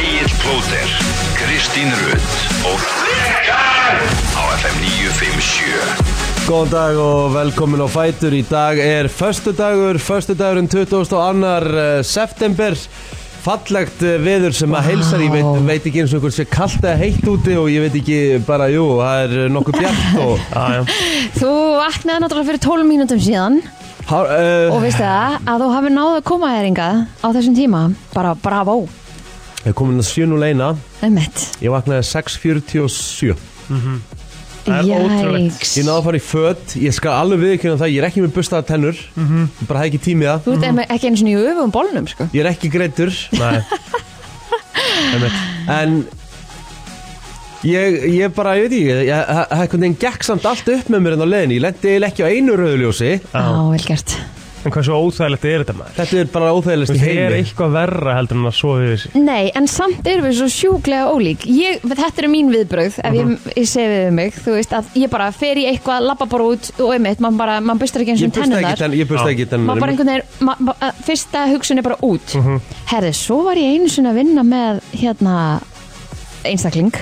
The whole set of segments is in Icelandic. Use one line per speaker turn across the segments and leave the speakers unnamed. Blóter, Kristín Rutt og á FM 957
Góðan dag og velkomin á Fætur Í dag er föstudagur, föstudagurinn 22. eh, september Fallegt eh, veður sem að heilsar, ég veit, veit ekki eins og hvort sé kallt eða heitt úti og ég veit ekki bara, jú, það er eh, nokkuð bjart og
Þú vaknaði náttúrulega fyrir 12 mínútum síðan
Há, uh,
og veistu það að þú hafi náðu að koma þér inga á þessum tíma bara bravo,
ég er komin að 7.01,
einmitt
ég vaknaði 6.47
Það er ótrúlegt.
Jæks
Ég náði að fara í föt, ég skal alveg viðkynna það, ég er ekki með bustaða tennur, ég bara hafði ekki tími í það
Þú ert mm ekki eins og nýju öfum bólnum sko
Ég er ekki greittur
Nei Einmitt.
En Ég, ég bara, ég veit ekki ég- ég- Það það einhvern veginn gekk samt allt upp með mér en á leiðinni Ég lendi eiginlega ekki á einu rauðljósi
Já,
Já.
vel gert
En hvað svo óþægilegt er þetta maður?
Þetta er bara óþægilegst
Þú
í
veist, er
heimi
eitthvað verra heldur en að sofa yfir sig
Nei, en samt erum við svo sjúklega ólík ég, Þetta er mín viðbrögð ef ég, ég segi við mig, þú veist að ég bara fer í eitthvað, labba bara út og einmitt, mann bara, mann bustar ekki eins
Ég
og
busta ekki
tennunar
tenn, ég busta
Já.
ekki
maður bara
tennunar
einhvern veginn ma, ma, að fyrsta hugsun er bara út herri, svo var ég einu sinni að vinna með hérna einstakling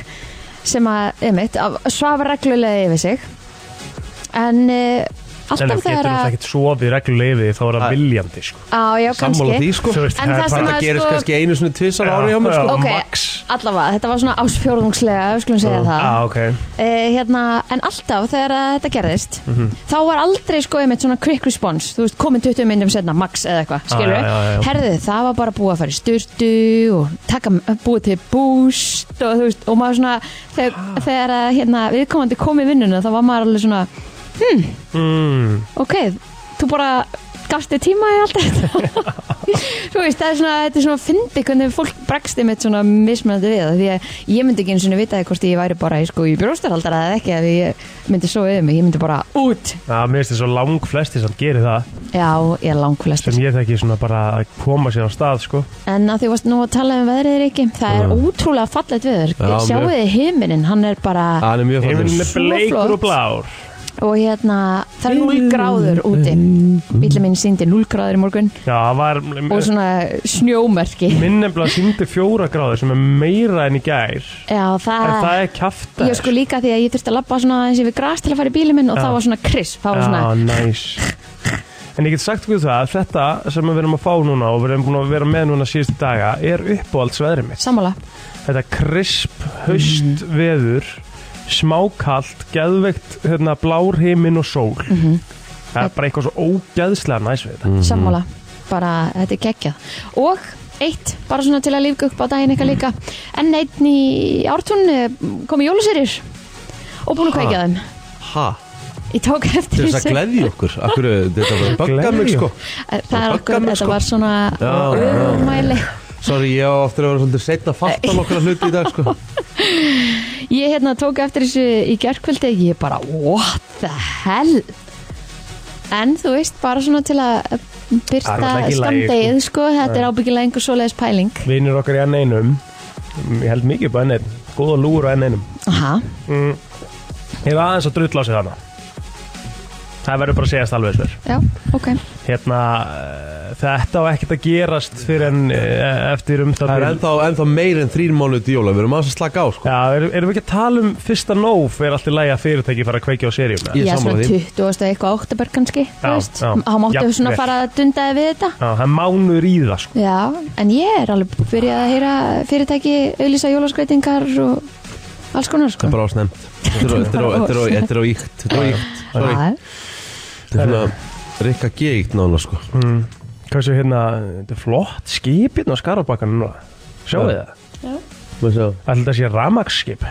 sem að, einmitt, að svafa reglulega yfir sig en uh,
En
alltaf
ef getur
þegar
náttúrulega
að
ekkert sofið reglulega yfir því þá er
Æ.
það viljandi sko.
á, já,
Sammála því
kannski
sko
Þú veist,
En það sem
bara-
Það
að-
gerist
sko-
kannski einu svona tvisar
Já,
ári hjá mér
já.
sko
ok,
max.
allavega, þetta var svona ásfjórðungslega við skulum segja það
ah, okay.
uh, hérna, en alltaf þegar að þetta gerðist
Mhm.
þá var aldrei sko einmitt svona quick response þú veist komin 20 minnum setna max eða eitthvað skilur
Ah, já, já, já.
herðu það var bara búið að fara í styrtu og taka, búið til búst og þú veist og maður svona þegar,
Ah.
þegar að hérna, viðkomandi kom í vinnuna þá var maður alveg svona "Hmm,
mm,
ok, þú bara gafst þér tíma í allt þetta þú veist, það er svona, þetta er svona fyndi hvernig fólk bregst einmitt svona mismunandi við það, því að ég myndi ekki eins og vita hvort ég væri bara í, sko, í brjóstarhaldara eða ekki ef ég myndi svo yfir mig, ég myndi bara út
að, Mér finnst þess að lang flesti samt gerir það
já, ég er langflestur
sem ég þekki svona bara að koma sér á stað sko.
en að því varst nú að tala um veðrið ekki það er ótrúlega fallet viður
Já,
sjáu
mjög.
þið himinin, hann er bara
Það er mjög
Heiminn er
fannur
Svo
bleikur og
flott.
blár
og hérna, það er 0
Mm.
gráður úti bílum minn síndi 0 gráður í morgun
Já, það var
og svona snjómerki
minn nefnilega síndi fjóra gráður sem er meira enn í gær
já, það,
En það er kjafta
Ég Ah. sko líka því að ég þurfti að labba svona eins yfir gras til að fara í bílinn minn og
Já.
það var svona krisp, það var svona
Já, næs En ég get sagt ykkur það að þetta sem við erum að fá núna og við erum búin að vera með núna síðustu daga er uppáhaldsveðrið mitt
sammála.
Þetta krisp, haust, veður smákalt, geðveikt hérna, blár himin og sól Það er bara eitthvað svo ógeðslega næs við
Mhm.
þetta
sammála, bara þetta er geggjað. Og eitt, bara svona til að lífga upp á daginn
Mhm.
eitthvað líka, enn einn í ártún eh, kom í jóluserir og búin að kveikja þeim.
Ha,
Ég tók
til
eftir
þess að gleðja okkur Akkur, þetta var að bugga
Gleðja.
mig sko
Eh, Það er
böggar
okkur,
mig, sko.
þetta var svona
Já,
öðrumæli.
Sorry, ég á aftur að vera svolítið seitt að fatta nokkra hluti í dag sko
Ég hérna tók eftir þessu í gerkvöldi Ég bara, what the hell En þú veist, bara svona til að
Það er
byrta
náttúrulega ekki í lagi,
skamdegið sko, þetta er ábyggilega einhver svoleiðis pæling
Vinir okkar í enn einum mm, ég held mikið upp á enn einn, góða lúur á enn einum
Aha,
mm. Ég hef aðeins að drulla á sig þarna Það verður bara að segjast alveg þess
já, ok
hérna, eh, þetta á ekkert að gerast fyrir en eh, eftir um það
Það er
bil-
ennþá, ennþá meir en þrín mánuð til jóla Við erum aðeins að slaka á sko
Já, erum, erum við ekki að tala um fyrsta nóf er alltaf lægi að fyrirtæki fara að kveikja á serjum
Ég
eða?
er
Já,
sammála
svona
því.
20 og eitthvað oktober kannski
Já,
þú veist,
já.
þá máttu
Jafnvel.
svona fara að dundaði við þetta
Já, það er mánuður í það sko
Já, en ég er alveg byrjað að heyra fyrirtæki auðlýsa jólaskreitingar og alls konar
Það
sko
er bara ásnæmt Þetta er á íkt Þetta er á íkt Sorry
Já,
Þetta er svona Rikka G íkt nána sko
Hversu hérna, þetta er flott skipin á skarabakkan núna Sjáu
Já.
það?
Má sjá.
Alltaf þetta sé ramagsskip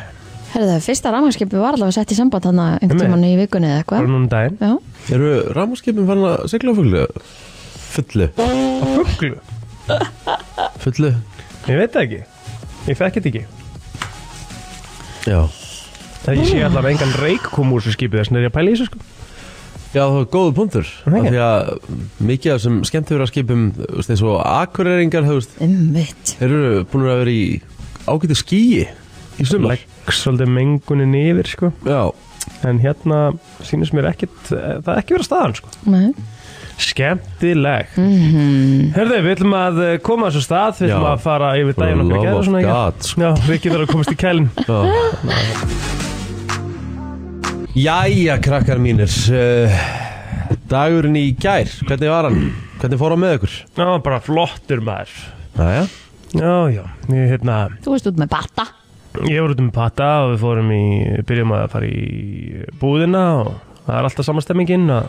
herðu það, fyrsta rammarskipi var allavega sett í samband hann einhvern
Einmitt.
tímann í vikunni eða
Bara
eitthvað
núna um daginn
Já,
Eru rámaskipin farin að segla á fullu? Fullu
Á fugglu?
Fullu
Ég veit það ekki Ég fekk þetta ekki
Já
Það ég sé allavega engan reik kom úr þessu skipi þess Nefnir ég að pæla í þessu sko
Já það var góðu punktur
Það
Af
ekki?
Því að mikið af þessum skemmtifuraskipum þú veist, eins og akureyringar þú veist,
umvitt
Þeir eru búin að vera í ágæti skýi Í sumar
Legg svolítið mengunin yfir sko
Já
En hérna sýnist mér ekkit eh, Það er ekki verið staðan sko
Nei,
skemmtilegt mm
Mhm.
-hmm. Herðu, við ætlum að eh, koma þessu stað Við
Já.
ætlum að fara yfir daginn okkar
love
að gera
of
svona ekki?
God, sko.
Já, Rikki þarf að komast í kælin
Já. Jæja, krakkar mínir uh, Dagurinn í gær, hvernig var hann? Hvernig fór hann með ykkur?
Já, bara flottur maður
Jæja
Já, já, ég, hérna,
Þú veist út með bata
ég voru út um patta og við fórum í, byrjum að fara í búðina og það er alltaf samastemmingin og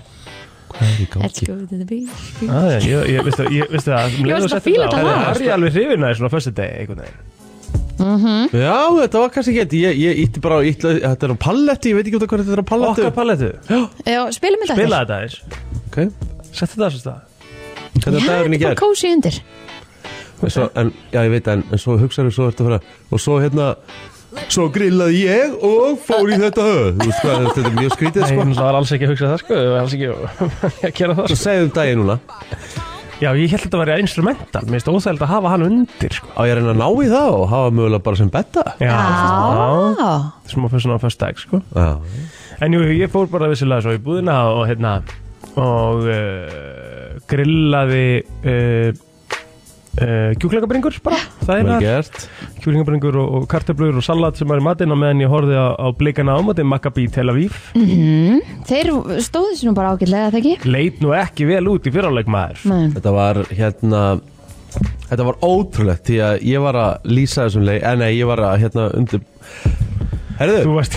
Hvað er í
Let's
gangi?
go to the beach
aðeins, ég, ég, veistu, ég, veistu það um leið
Ég
og
varst að
settir
fíla
á-
þetta lag, sko.
Það er ég alveg hrifin aðeins svona á föstu degi, einhvern veginn
Já, þetta var kannski gett Ég, ég ítti bara, á- ítti, þetta er á palletti Ég veit ekki út af hvað þetta er á palletti
Okkar palettu,
Já, spilum við þetta
bila þetta aðeins
Ok,
Sett þetta þessu stað
hvernig var dagurinn í
Já, þetta er bara
gær?
kósi undir
En svo, en, já, ég veit það, en, en svo hugsaðu svo ertu að fara Og svo hérna Svo grillaði ég og fór í þetta höf Þú veist hvað, þetta er mjög skrítið
Nei,
sko
það var alls ekki að hugsa það sko, það var alls ekki að gera það
Svo segðu um daginn núna
Já, ég held að þetta væri instrumental, mér finnst óþægild að hafa hann undir sko
Á ég að reyna að ná í það og hafa mögulega bara sem betta
Já, já.
Já
smá fyrir svona á föstu dag sko
Já,
En jú, ég fór bara vissilega svo í búðina og hérna og uh, grillaði uh, uh, kjúklingabringur bara, það er
vel
það
gert
kjúklingabringur og, og kartöflur og salat sem var í matinn og meðan ég horfði á, á blikana ámati Maccabi Tel Aviv
Þeir stóðu sér nú bara ágætlega, það ekki?
leit nú ekki vel út í fyrráleik maður
Nei.
Þetta var hérna Þetta var ótrúlegt því að ég var að lýsa þessum leik En nei, ég var að hérna undir Herðu,
Þú varst,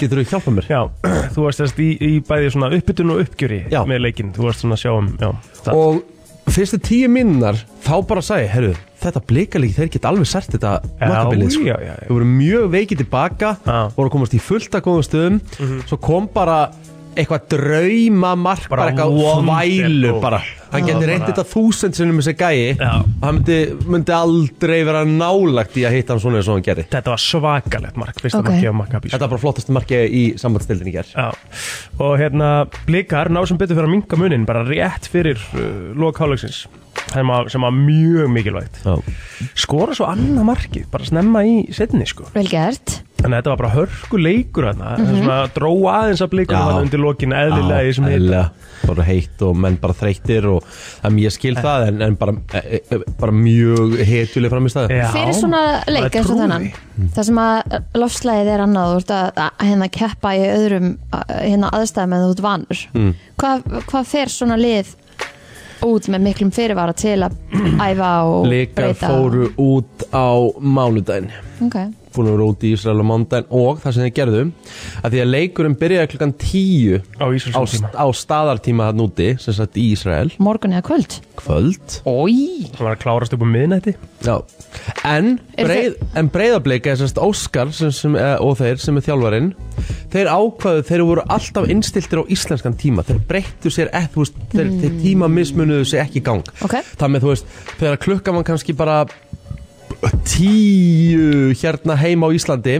getur þú hjálpað mér?
já, þú varst þess í, í bæði svona uppbytun og uppgjöri
Já.
með leikinn, þú varst svona að sjá um, já, það.
Og fyrstu tíu minnar Þá bara sagði, herðu, þetta blikalík Þeir geta alveg sert þetta
Já,
makkabilið sko.
já, já, já.
Þau voru mjög veikið tilbaka
Já. Mhm.
Voru að komast í fullt að góðum stöðum Svo kom bara eitthvað draumamark
Bara
bara, eitthvað
wonderful.
þvælu bara hann getur reyndið þetta þúsund sinnum þessi gæi
Já.
og hann myndi, myndi aldrei vera nálagt í að hitta hann svona eins og hann gerði
þetta var svakalegt mark, fyrsta
Ok.
okay. markið á Maccabi sko.
Þetta er bara flottast markið í sambandstildin í gerð
Já, og hérna blikar ná sem betur fyrir að minka munin bara rétt fyrir uh, lokháleiksins sem, að- sem var mjög mikilvægt skora svo annað markið, bara snemma í setni sko,
Vel gert
þannig að þetta var bara hörku leikur þarna,
Mhm.
mm -hmm. svona dróa aðeins að
Já.
blikunum hann undir lokin eðlilega í þessum hita
bara heitt og menn bara þreyttir og em, ég
Eh.
skil það en, en bara, e, e, bara mjög hetjuleg fram í staði
Já.
Fyrir svona leik
maður
eins og
trúði.
þennan Það sem að lofslæðið er annað Þú ert að, að hérna keppa í öðrum að, hérna aðstæðum en þú ert vanur
Mm.
hvað, hvað fer svona lið út með miklum fyrirvara til að æfa og
Likar
breyta
fóru út á mánudaginn
Ok,
fórum við út í Ísrael á mánudaginn og það sem þið gerðu að því að leikurinn byrjaði klukkan 10
á
á,
Íslands tíma
á staðartíma hann úti sem sagt í Ísrael
morgun eða kvöld
kvöld
Ói
hann var að klárast upp á miðnætti
Já. En,
Eru
breið, en breyðableika er semst Óskar sem, sem, eh, og þeir sem er þjálfarinn þeir ákvaðu, þeir voru alltaf innstiltir á íslenskan tíma, þeir breyttu sér ekki, þú veist, þeir, þeir tíma mismunuðu sér ekki í gang
Ok.
þannig að þú veist, þegar klukkan var kannski bara tíu hérna heima á Íslandi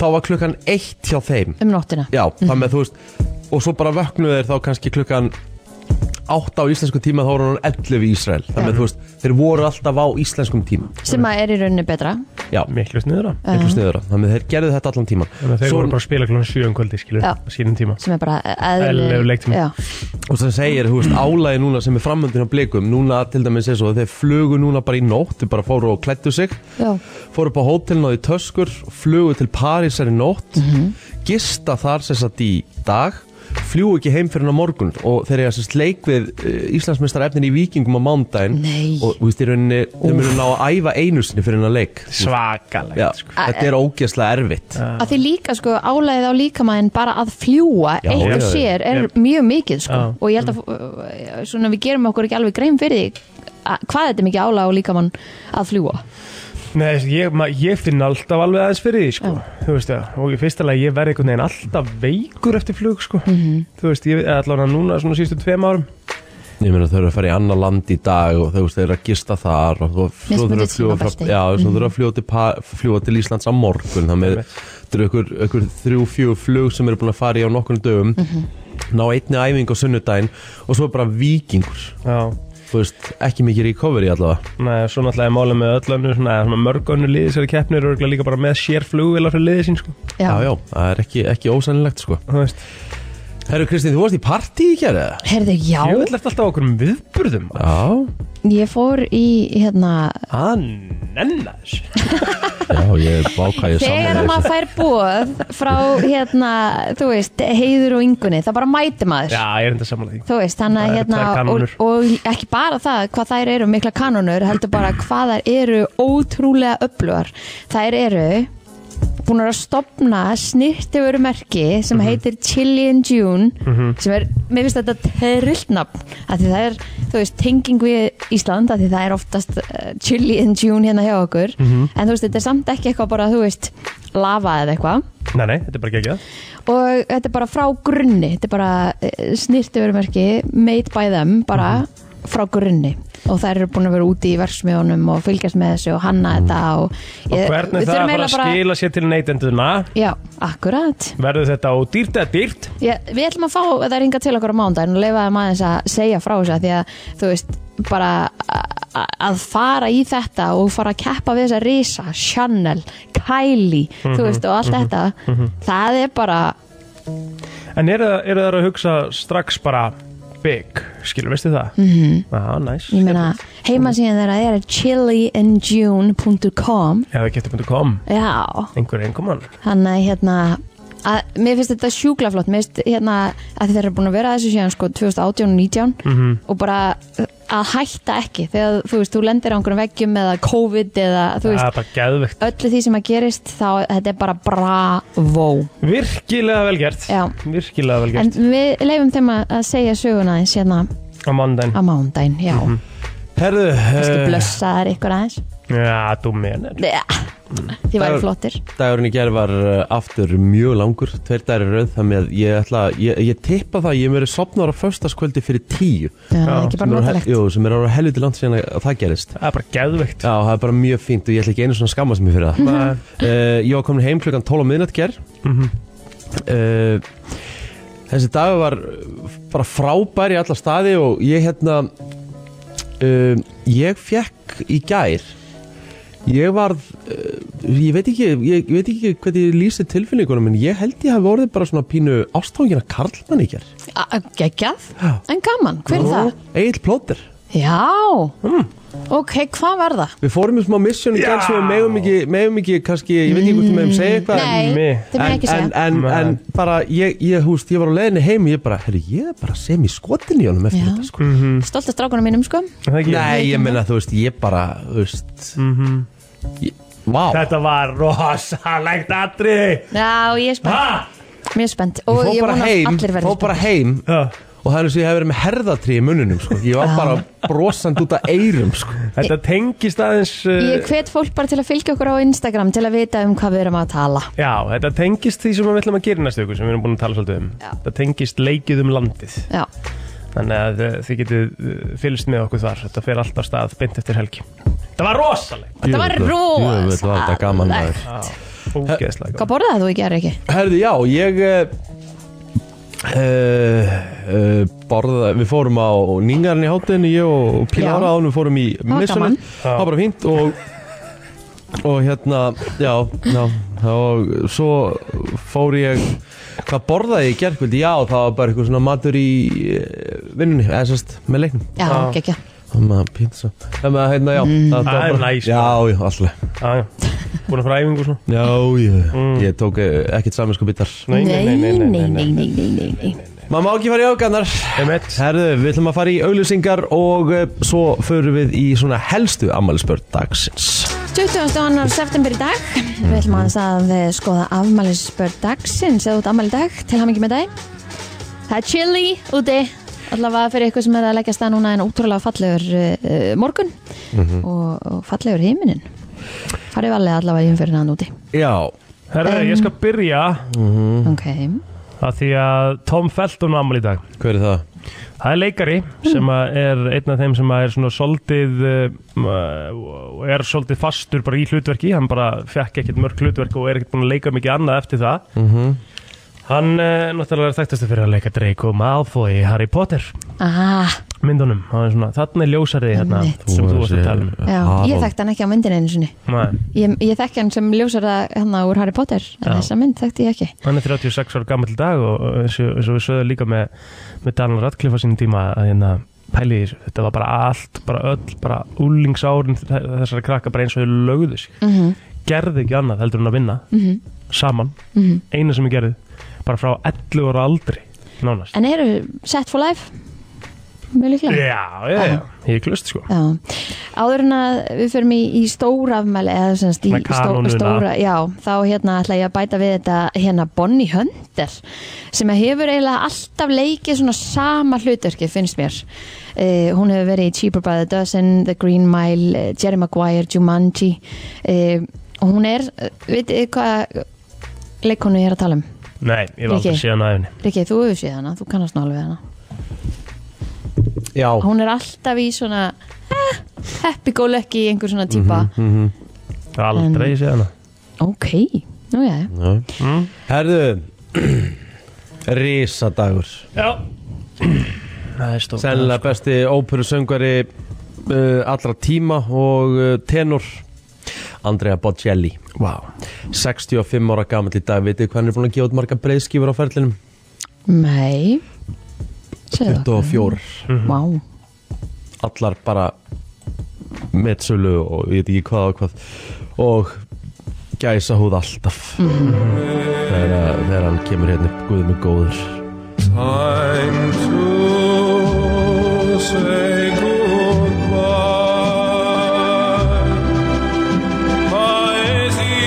þá var klukkan eitt hjá þeim
Um nóttina
Já, þannig að þú veist og svo bara vöknuðu þeir þá kannski klukkan 8 á íslensku tíma þá voru hann 11 í Ísrael þannig að þú veist, þeir voru alltaf á íslenskum tíma
Sem að er í rauninni betra
Já,
miklu sniðra,
miklu sniðura þannig að þeir gerðu þetta allan tíman
þannig að þau
Svo-
voru bara að spila klón 7 um kvöldi skilu,
Já.
á sínum tíma
Sem er bara e-
Eðlilegur
eðlileg
leiktími.
Já.
og sem segir, þú veist, álagi núna sem er framöndin á blikum, núna til dæmis er svo að þeir flugu núna bara í nótt, þeir bara fóru og klættu sig
Já.
fóru upp á hótelin á því töskur flugu til Parísar í nótt gista þar sem sagt í dag fljú ekki heim fyrir hann á morgun og þeir eiga sérst leik við uh, Íslandsmeistar efnin í vikingum á mándaginn
Nei.
og þú veist, í rauninni, þau munu ná að æfa einu sinni fyrir hann að leik
svakalegt
Já,
sko.
þetta er ógeðslega erfitt
að því líka sko álæðið á líkamæðin bara að fljúa
Já,
eitt og
já, Mm. já.
sér er
Yep.
mjög mikið sko.
Já.
og ég held að uh, svona, við gerum okkur ekki alveg grein fyrir því að- hvað þetta er mikið álæð á líkamann að fljúa
Nei, ég, ma, ég finn alltaf alveg aðeins fyrir því, sko, þú veist það, og í fyrsta lagi ég verði einhvern veginn alltaf veikur eftir flug, sko, þú veist, ég allan að núna svona sístu tveim árum,
Ég meina þau eru að fara í annar land í dag og þau veist, þau eru að gista þar og þú svo þau eru að
Mismunandi
fljúa frá-
tímabelti. Mhm.
já, svo þau eru að fljúa til, Pa- fljúga til Íslands á morgun þannig að þau eru ykkur, ykkur þrjú, fjú flug sem eru búin að fara í á nokkrum dögum
Mhm.
ná einni æfingu á sunnudaginn og svo er bara vikingur
já,
þú veist, ekki mikið recovery allavega
Nei, svo náttúrulega er málið með öll önnu, svona, svona mörg önnu liði sér keppnir og líka bara með sér flugvila fyrir liði sín, sko,
Já, já, það er ekki, ekki ósænilegt sko
þú veist,
Herru Kristín, þú varst í partí í kjæra
Herðu, já,
Ég vil alltaf okkur um viðburðum
Já,
ég fór í, hérna,
Að nenna þessu
já, ég báka ég
Þegar maður fær bóð frá hérna, þú veist, heiður og yngunni, það bara mæti maður.
Já, ég er enda sammála því
Þú veist, þannig
Það
að
eru
hérna,
tvær
og,
kanónur.
og ekki bara það hvað þær eru mikla kanonur, heldur bara hvað þær eru ótrúlega öflugar. Þær eru búin að stopna snirtiverumerki
Mhm.
sem heitir Chili and June sem er, mér finnst þetta terrillnafn, af því það er, þú veist, tenging við Ísland, af því það er oftast uh, Chili and June hérna hjá okkur
Mhm.
en þú veist, þetta er samt ekki eitthvað bara, þú veist lava eða eitthvað
Nei, nei, þetta er bara geggjað
og þetta er bara frá grunni þetta er bara eh, snirtiverumerki made by them,
Mhm.
bara frá grunni og þær eru búin að vera úti í verksmiðunum og fylgjast með þessu og hanna þetta og,
Mhm. Og hvernig það fara að skila sér til neytenduna
Já, akkurat
Verður þetta á dýrt eða dýrt?
Ég, við ætlum að fá það ringa til okkur á mándaginn og leifa þeim aðeins að segja frá þessu af því að þú veist bara a- a- að fara í þetta og fara að keppa við þessa Risa, Chanel, Kylie
Mhm,
þú veist og allt þetta það er bara,
En eru, það- eru það að hugsa strax bara big, skilur, veistu það? Mm -hmm. Já, næs
Mhm. ég meina heimasíðan þeirra er chiliandjune.com
Já, við getum að kom
já,
Einhver einhvermann
þannig að hérna að, mér finnst þetta sjúkla flott mér finnst hérna að þeir eru búin að vera að þessu síðan sko 2018 og 19
Mhm.
og bara að hætta ekki þegar þú veist, þú lendir á einhverjum veggjum eða COVID eða þú
Það
veist,
er bara geðvegt
öllu því sem að gerist þá þetta er bara bravo
Virkilega vel gert
Já.
Virkilega vel
en
gert
við leifum þeim að að segja söguna aðeins hérna
Á mandaginn
á mándaginn, já, mm -hmm.
Herru,
kannski
Mhm. eh,
blössa þær ykkur aðeins
Já, þú menir
ja. þið
Það-
væri flottir
dagurinn í gerð var eh, aftur mjög langur Tveir dagur í rauð, þannig að ég ætla Ég, ég tippa það, að ég hef verið sopnar á föstaskvöldi fyrir tíu
já, það er ekki bara
Sem er á hel-
notalegt
Jú, sem er ára helviti langt síðan að að það gerist
Það er bara geðvegt
Já, það er bara mjög fínt og ég ætla ekki einu svona að skammast mér fyrir
Mhm.
það
Nei.
uh, Ég var komin heim klukkan 12 á miðnætt ger uh, Þessi dag var uh, bara frábær í alla staði og ég hérna uh, Ég fekk í gær Ég varð, uh, ég veit ekki, ég, ég veit ekki hvernig ég lýsi tilfinningunum en ég held ég hafi orðið bara svona pínu ástofangina karlmann í gær
geggjað, en gaman, hver er það?
Egil Plóter
Já,
Hmm.
ok, hvað var það?
Við fórum í smá mission í
Já.
gerð sem við megum ekki, megum ekki kannski, ég veit ekki hvort við megum segja eitthvað en-
Nei,
mig.
það mér
en, en,
ekki segja
en,
Nei.
en bara ég, ég, húst, ég var á leiðinni heim og ég bara, herri, ég er bara sem í skotin í honum eftir
Já.
þetta sko.
Stolt af strákunum mínum sko
Er það Mhm. ekki? Mhm.
Nei, ég meina, þú veist, ég bara, þú veist mm Vá,
Þetta var rosalegt atri
Já, ég er spennt,
Ha?
mjög spennt Og
ég
ég
fór bara
vona að
heim,
allir verður
fór bara heim
Já.
og það er eins og ég hef verið með herðatrí í mununum sko. ég var bara brosand út af eyrum sko.
Þetta tengist aðeins uh,
Ég hvet fólk bara til að fylgja okkur á Instagram Til að vita um hvað við erum að tala
Já, þetta tengist því sem við ætlum að gera í næstu ykkur sem við erum búin að tala svolítið um
Já.
Þetta tengist leikið um landið
Já,
Þannig að uh, þið getið uh, fylgst með okkur þar Þetta fer alltaf stað beint eftir helgi Þetta var rosalegt
þetta var
Jú,
rosalegt.
þetta var þetta gaman maður
Ógeðslega
Hvað borðaði þú í gerð ekki?
Herði, já, ég uh, uh, borða, við fórum á Ningarn í hátinu, ég og Pílára
Já.
ánum fórum í
var
missunni,
gaman.
það var bara fínt og, og hérna, já, já, og svo fór ég, hvað borðaði ég í gerkvöldi, já, það var bara eitthvað svona matur í eh, vinnunni, eða sérst, með leiknum,
Já, ekki ekki
það maður pizza, það maður, hérna, já,
Mm.
það
Það er næs,
já, já, alltaf,
Já, já. Búin að fara á æfingu og svona
já, já,
Mm.
ég tók eh, ekkert saminsko bitar,
Nei, nei, nei, nei, nei, nei, nei.
maður má ekki fara í ágarnar,
Einmitt.
Herðu, við ætlum að fara í auglýsingar og uh, svo förum við í svona helstu ammælisbörn dagsins.
22. september í dag Við ætlum aðeins að eh, skoða afmælisbörn dagsins eða út afmæli í dag til hann með dag Það er chilly úti allavega fyrir ykkur sem er að leggja stað núna en útrúlega fallegur uh, morgun og, og fallegur heiminin farið valega allavega í umfyrir hann úti
Já,
Herra, ég skal byrja
ok,
að því að Tom Felton var ammali í dag
hver er það?
Það er leikari sem að er einn af þeim sem að er svona soldið eh, er soldið fastur bara í hlutverki hann bara fekk ekkert mörg hlutverk og er ekkert búin að leika mikið annað eftir það eh, Hann uh, náttúrulega er þekktastu fyrir að leika Draco Malfoy í Harry Potter
ah,
myndunum það er svona, þarna er ljósarið hérna,
Einmitt.
sem þú varst að tala um
Já, ég þekkti hann ekki á myndinu einu sinni
Nei,
Ég, ég þekki hann sem ljósar það hann úr Harry Potter en
Já.
þessa mynd þekkti ég ekki
hann er 36 ára gammal dag og og eins og eins og við sögðum líka með, með Daniel Radcliffe á sínum tíma að hérna pæli í þessu, þetta var bara allt bara öll, bara úlingsárin þessari krakka bara eins og þau lögðu sig
mm -hmm.
gerði ekki annað heldur en að vinna saman,
Mhm.
eina sem ég gerði bara frá 11 ára aldri nánast
En eru set for life? Mjög líklega
Já, já, já, ég er klust sko
Já, áður en að við förum í, í stóra afmæli eða semst í
Með
stó,
kanónuna.
stóra, já, þá hérna ætla ég að bæta við þetta hérna Bonnie Hunter sem að hefur eiginlega alltaf leikið svona sama hlutverki finnst mér uh, hún hefur verið í Cheaper by the Dozen, The Green Mile eh, Jerry Maguire, Jumanji uh, og hún er, eh, vitið þið hvað leikonu ég er að tala um
Nei, ég var aldrei
Rikki.
síðan aðeins
Rikki, þú hefur séð hana, þú kannast nálega við hana
Já,
Oh.
hún er alltaf í svona eh, happy-go-lucky einhver svona típa
Mhm. Aldrei síðan að
Ok, nú já,
Mm. Herðu Rísadagur
Já Það er stórt
Sennilega besti óperusöngari uh, allra tíma og uh, tenor Andrea Bocelli
Vá
65 ára gamall í dag, vitið hvað hann er búin að gefa út marga breiðskífur á ferlinum?
Nei Segðu okkur.
24
Vá,
Allar bara metsölu og ég veit ekki hvað og hvað og gæsa húð alltaf þegar, að- þegar hann kemur hérna upp Guð með góður
Time to say goodbye. Paesi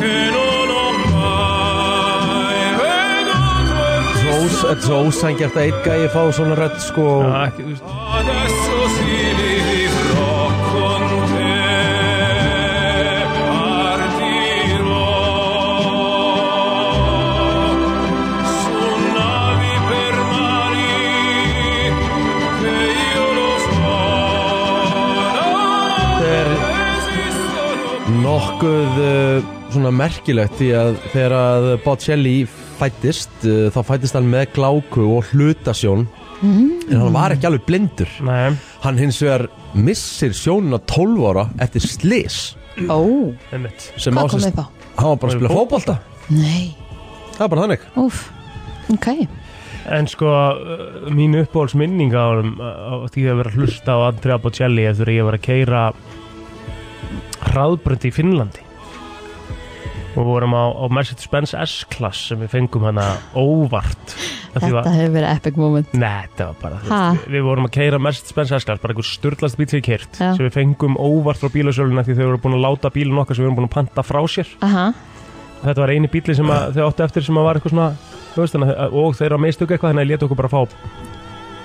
che non ho mai veduto
Rós, Þetta er svo ósangjart að einn gæi fá svona rödd sko
Já, ekki, þú veist
Adesso si livrò con te. Partirò su navi per mari che io lo so.
Þetta er
non Esistono
nokkuð uh, svona merkilegt því að þegar að Bocelli fættist uh, þá fættist hann með gláku og hlutasjón en hann var ekki alveg blindur
Nei,
hann hins vegar missir sjónuna 12 ára eftir slis
ó,
einmitt
sem
hvað kom
ásist,
upp á?
hann var bara að spila fótbolta
Nei,
það er bara þannig
úf, ok
En sko, uh, mín uppbólsminning á, honum, uh, á því að vera að hlusta á Andrea Bocelli eftir að ég var að keira hraðbrönd í Finnlandi og vorum á, á Mercedes-Benz S-klass sem við fengum hana óvart Af því
Þetta
var-
hefur verið epic moment
Nei, þetta var bara, þú
Ha?
veist, við, við vorum að keira Mercedes-Benz S-klass, bara einhver sturlast bíl sem við keirt
Já.
sem við fengum óvart frá bílasöluna því þau voru búin að láta bílun okkar sem við vorum búin að panta frá sér
Aha,
þetta var eini bíli sem að, þau áttu eftir sem að var eitthvað svona þú veist, þannig, að- og þeirra meðstöku eitthvað þannig að leta okkur bara fá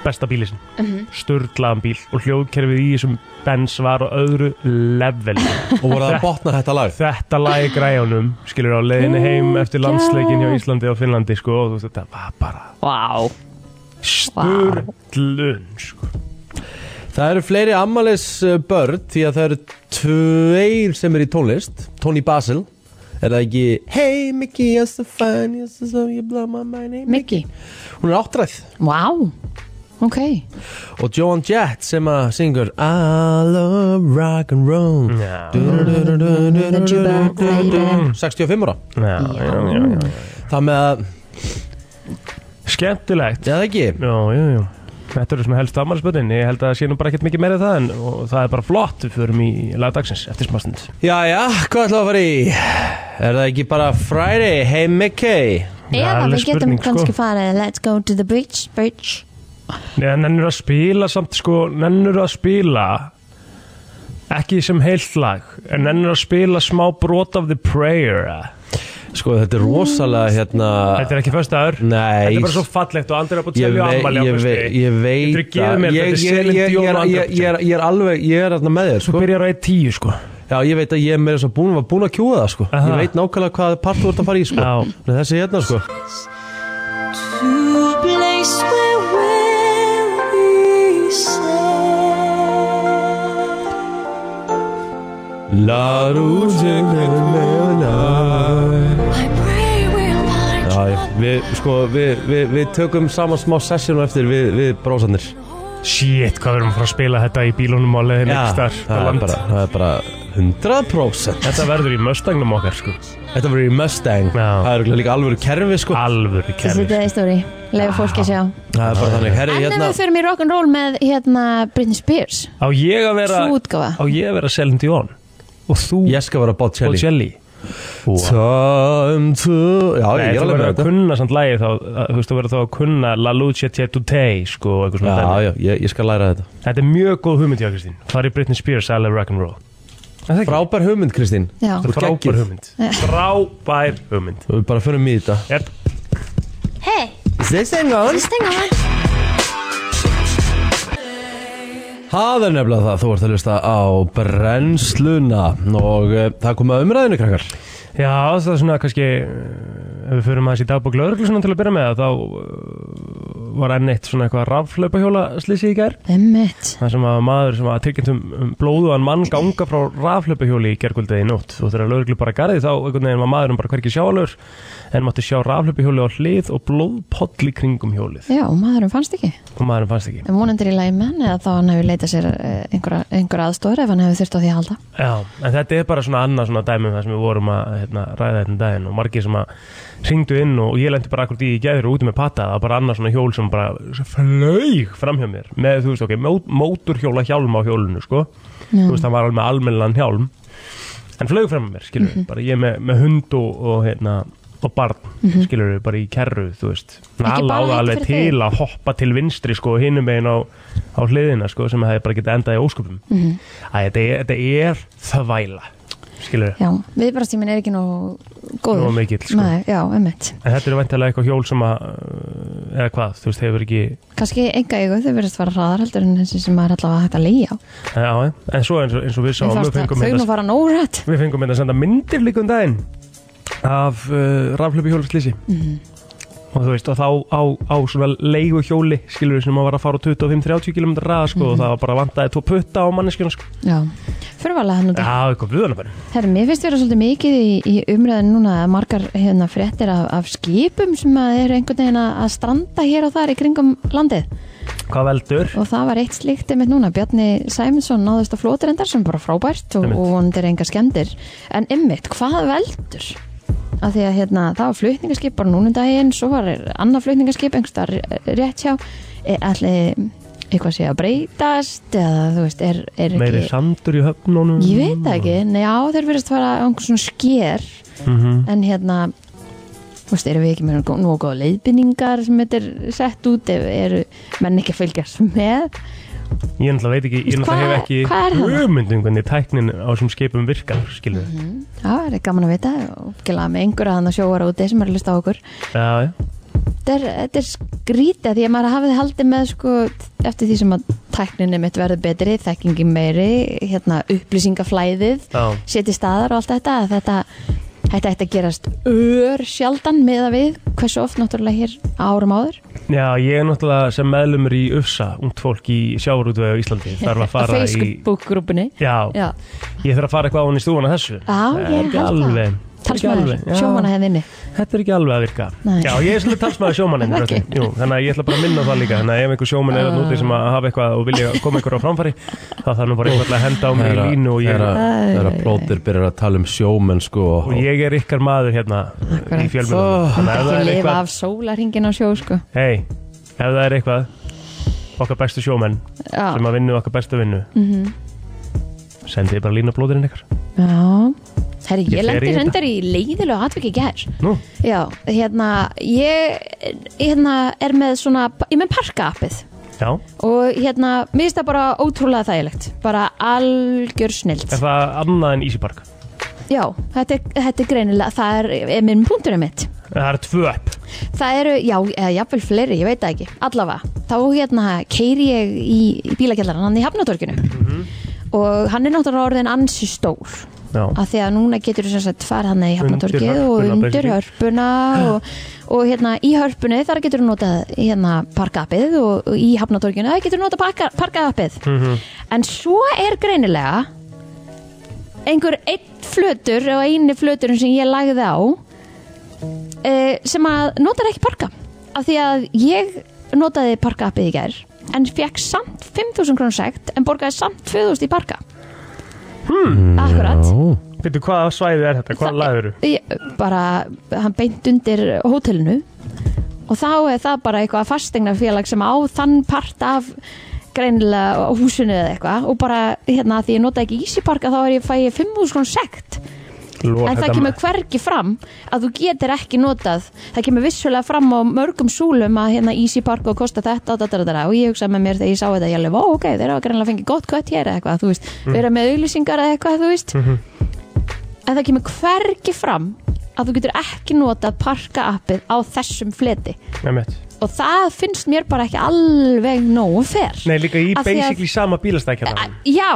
besta bíli sin mm störlaðan bíl og hljóðkerfið í þessum Benz var á öðru level
og voru að botna þetta lag
þetta lagi græjunum skilur á leiðinu heim eftir landsleikin hjá Íslandi og Finnlandi sko, og þú veist, þetta var bara
vá
störlun sko.
það eru fleiri ammalis börn því að það eru tveir sem er í tónlist Tony Basil er það ekki Hey Mickey, you're so fine You're so, so you blow my mind
Miki,
Hún er áttræð
vá, ok
og Joan Jett sem að syngur I love rock and roll
já, já,
Then you back, baby.
65 ára
já, já, já, já.
það með að,
skemmtilegt
eða ekki
já, já, já Þetta eru svona helst afmælspötin, ég held að það sé nú bara ekkert mikið meira það en og það er bara flott, við förum í lagdagsins eftir smástund.
jæja, hvað ætlaðu að fara í er það ekki bara Friday, hey Mickey
Eða
alveg
við getum
spurning, sko.
kannski farið Let's go to the beach, beach
Nei, en nennur að spila samt sko, nennur að spila ekki sem heilt lag en nennur að spila smá brot of the prayer eh?
sko þetta er rosalega hérna
Mm. Þetta er ekki fyrst aður
Nei.
Þetta er bara svo fallegt og andrið að búið
Ég,
telja
vei,
ammali á
ég, vei,
fyrsti
ég
Geturðu
veit
gefið mér
að- ég,
þetta,
ég,
Selin
ég, ég,
Dion
er-
og
ég, ég, er- ég er alveg ég er þarna með þér
Þú
sko.
byrjar á 1.10 sko
Já, ég veit að ég er meira svo búin, var búin að kjúa það sko.
Aha.
Ég veit nákvæmlega hvað part þú ert að fara í sko.
Já.
En Þessi hérna sko.
To a place where we'll be safe.
La Rúsum er með
I pray we'll find
Já, já. Við, sko, við, við, við tökum saman smá sessjum eftir við, við brósarnir
Shit, hvað verðum við að fara að spila þetta í bílunum á leiðin ekki starf
það er, bara, það er bara 100%
Þetta verður í möstagnum okkar sko
Þetta verður í Mustang
Já. Ah.
Það er örugglega líka alvöru kerfi sko
Alvöru
Settu
kerfi
það í stóri, leiðu fólki að sjá
Það er bara þannig Herri,
En ef
hérna
við förum í rock'n'roll með hérna Britney Spears
Á ég að vera
Sú útgáfa.
Á ég að vera Selin Dion Og þú
Ég skal vera
og
Bocelli
Jelly Nei,
Time to Já, ég er
þú
alveg
verður
með
að
þetta
kunna samt lagi þá að- Þú veist, þú verður þá að kunna La Lucia Tietutei sko, og eitthvað svona
Já,
dæmi.
já, ég, ég skal læra þetta
Þetta er mjög góð hugmynd, já Kristín Fari Britney Spears, I love rock'n'roll Er það ekki?
Frábær hugmynd, Kristín
Já.
Þú ert
Frábær
geggjuð.
hugmynd Frábær hugmynd
Við bara förum í þetta
Jep.
Hey,
Is this thing on?
this thing on?
Það er nefnilega það, þú ert að lusta á brennsluna og uh, það kom að umræðinu krakkar
Já, það er svona kannski eh, ef við förum aðeins í dagbók lögreglusuna til að byrja með þá eh, var enn eitt svona eitthvað rafhlaupahjóla slýsi í gær
Emmett
það sem að maður sem að tilkynnt um, um blóðuðan mann ganga frá rafhlaupahjóli í gærkvöldið í nótt og þegar lögreglu bara garði þá einhvern veginn var maðurinn bara hverki sjáalur en mátti sjá rafhlaupahjóli á hlið og blóðpoll í kringum hjólið
Já, maðurum fannst ekki
og maðurinn fannst ekki
En vonandir í lagi menn eða þá hann hefur leitað sér eh, einhverja, einhverja aðstóður ef hann hefur þurft á því að halda
Já, en þetta er bara svona annað svona dæmi um það sem við vorum að hérna, ræða þetta daginn og margir sem að syngdu inn og, og ég lendi bara akkur í gæður og úti með patta það var bara annað svona hjól sem bara flög fram hjá mér með þú veist ok, móturhjóla hjálm á hjólinu sko þú veist það var alveg almennilegan hjálm en flög fram hjá mér, skilur
Mhm.
við bara ég með, með hund og, og hérna og barn, mm skilur við, bara í kerru þú veist,
Mhm. Ekki bara
nála á það
hægt
alveg
fyrir þig.
til að hoppa til vinstri sko hinum megin á, á hliðina sko sem hefði bara getið endað í ósköpum
Mhm.
Æ, þetta er, þetta er þvæla skilur
Já, viðbrastíminn er ekki nóg góður
Nógu mikill, sko.
Nei, Já, emmett
en þetta eru vantilega eitthvað hjól sem að uh, eða hvað, þú veist, hefur ekki
Kanski enga eigu þau verðist fara hraðar heldur en þessi sem maður er allavega hægt að leiða á
já, já, eh, en svo eins og, eins og við
Mér
sáum við
fannst
fengum,
það- Þau nú
hérna,
fara nórætt
við fengum hérna að senda myndir líka um daginn af uh, raflöpu hjólaslýsi
Mhm.
og þú veist, og þá á, á svona leigu hjóli, skilur við, sem að var að fara á 25-30 km ræða, sko,
Mhm.
og það var bara vantaði tvo putta á manneskjuna, sko
Já, fyrirvalega hann út í
já, eitthvað blöðan bara
Herri, mér finnst vera svolítið mikið í, í umræðin núna að margar hérna fréttir af, af skipum sem að eru einhvern veginn að að stranda hér og þar í kringum landið
hvað veldur?
og það var eitt slíkt einmitt núna Bjarni Sæminsson náðist á flótirendar sem er bara frábært og,
Einmitt.
og vonandi er enga skemmdir en einmitt, hvað veldur? Af því að hérna, það var flutningaskip bara núna um daginn, svo var annað flutningaskip einhversta rétt hjá e, allir eitthvað sé að breytast eða þú veist, er, er
meiri
ekki
sandur í höfnunum
Ég veit það ekki, nei já þeir verðist að fara á einhvern svona sker
Mhm.
en hérna þú veist, erum við ekki með nógu nógu góða leiðbynningar sem þetta er sett út ef eru menn ekki að fylgjast með
Ég náttúrulega veit ekki, ég
Veist,
náttúrulega hef
hvað-
ekki
hvað er það?
hugmyndum hvernig tæknin á þessum skipum virkar, skilur við.
Já, það er gaman að vita og gila með einhverja þannig að sjóar úti sem er að hlusta á okkur
Já, já.
Þetta er, þetta er skrítið því að maður hafið haldið með sko, eftir því sem að tækninni mitt verður betri þekkingin meiri, hérna upplýsingaflæðið
Já.
setja staðar og allt þetta að þetta Þetta ætti að gerast ör sjaldan með að við hversu oft náttúrulega hér árum áður
Já, ég er náttúrulega sem meðlumur í UFSA, ungt fólk í sjávarútvegi á Íslandi, þarf
á
að fara í...
Facebook-grúpunni
Já,
Já,
ég þarf að fara eitthvað á hann í stúfana þessu.
Já, ég held
ekki
það.
alveg- þetta er ekki
talsmaður,
alveg- já,
sjómanna hérna hefðinni
Þetta er ekki alveg að virka.
Nei.
Já, ég er svolítið talsmaður sjómaninn,
Ok.
Jú, þannig að ég ætla bara að minna á það líka. Þannig að ef einhver sjómann er nútið sem að hafa eitthvað og vilja koma einhver á framfæri, þá þarf nú bara einhvern að henda á mig í línu og
Það
ég...
er að- það er að blóðir byrjar að tala um sjómenn sko og-
Og ég er ykkar maður hérna í
Akkurat.
fjölmjörnum.
Það er ekki að lifa af sólarhingin á sjó sko
Hei, ef það er eitthvað okkar bestu sjómenn
Já, Mhm.
sem að vinnu okkar bestu vinnu sendið bara lína blóðurinn ykkar
já Herri,
Ég
ég
fer í
lendi
þetta.
reyndar í leiðilegu atviki í gær
Nú,
Já, hérna, ég hérna, er með svona, ég er með parka appið
já,
og hérna, mér finnst það bara ótrúlega þægilegt, bara algjör snilt.
er það annað en Easy Park?
Já, þetta er, þetta er greinilega, það er, er minn punkturinn mitt.
Það er tvö upp
Það eru, já, eða jafnvel fleiri, ég veit það ekki, allavega. Þá hérna keiri ég í, í bílakjallarann hann í Hafnatorkinu og hann er náttúrulega orðin ansi stór.
Mhm. Já,
að því að núna getur þú sem sagt farið hann í
Undir
hafnatorkið
hörpuna,
og undir
basically.
hörpuna og, og hérna í hörpunni þar getur þú notað hérna parkappið og, og í hafnatorkinu þar getur þú notað parka, parkappið en svo er greinilega einhver einn flötur og eini flöturinn sem ég lagði á uh, sem að notar ekki parka af því að ég notaði parka appið í gær en fekk samt 5.000 krónu sekt en borgaði samt 2.000 í parka hmm. akkurat
Býttu, hvaða svæði er þetta? Hvaða laður eru?
Ég, bara, hann beint undir hótelinu og þá er það bara eitthvað fastegnafélag sem á þann part af greinilega húsinu eða eitthvað og bara hérna því ég nota ekki Ísiparka þá er ég fæ ég 5.000 krónu sekt
Lóa,
en það kemur hvergi fram að þú getur ekki notað það kemur vissulega fram á mörgum súlum að hérna Easy Park og kosta þetta og þetta og þetta og ég hugsaði með mér þegar ég sá þetta ég alveg, ó ok, þeir hafa greinlega fengið gott kött hér eða eitthvað, þú veist, vera með auglýsingar eða eitthvað, þú veist en það kemur hvergi fram að þú getur ekki notað parka appið á þessum fleti
Nei, mitt.
og það finnst mér bara ekki alveg nógu fer
Nei, líka í
Af því að-
basically sama bílastækjana
Já,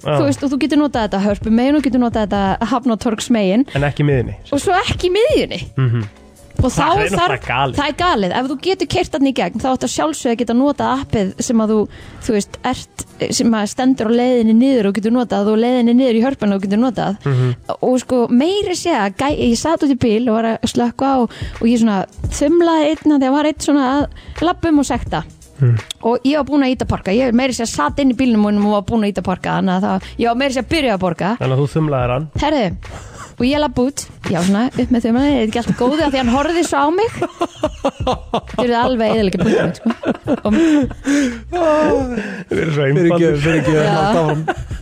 þú veist, og þú getur notað þetta hörpu megin og getur notað þetta hafnatorgs megin
En ekki í miðinni
og svo ekki í miðjunni og þá
Mhm. Það er náttúrulega
þarf,
galið.
það er galið ef þú getur keirt hann í gegn þá ættu að sjálfsögja að geta notað appið sem að þú, þú veist, ert sem að stendur á leiðinni niður og getur notað og leiðinni niður í hörpan og getur notað
Mhm.
og sko meiri sé að gæ, ég satt út í bíl og var að slökka og, og ég svona þumlaði einna þegar var eitt svona að lappum og sekta
Mhm.
og ég var búin að íta parka ég meiri sé að satt inn í bílnum mínum og var búin að íta parka þannig að það, ég var meiri sé að byrja að borga
Þannig að þú þumlaðir hann
Herðu, og ég lapp út Já, svona, upp með þumlaði, þetta er ekki alltaf góði Því hann horfði svo á mig Þetta er alveg eðalega punktum sko. Og-
Við erum svo
Fyrir ekki,
einfaldir
fyrir ekki,
Já.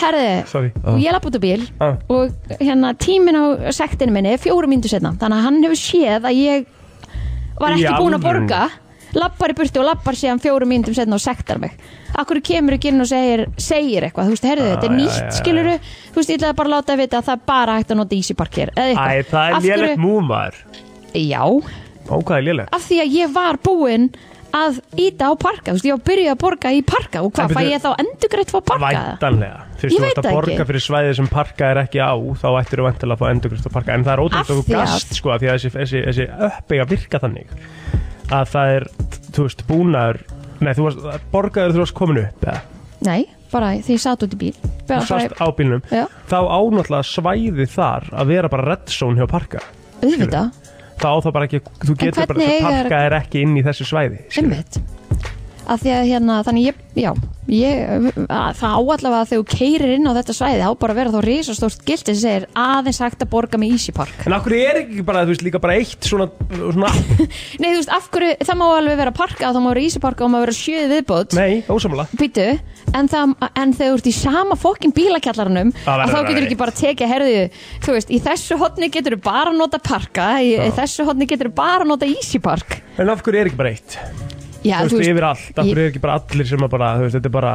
Herðu,
Sorry
og ég lapp út á bíl
Ah.
Og hérna, tíminn á sektinu minni er Fjórum mínútur setna, þannig að hann hefur séð Að ég var
Í
ekki búin að
alvöru?
borga Lappar í burtu og lappar síðan fjórum mínútum setna og sektar mig Akkur kemur ekki inn og segir, segir eitthvað, þú veist, herðu, þetta er
Ah, já,
nýtt
já, já.
skiluru Þú veist, ég ætlaði bara að láta að vita að það er bara hægt að nota ísiparkir
Æ, það er lélegt múmar
Já,
Ó, hvað er lélegt?
af því að ég var búin að íta á parka, þú veist, ég var byrjuð að borga í parka og
En
hvað, fæ
byrju-
ég þá endurgreitt fór parka?
Væntanlega Þú veist,
Ég
þú
veit
ert að
það
borga
ekki.
fyrir svæði sem parka er ekki á Þá ættir þú væntanlega að fá endurgrist á parka En það er
Af
ótrúlega þú
því að-
gast sko af Því að þessi, þessi, þessi öppi að virka þannig Að það er, þú veist, búnaður Nei, þú varst, borgaður þú varst komin upp eða?
Nei, bara því ég satt út í bíl bara,
Þú sást
bara,
á bílnum
Já.
Þá ánáttúrulega svæði þar Að vera bara red zone hjá parka
auðvitað,
Þá á það bara ekki, þú getur bara
hvernig
þessi
eiga-
parka er ekki inn í þessu svæði skilur.
einmitt af því að hérna, þannig ég, já ég, að, það áallega að þegar þú keirir inn á þetta svæði, þá bara að vera þá risastórt gildi sem segir aðeins hægt að borga með Easypark.
En okkur er ekki bara, þú veist, líka bara eitt svona, svona
Nei, þú veist, af hverju, það má alveg vera parka, þá má vera Easypark og má vera sjöði viðbót
Nei, ósamlega
Býtu, en, það, en þegar þú ert í sama fokkin bílakjallarunum
Það
að
verður
þá
að
getur
vera
ekki bara tekið, herðu, þú veist, í þessu hotni getur þú bara að nota parka, í, í þessu hotni getur þú bara að nota Easypark.
En af hverju er ekki bara eitt?
Já,
þú veist, yfir allt, af
ég-
hverju er ekki bara allir sem að bara, þú veist, þetta er bara,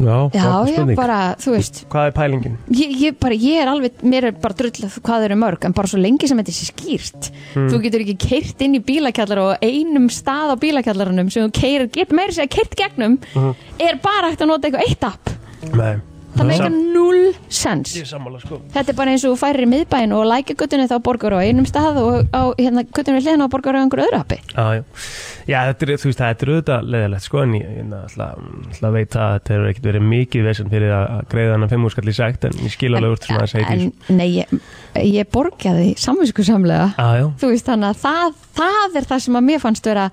Já,
góð
já,
spurning.
bara, þú veist,
hvað er pælingin?
ég, ég, bara, ég er alveg, mér er bara drullið hvað þau eru mörg, en bara svo lengi sem þetta sé skýrt.
Hmm.
Þú getur ekki keirt inn í bílakjallar og einum stað á bílakjallarunum sem þú keirir, get meira sér að keirt gegnum,
Hmm.
er bara hægt að nota eitthvað eitt app.
Nei.
Það meikar null sens.
Hmm. Ég er sammála, sko.
Þetta er bara eins og þú færir í miðbæin og lækja guttunni þá borgar á einum stað og á hérna, guttunni við hliðina og borgar á einhverju öðru appi.
Já, já. Já, þetta er, þú veist, þetta er auðvitað leðilegt, sko, en ég, ég ætla, ætla að veita að þetta hefur ekkert verið mikið vesen fyrir að að greiða hann að fimm úrskall í sekt, en ég skil alveg úr svona að segja því. sko.
en nei, ég, ég borgaði samvinskusamlega.
Já, já.
Þú veist þannig að það, það er það sem að mér fannst vera,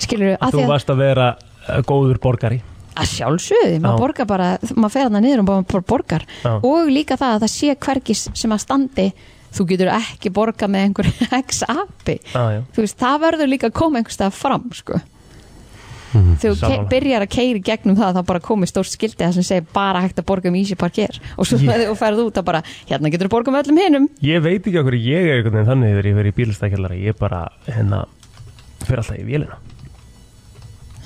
skilur að
Þú
því að,
varst að vera uh, góður borgari.
að sjálfsögði, maður
Já.
borgar bara, maður fer þarna niður og bara- bara borgar.
Já.
Og líka það að það sé hvergis sem að standi, þú getur ekki borgað með einhverju x appi.
Já, já.
þú veist, það verður líka að koma einhvers stað fram sko. þegar þú ke-
Hmm, sammála.
byrjar að keiri gegnum það þá bara komið stórt skildi það sem segir bara hægt að borga um Easy Parker og svo yeah. þú ferð út að bara hérna getur þú borga um öllum hinum
Ég veit ekki okkur ég er einhvern veginn þannig þegar ég verið í bílastækjallara ég bara, hérna, fyrir alltaf í vélina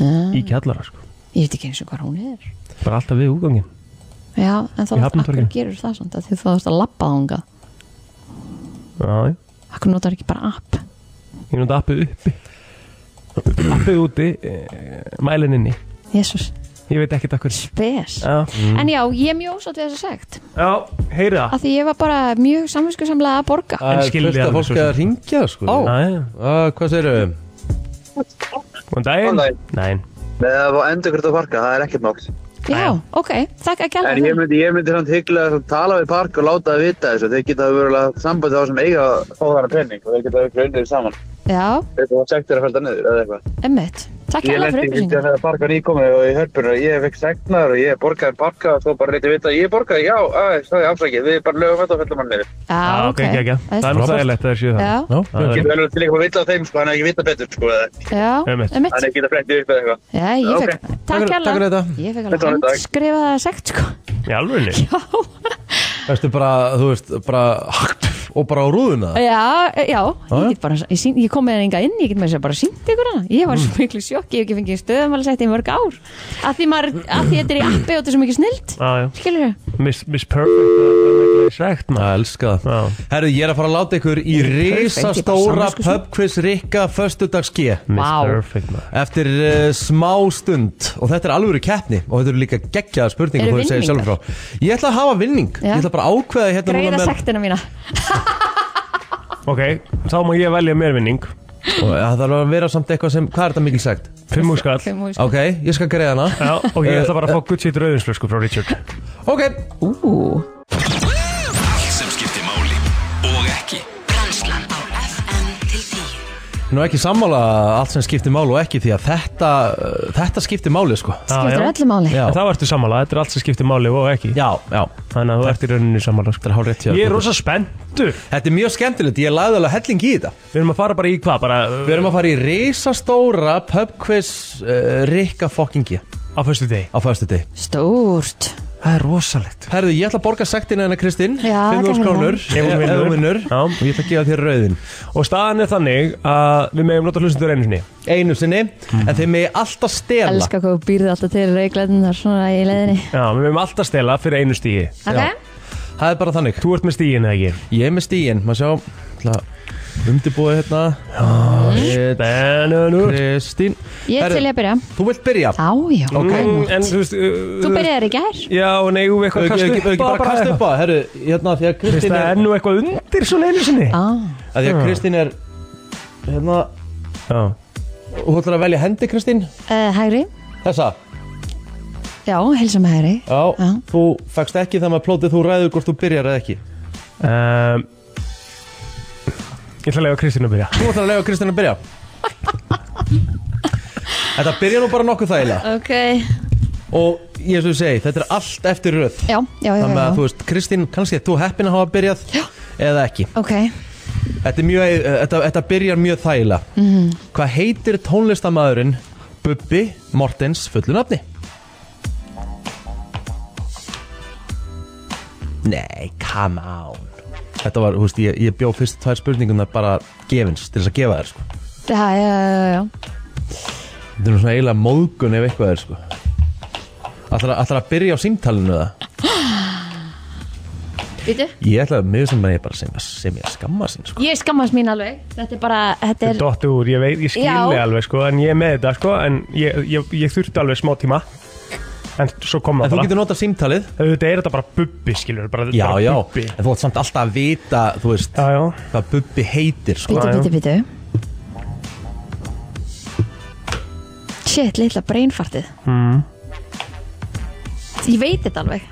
ég
í kjallara, sko,
veit ekki eins og hvað hún er
bara alltaf við úgangin
já, en þá
Í Hafnartorginu.
akkur gerur það samt að því þú þarfst að labba þánga
Já, já,
akkur notar ekki bara app
ég nota appið uppi appið úti e, mælin inni,
jésus,
ég veit ekkert okkur
spes
Já,
en já, ég er mjög ósátt við þess að sagt
já, heyri það
að því ég var bara mjög samvinskusamlega að borga
Það er
skildi
fullt af
alveg
Eh, fólk
svo sem.
að ringja sko
Ó.
Já, já,
Ah, Hvað segirðu?
góðan daginn
Góðan daginn.
Nein,
Með að endur hvert að farga, það er ekkert mál.
Já, ok, þakka ekki
En ég
alveg
myndi, ég myndi hann hygglega að tala við park og láta það vita þessu. Þeir geta verulega sambandi á sem eiga óðara penning og þeir geta öll raunir saman.
Já,
Þeir fá sektir að felda niður eða eitthvað.
emmitt, takk
Ég
alveg fyrir
lendi í
upplýsingum
þegar park var nýkomið og í hörpunum og ég fekk segnaður og ég borgaði parka og svo bara leytið vita að ég borgaði, já, að, sagði afsakið, við bara lögum þetta og feldum hann niður.
Já, ok,
ekki, ekki. Það er nú
Frábært.
þægilegt að það séu
Já.
það.
Já,
Það er-
Ég verður til eitthvað vita á þeim sko, hann er ekki vita betur sko, eða
Já,
Einmitt.
emmitt
hann er ekki að fletti upp eða eitthvað.
Já, ég
Já,
fekk,
ok.
takk
fyrir- takk fyrir
alveg
þetta.
Ég fekk
Þetta
alveg
var í dag.
handskrifa það sekt, sko
Í alvörunni?
Veistu bara, þú veist, bara Og bara á rúðuna
Já, já,
já.
ég get bara, ég, sýn, ég kom með það enga inn, ég get með þess að segja bara sínt ykkur hana. Ég var svo miklu sjokk, ég hef ekki fengið stöðumælsætt í mörg ár. Að því maður, að því þetta er í appi og þetta er svo mikið snild.
Já, já.
Skilur þau?
Miss, Miss Perfect Sagt maður
Það elska
Já.
það Herru, ég er að fara að láta ykkur í risastóra
samvisku sinni.
pubquiz Rikka Föstudagsgei
Miss
Vá.
Perfect maður
Eftir uh, smá stund Og þetta er alvöru keppni Og þetta eru líka geggjaða spurningar
Eru
þú segir sjálfur
vinningar?
frá. Ég ætla að hafa vinning
Já.
Ég ætla bara að ákveða hérna núna
Greiða
með-
sektina mína.
Ok, þá má ég velja mér vinning
Og Það þarf að vera samt eitthvað sem Hvað er þetta mikil sagt?
Fimm úr skall
Fimm og-
Ok, ég skal greiða hana
Já, og ég ætla bara að fá Gucci drauðinsflösku frá Richard
Ok,
Ú,
Allt sem skiptir máli og ekki
Brænslan á FM til 10
nú er ekki sammála allt sem skiptir máli og ekki því að þetta, uh, þetta skiptir máli sko
skiptir
já.
öllu máli.
Já,
En þá ertu sammála, þetta er allt sem skiptir máli og ekki
já, já
Þannig að þú ert í rauninni sammála sko.
er hárrétt hjá þér,
Ég er
Guðbjörn.
rosa spenntur Við
Þetta er mjög skemmtilegt, ég lagði alveg helling í þetta
erum að fara bara í hvað, bara uh,
Við erum að fara í risastóra pubquiz uh, Rikka fokkingi á
á föstu degi
fæstu deg
Stórt.
Það er rosalegt
Herðu, ég ætla að borga sektina hérna, hennar Kristinn
Já,
5.000
takk
krónur
fyrir
það. Ef hún
Ef
vinnur.
hún vinnur
Já.
Og ég ætla að gefa þér rauðin
Og staðan er þannig að við meðum nota hlustundur einu sinni
Einu sinni, en þeir megi alltaf stela
Elskar hvað þú býrði alltaf til reiklæðinar svona í leiðinni.
Já, við meðum alltaf stela fyrir einu stígi
Ok,
Það er bara þannig
Þú ert með stígin eða ekki?
Ég er með stíin, maður sjá ætla að Undirbúið hérna Ég-
Bennu
Kristín
ég
Herru,
til ég að byrja.
Þú vilt byrja?
Já, já,
Ok. Mm, eh,
það er nóg.
Mm, En þú veist uh,
Þú byrjaðir í gær.
Já, en eigum við eitthvað að
Ekki,
kasta
ekki,
upp
ekki bara kasta upp á það, herru, hérna, því að
Veist,
Kristín
Það
er,
er nú eitthvað undir svona einu sinni
Ah,
að því að Kristín er, hérna,
Já
Ah.
þú ætlar að velja hendi Kristín,
uh, hægri.
þessa,
Já, heilsa með hægri.
já,
Já.
þú fegst ekki það með plótið, þú ræður hvort þú byrjar eða ekki.
um, Ég ætla að lega Kristín að byrja
Þú ætlar að lega Kristín að byrja. Þetta byrja nú bara nokkuð þægilega
Ok.
og ég eins og þú segi, þetta er allt eftir röð.
Já, já, já,
Þannig að
já.
þú veist, Kristín, kannski að þú heppin að hafa byrjað já. eða ekki.
Ok,
Þetta, er mjög, eh, þetta, þetta byrjar mjög þægilega Hvað heitir tónlistamæðurinn Bubbi Mortens fullu nafni? Nei, come on Þetta var, þú veist, ég, ég bjó fyrst tvær spurningum bara gefins til þess að gefa þér sko.
já, já, já, já.
Þetta er nú svona eiginlega móðgun ef eitthvað er sko. Ætlar að, að byrja á símtalinu það?
Býtu?
Ég ætla að mjög sem bara ég bara sem, sem ég að skamma sín sko.
Ég skammast mín alveg Þetta er bara, þetta er
Dottu úr, ég veit, ég skil
Já.
þig alveg sko En ég er með þetta sko En ég, ég, ég þurfti alveg smá tíma En svo kom
En
það
þú
bara
getur notað símtalið
Þetta er þetta bara bubbi skilur bara,
Já,
bara
já,
bubbi.
en þú átt samt alltaf að vita, þú veist,
Já, já
hvað Bubbi heitir sko.
Býtu,
Já, já.
býtu, býtu Shit, litla brainfartið mm. Ég veit þetta alveg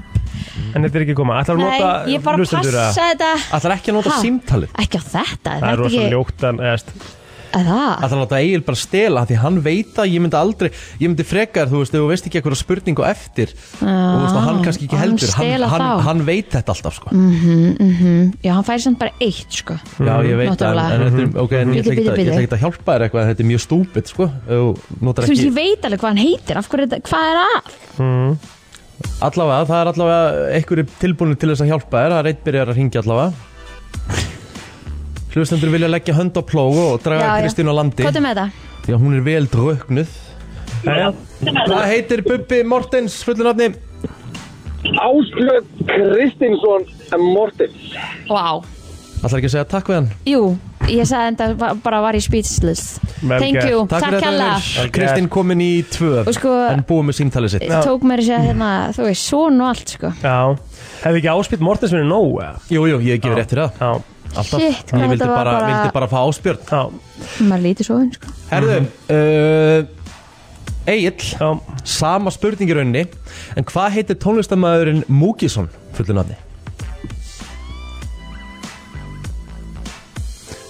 En þetta er ekki koma Ætlar að nota
Nei, ég bara
hlustendur
passa
að-
þetta
Ætlar ekki að nota
Ha?
símtalið
Ekki á þetta,
Það er
þetta
rosa
ekki
ljótt en eðst,
Að Það,
Ætlar að láta Egil bara stela Því hann veit að ég myndi aldrei Ég myndi frekar, þú veist, ef þú veist ekki eitthvað spurningu eftir Þú veist, og hann kannski ekki
hann
heldur hann,
stela þá. Mhm,
hann, hann veit þetta alltaf, sko
já, hann færi samt bara eitt, sko
Já, ég veit það,
Náttúrulega.
en, en,
Mhm.
þetta er- ok, en ég
Bíddu,
ætla ekki
bíddu,
að- ég
bíddu.
ætla ekki að hjálpa þér eitthvað Þetta er mjög stúpid, sko ef Þú notar
Þú veist, ég
ekki
veit alveg hvað hann heitir Af hverju þetta, hvað er að?
Allavega, það er allavega einhverju tilbúinu til þess að hjálpa þér Það er einn byrjar að ringja allavega Hlustendur vilja leggja hönd á plóg og draga
Já, já.
Kristín á landi
Hvað er með þetta?
Því að hún er vel draugnuð
Jæja.
Hvað heitir Bubbi Mortens fullu nafni?
Áslöf Kristinsson eh, Mortens
Vá
Ætlar ekki að segja takk við hann
Jú, ég sagði þetta va- bara var í speechless
Vel
Thank
gert.
you,
Takk
takk
fyrir
hella
þetta Kristinn komin í tvö
Og sko-
En búið með símtalið sitt
Tók mér í sig að hérna, þú veist, svona og allt, sko
Já Hefði ekki áspilt Mortens verið nóg eða?
Jú, jú, ég gefur rétt fyrir það
Já,
Alltaf.
Shit, hvað
Ég vildi
þetta var
bara,
bara-
vildi bara fá áspjörn
já
maður lítið svo sko.
Mhm.
Herðu, uh, Egil
Já,
Sama spurning í rauninni En hvað heitir tónlistamæðurinn Múkisson fullu nafni?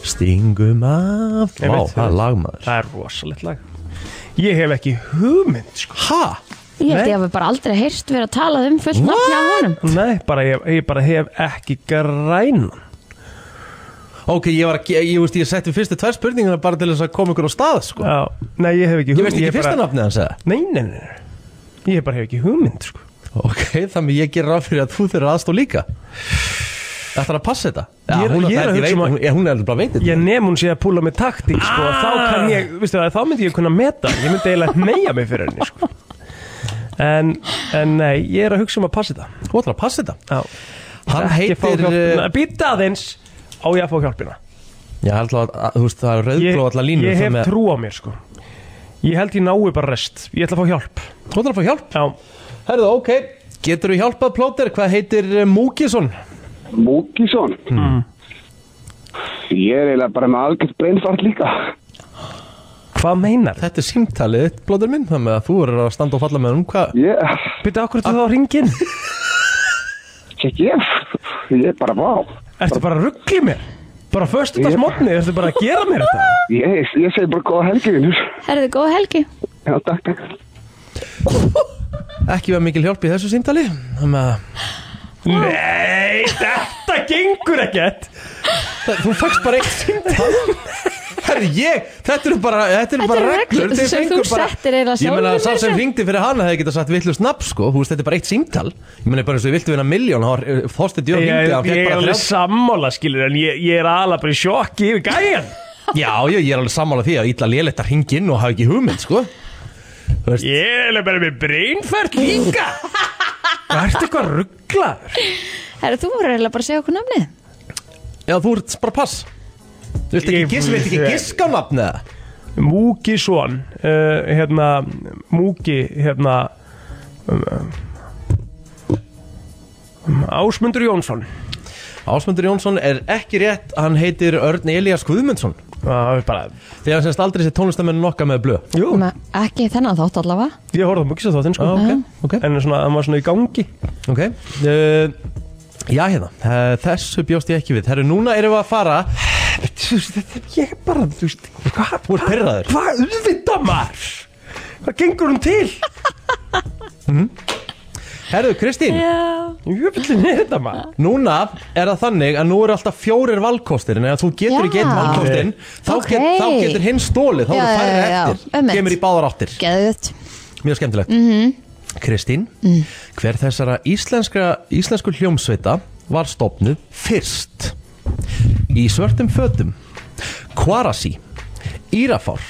Stingum af
Ég
Vá,
veit
það er
það.
lagmaður
það er rosalegt lag Ég hef ekki hugmynd sko.
Ha?
Ég held
Nei.
ég hafi bara aldrei heyrst vera að tala um fullt nafn hjá honum
Nei, bara, ég, ég bara hef ekki grænan
Ok, ég var að, ge- ég veist, ég setti fyrstu tvær spurningina bara til þess að koma ykkur á stað, sko
Já, nei, ég hef ekki
Ég
hugmynd
veist ekki fyrsta
bara,
nafnið hans eða
Nei, nei, nei, nei Ég bara hef ekki hugmynd sko.
Ok, þannig ég ger ráð fyrir að þú þurfir aðstóð líka Þetta er að passa þetta
Ég er-
hún,
ég
ég
er að hugsa
veit,
um að-
hún, ég- hún er alveg bara veitir
Ég nefn hún sé að púla með taktík sko, ah! Þá kann ég, veistu það, þá myndi ég kunna meta Ég myndi eiginlega neyja mig fyrir henni sko. en, en nei, ég er að hugsa um að passa þetta
Þú ætlar að passa þetta
Já,
Hann
ekki fá
heitir
hjálpina
eh,
Býta aðeins á ég að fá hjálpina
Já, ætla að, að, þú veist, það er
Ég,
rauðblóð allar línur
ég hef
þannig að-
trú á mér sko Ég held ég nái bara rest Ég ætla að fá hjálp
Þú ætlar að fá hjálp
Já,
Herðu, ok, getur þú hjálpað plóter? Hvað heitir eh, Múkisson?
Múkisson Ég er eiginlega bara með algjörð breynfart líka
hvað meinar þetta?
Þetta er símtalið, þitt, plóter minn Þannig að þú eru að standa og falla með honum Hvað?
Ég,
Býta okkur til þá ringin
ekki ég Ég er bara vá
Ertu bara að ruggli mér? Bara föstudags mótni, ertu bara að gera mér þetta?
Ég, ég segi bara góða helgi vinnur
Herðu, góð helgi
Já, takk, takk
Ekki var mikil hjálp í þessu símtali Þannig að
Nei, þetta gengur ekkert
það- þú fækst bara eitt símtal Herðu, ég, þetta eru bara, þetta eru
Þetta
bara
eru
reglur
reglur
Þið
sem
fenguð
þú settir eiginlega
Ég meina,
sjálfur
sá
meira
sem
að segja.
ringdi fyrir hana hefði getað sagt vittlust nafn, sko Þú veist, þetta er bara eitt símtal Ég meina, bara eins og ég vildi vinna miljón Fórstu djóð
Ég,
ringdi, hann
ég
fekk
er
bara
alveg
30.
sammála skilur En ég, ég er alveg bara í sjokki yfir gæjan
Já, já, ég er alveg sammála því að illa lélegt að ringin og hafa ekki hugmynd, sko
Ég er alveg bara með breynferð líka Það ert eitthvað rugglaður
Herðu, þú voru eiginlega bara að segja okkur nafnið
Já, þú ert bara pass Þú veist ekki,
Ég-
giss, veit ekki giska á nafni eða?
Múki Svon uh, Hérna, Múki Hérna um, um, Ásmundur Jónsson
Ásmundur Jónsson er ekki rétt Hann heitir Örn Elias Guðmundsson
Ah, Það er bara
Þegar hann semst aldrei sér tónlistamennu nokka með blö
Jú,
Ma- Ekki þennan þátt allavega
ég horfði á Múki svo þáttinn sko
Ah, ok,
En svona, hann var svona í gangi
ok uh, Já, hérna, uh, þessu bjóst ég ekki við Herru, núna erum við að fara
Þú veist, þetta er ég bara, þú veist, hvað?
Þú ert pirraður.
Hvað, auðvitað maður? Hvað gengur hún til?
Herru, Kristín,
Jöfnlinn er þetta maður?
núna er það þannig að nú eru alltaf fjórir valkostir En ef þú getur ekki
Já.
einn valkostinn þá,
Ok.
get, þá getur hinn stólið, þá
Já,
eru
já, já,
færri
já, einmitt. Mhm.
eftir Kemur í báðar áttir
Geðuðt
Mjög skemmtilegt Kristín,
Mm.
hver þessara íslenska, íslensku hljómsveita var stopnuð fyrst? Í svörtum fötum Kvarasi Írafár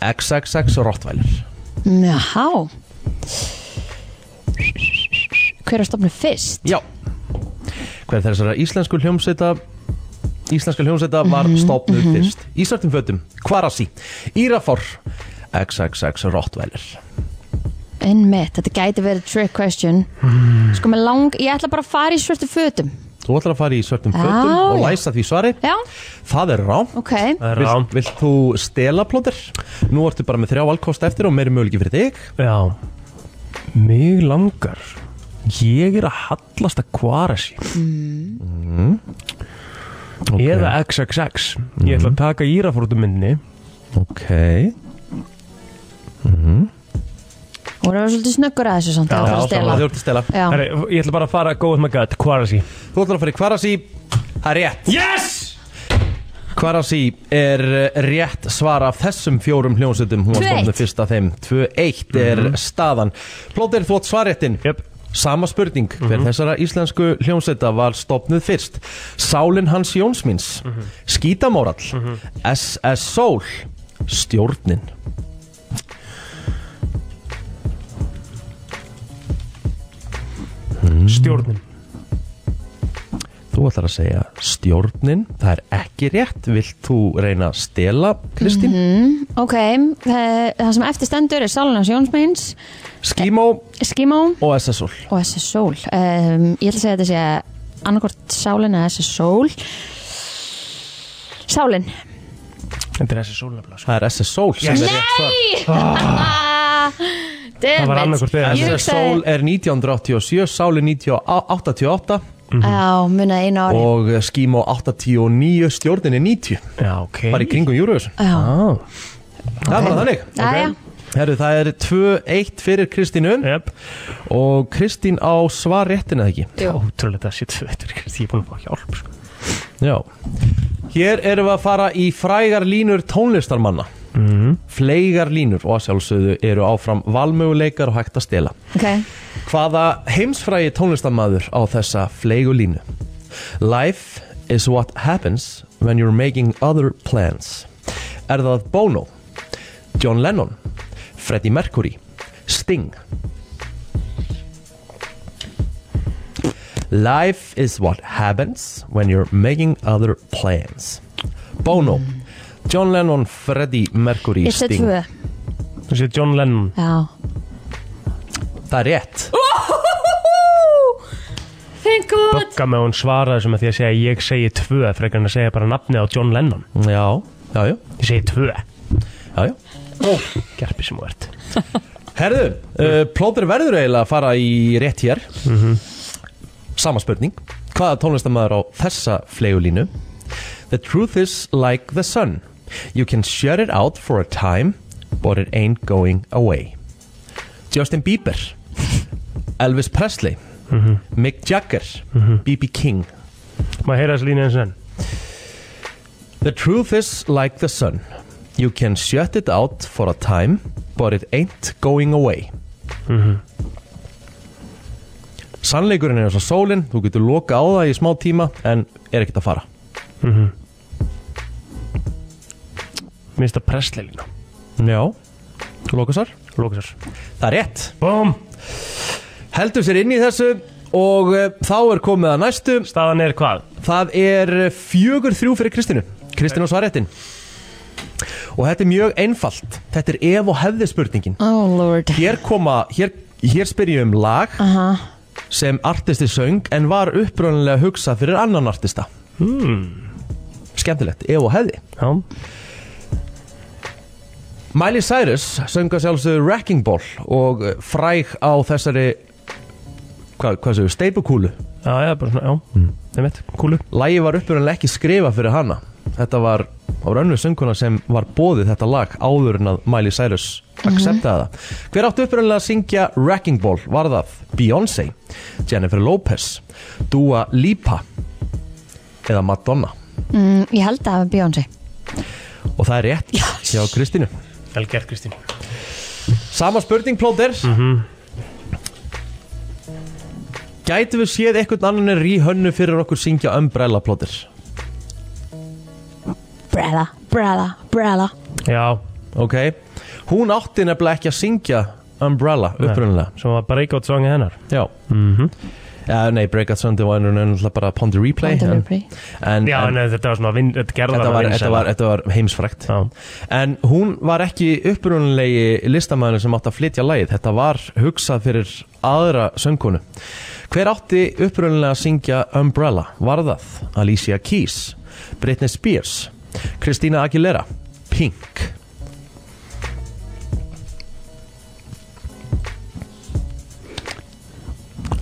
XXX Rottweiler
Jáhá Hver er stofnum fyrst?
Já Hver þessara íslensku hljómsveita Íslenska hljómsveita var stopnuð fyrst Í svörtum fötum Kvarasi Írafár XXX Rottweiler
Einmitt, þetta gæti verið trick question
Hmm.
Sko með lang, ég ætla bara að fara í svörtu fötum
Þú ætlar að fara í svörtum
Já,
fötum og
já.
læsa því svari
Já,
Það er rám
ok
Það er
Vilt, vilt þú stela plóter? Nú ertu bara með þrjá valkost eftir og meiri möguleiki fyrir þig
Já, mig langar, ég er að hallast að kvara sér. Eða XXX. Ég ætla að taka írafórtum minni.
Ok
Hún er svolítið snöggur að þessu samt
Já,
að fara að
Það
stela
þú ert að stela
Já,
Herri, ég ætla bara að fara að góða með gæt, kvara sér.
Þú ætlar að fara í Kvarasi Það er rétt
Yes!
Kvarasi er eh, rétt svar af þessum fjórum hljónsutum Hún var
2-1.
stofnum fyrst af þeim 2-1 er staðan Plóter, þú átt svarréttin
Jöp.
Sama spurning, hver þessara íslensku hljómsveita var stopnuð fyrst Sálin hans Jónsmins Skítamórall SS Sól Stjórnin
Stjórnin.
Þú ætlar að segja stjórnin, það er ekki rétt, vilt þú reyna að stela, Kristín?
ok eh, Það sem eftir stendur er Salunars Jónsmeins
Skímó
Skimó
og SSL.
og þessi sól um, Ég ætla að segja að þetta sé annarkvort sálin eða þessi sól Sálin
Þetta er þessi sólnafla, sko.
Það er SSL sem er rétt svar.
Ah, Damn
Það var
it.
annaðhvort eða.
Ég
Þessi
hugsaði,
sól er 1987, sáli 1988
já, munaði einu ári
og eh, skím á 89, stjórnin er 90
Já, ok
bara í kringum Eurovision
Já,
ah,
Það er bara þannig
já,
Herru, það er 2-1 fyrir Kristínu
yep.
og Kristín á svar réttin eða ekki
já
Ótrúlega það sé tveitur Kristi, ég er búin að fá hjálp sko.
Já Hér erum við að fara í frægar línur tónlistarmanna Fleigar línur og að sjálfsögðu eru áfram valmöguleikar og hægt að stela
Ok,
Hvaða heimsfrægi tónlistarmadur á þessa fleigu línu? Life is what happens when you're making other plans Er það Bono? John Lennon? Freddie Mercury? Sting? Life is what happens when you're making other plans Bono John Lennon, Freddie Mercury,
ég set
Sting
tvö
Þú sé John Lennon
Já
Það er rétt
Thank God
Bögga með að hún svara þessu með því að segja ég segi tvö frekar en að segja bara nafnið á John Lennon
Já, já, já,
Ég segi tvö
já, já.
Gerpi sem þú ert
Herðu, uh, plóður verður eiginlega að fara í rétt hér Sama spurning Hvaða tónlistamæður á þessa flegulínu? The truth is like the sun You can shut it out for a time But it ain't going away Justin Bieber Elvis Presley Mick Jagger B.B. King
Má heyra þessu línu eins og enn
The truth is like the sun You can shut it out for a time But it ain't going away Mhm. Sannleikurinn er eins og sólinn Þú getur loka á það í smá tíma En er ekkert að fara
Minnst að Presley lína
Já Þú loka svar
Lókisar
Það er rétt
Bum
Heldur sér inn í þessu Og eh, þá er komið að næstu
Staðan er hvað?
Það er eh, fjögur þrjú fyrir Kristinu Kristin á svaréttin Og þetta er mjög einfalt Þetta er ef og hefði spurningin
Oh lord
Hér koma, hér, hér spyrjum um lag
Aha.
sem artisti söng en var uppröðanlega hugsað fyrir annan artista Skemmtilegt, ef og hefði
Já
Miley Cyrus sönga sjálfsögðu Wrecking Ball og eh, fræg á þessari hvað, hvað segir, steipukúlu
Já, já, bara svona, já mm. Nei mitt, kúlu
Lagi var uppröðanlega ekki skrifa fyrir hana Þetta var, það var önnur sönguna sem var bóðið þetta lag áður en að Miley Cyrus acceptaði það Hver átti uppröðanlega að syngja Wrecking Ball? Var það Beyoncé, Jennifer Lopez, Dua Lipa eða Madonna?
mm, Ég held að það var Beyoncé
Og það er rétt hjá Kristínu
Vel gert, Kristín
Sama spurning plóter mm -hmm. Gætu við séð einhvern annan er í hönnu fyrir okkur syngja umbrella plóter?
Brella, brella, brella
Já
Ok, hún átti nefnilega ekki að syngja umbrella upprunnilega
Sem var breakout songið hennar
Já Já, nei, Breakout Sunday var einhvern veginn náttúrulega bara Pond Replay
Pond
en-
Replay.
En,
Já,
en
en þetta var svona vin, Þetta gerða
Mm. þetta var, þetta, var, þetta var heimsfrækt
Já.
En hún var ekki upprunalegi listamæðinu sem átti að flytja lagið Þetta var hugsað fyrir aðra söngkonu Hver átti upprunalega að syngja Umbrella? Var það Alicia Keys, Britney Spears, Christina Aguilera, Pink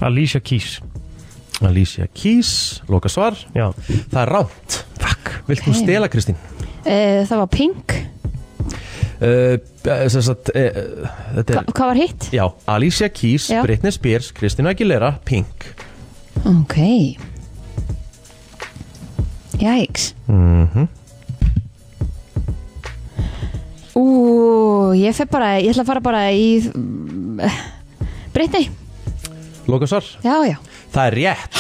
Alicia Keys
Alicia Keys, loka svar
Já
Það er rámt Fuck Vilt þú
Damn.
stela Kristín?
uh, Það var Pink
Uh, sem sagt, uh, þetta
Hva,
er
Hvað var hitt?
Já, Alicia Keys,
Já.
Britney Spears, Kristina Aguilera, Pink
Ok Jæks Ú, ég fer bara Ég ætla að fara bara í Brittany,
Loka svar
já, já
Það er rétt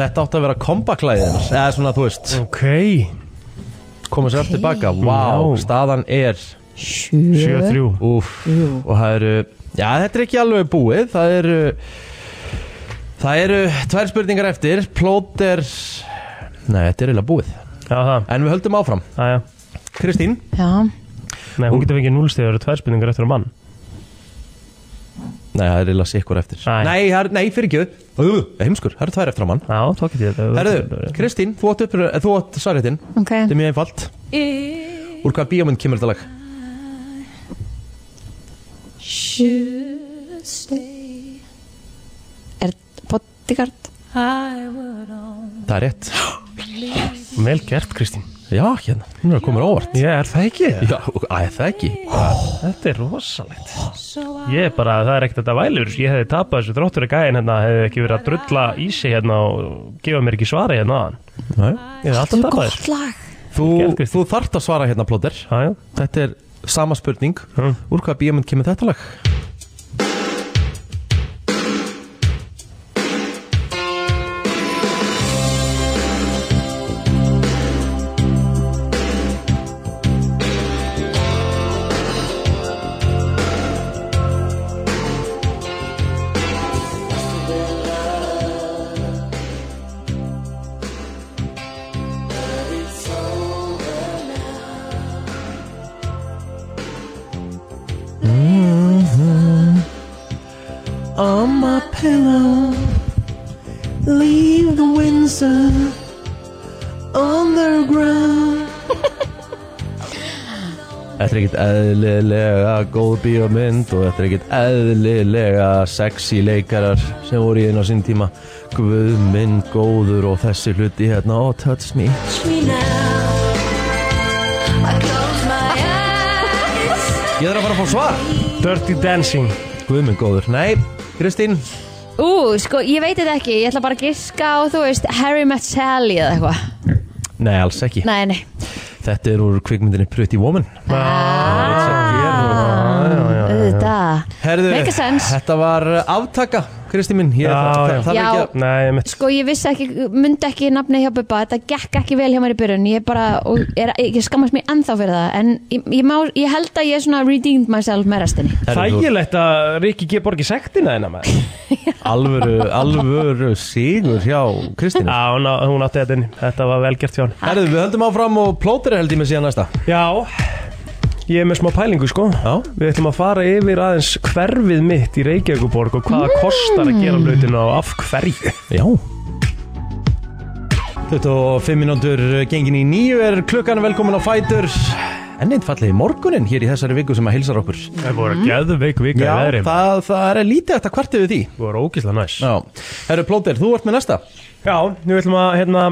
Þetta átti að vera kompaklæðið hennar, Eða svona, þú veist,
Ok
koma sér aftur tilbaka Vá,
Já.
staðan er
Sjö
7-3
Úf, og það eru Já, þetta er ekki alveg búið Það eru Það eru tvær spurningar eftir Plóter Nei, þetta er eiginlega búið
Já, það
En við höldum áfram
Já, já
Kristín
Já,
Nei, hún getur fengið núlstegið Það eru tvær spurningar eftir á mann
Nei, það er eiginlega sikkur eftir
Nei.
Nei, það er, nei fyrir ekki Heimskur, það eru tvær eftir á mann
Já, þá getur ég þetta
Herðu, Kristín, þú átt upp Þú átt svarréttin
ok
Þetta er mjög einfalt Úr hvaða bíómynd kemur þetta lag?
should stay.
Er bodyguard?
I would only
Það er rétt
Vel gert, Kristín
Já, hérna, hún er að koma mér á óvart
Ég er það ekki
Já, æ, það ekki
Þetta er rosalegt
so I
Ég er bara, það er ekkert þetta vælur Ég hefði tapað þessu þróttur að gæðin hérna Hefði ekki verið að drulla í sig hérna Og gefa mér ekki svari hérna áðan.
Nei.
Ég hefði alltaf tapað þessu
Gott lag
Þú,
Gert, Kristín.
þú þart að svara hérna, Plóter
Já, já.
Þetta er sama spurning
Mm.
Úr hvaða bíómynd kemur þetta lag? On my pillow Leave the Windsor Underground Þetta er ekkert eðlilega góð bíómynd og þetta er ekkert eðlilega sexy leikarar sem voru í einu á sín tíma Guð minn góður og þessi hluti hérna og touch me
touch me now. I close my eyes.
Ég þarf að fara að fá svar
Dirty Dancing
Guð minn góður, nei Kristín,
Ú, sko, ég veit þetta ekki Ég ætla bara að giska á, þú veist, Harry Met Sally eða eitthvað
nei alls ekki
Nei, nei
Þetta er úr kvikmyndinni Pretty Woman
Þetta
Herðu,
Make a sense.
þetta var aftaka Kristi minn Ég,
Já,
það,
já.
Það, það var
Já.
ekki
Nei, mitt
Sko ég vissi ekki, myndi ekki nafni hjá Bubba Þetta gekk ekki vel hjá mér í byrjun Ég bara, og er, ég skammast mér ennþá fyrir það En ég, ég, má, ég held að ég svona redeemed myself með restinni
að
Þægilegt að Rikki G. borgi sektina hérna maður
alvöru, alvöru sigur hjá Kristínu
Já, hún, á- hún átti þetta inn Þetta var vel gert hjá hann
Herðu, við höldum áfram og plótir held ég með síðan næsta
Já, ég er með smá pælingu sko
Já.
Við ætlum að fara yfir aðeins hverfið mitt í Reykjavíkuborg og hvaða kostar að gera hlutina og af hverju
Já 25 minútur gengin í nýju er klukkan velkomin á Fætur En einn fallið í morgunin hér í þessari viku sem að hilsar okkur
Það voru geðveik vika í
Já,
veðri Það
það, það er lítið eftir að kvarta við því
voru ógislega næs
Já, herru plótir, þú ert með næsta
Já, nú ætlum að hérna,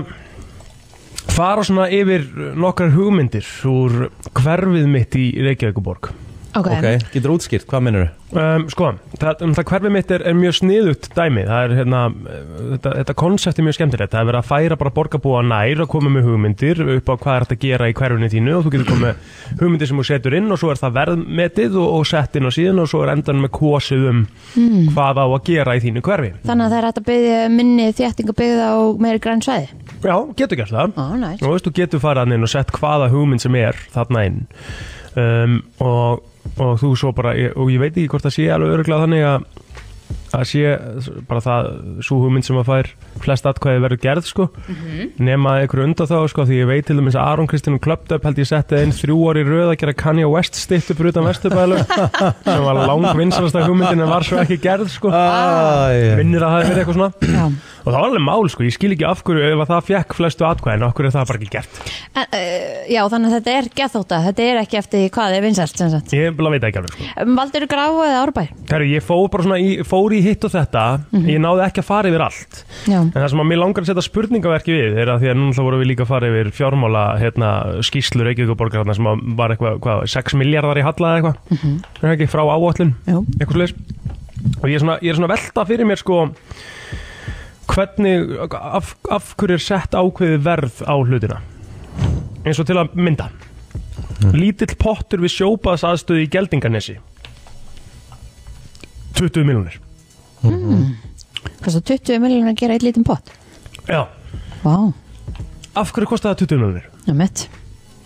fara svona yfir nokkar hugmyndir úr hverfið mitt í Reykjavíkuborg
Ok,
Ok, getur útskýrt, hvað minnur þau?
Um, sko, það, um, það hverfið mitt er, er mjög sniðugt dæmi, það er hérna eh, þetta, þetta konsept er mjög skemmtilegt, það er verið að færa bara borgarbúa nær og koma með hugmyndir upp á hvað er þetta að gera í hverfinu þínu og þú getur komið með hugmyndir sem þú setur inn og svo er það verðmetið og, og sett inn á síðan og svo er endan með kosið um hvað á að gera í þínu hverfi
Þannig að það er hægt að byggja minni þjættingu byggða á meiri græn svæði
Já, getur gert það
Ó, næs.
Og veist, þú getur farað hann inn og sett hvaða hugmynd sem er þarna inn um, og, og þú svo bara og ég veit ekki hvort það sé alveg öruglega þannig að að sé bara það svo hugmynd sem að fær flest atkvæði verður gerð sko nema einhverju undan þá sko því ég veit til dæmis að Aron Kristinn klöpt upp held ég setti inn þrjú orði röð að gera Kanye West stilt upp utan vesturbælu sem var langvinsrasta hugmyndin en var svo ekki gerð sko
Ah. Æ,
minnir að það hefur verið eitthvað svona
Já.
og það var alveg mál sko, ég skil ekki af hverju ef að það fekk flestu atkvæðin, af hverju er það bara ekki gert
en, uh, Já, þannig að þetta er geðþóta Þetta er ekki eftir því hvað er vinsælt sem sagt
ég bara veit það ekki alveg sko
um, Valdur gráu eða árbær
Kæru, ég fór bara svona, í, fór í hitt og þetta ég náði ekki að fara yfir allt
Já,
en það sem að mér langar að setja spurningaverki við er að því að núna þá vorum við líka að fara yfir fjármála hérna, skýslu Reykjavíkuborgarna sem að var eitthvað, hvað, 6 miljardar í halla eða eitthvað, er það ekki frá áallun
Jú.
eitthvað slags og ég er, svona, ég er svona að velta fyrir mér sko hvernig af, af hverju er sett ákveðið verð á hlutina eins og til að mynda lítill pottur við sjópaðs aðstöði í Geldinganesi 20 miljónir
hvað svo 20 miljonar að gera eitt lítinn pott
já,
Vá,
af hverju kostaði það 20 miljónir
já mitt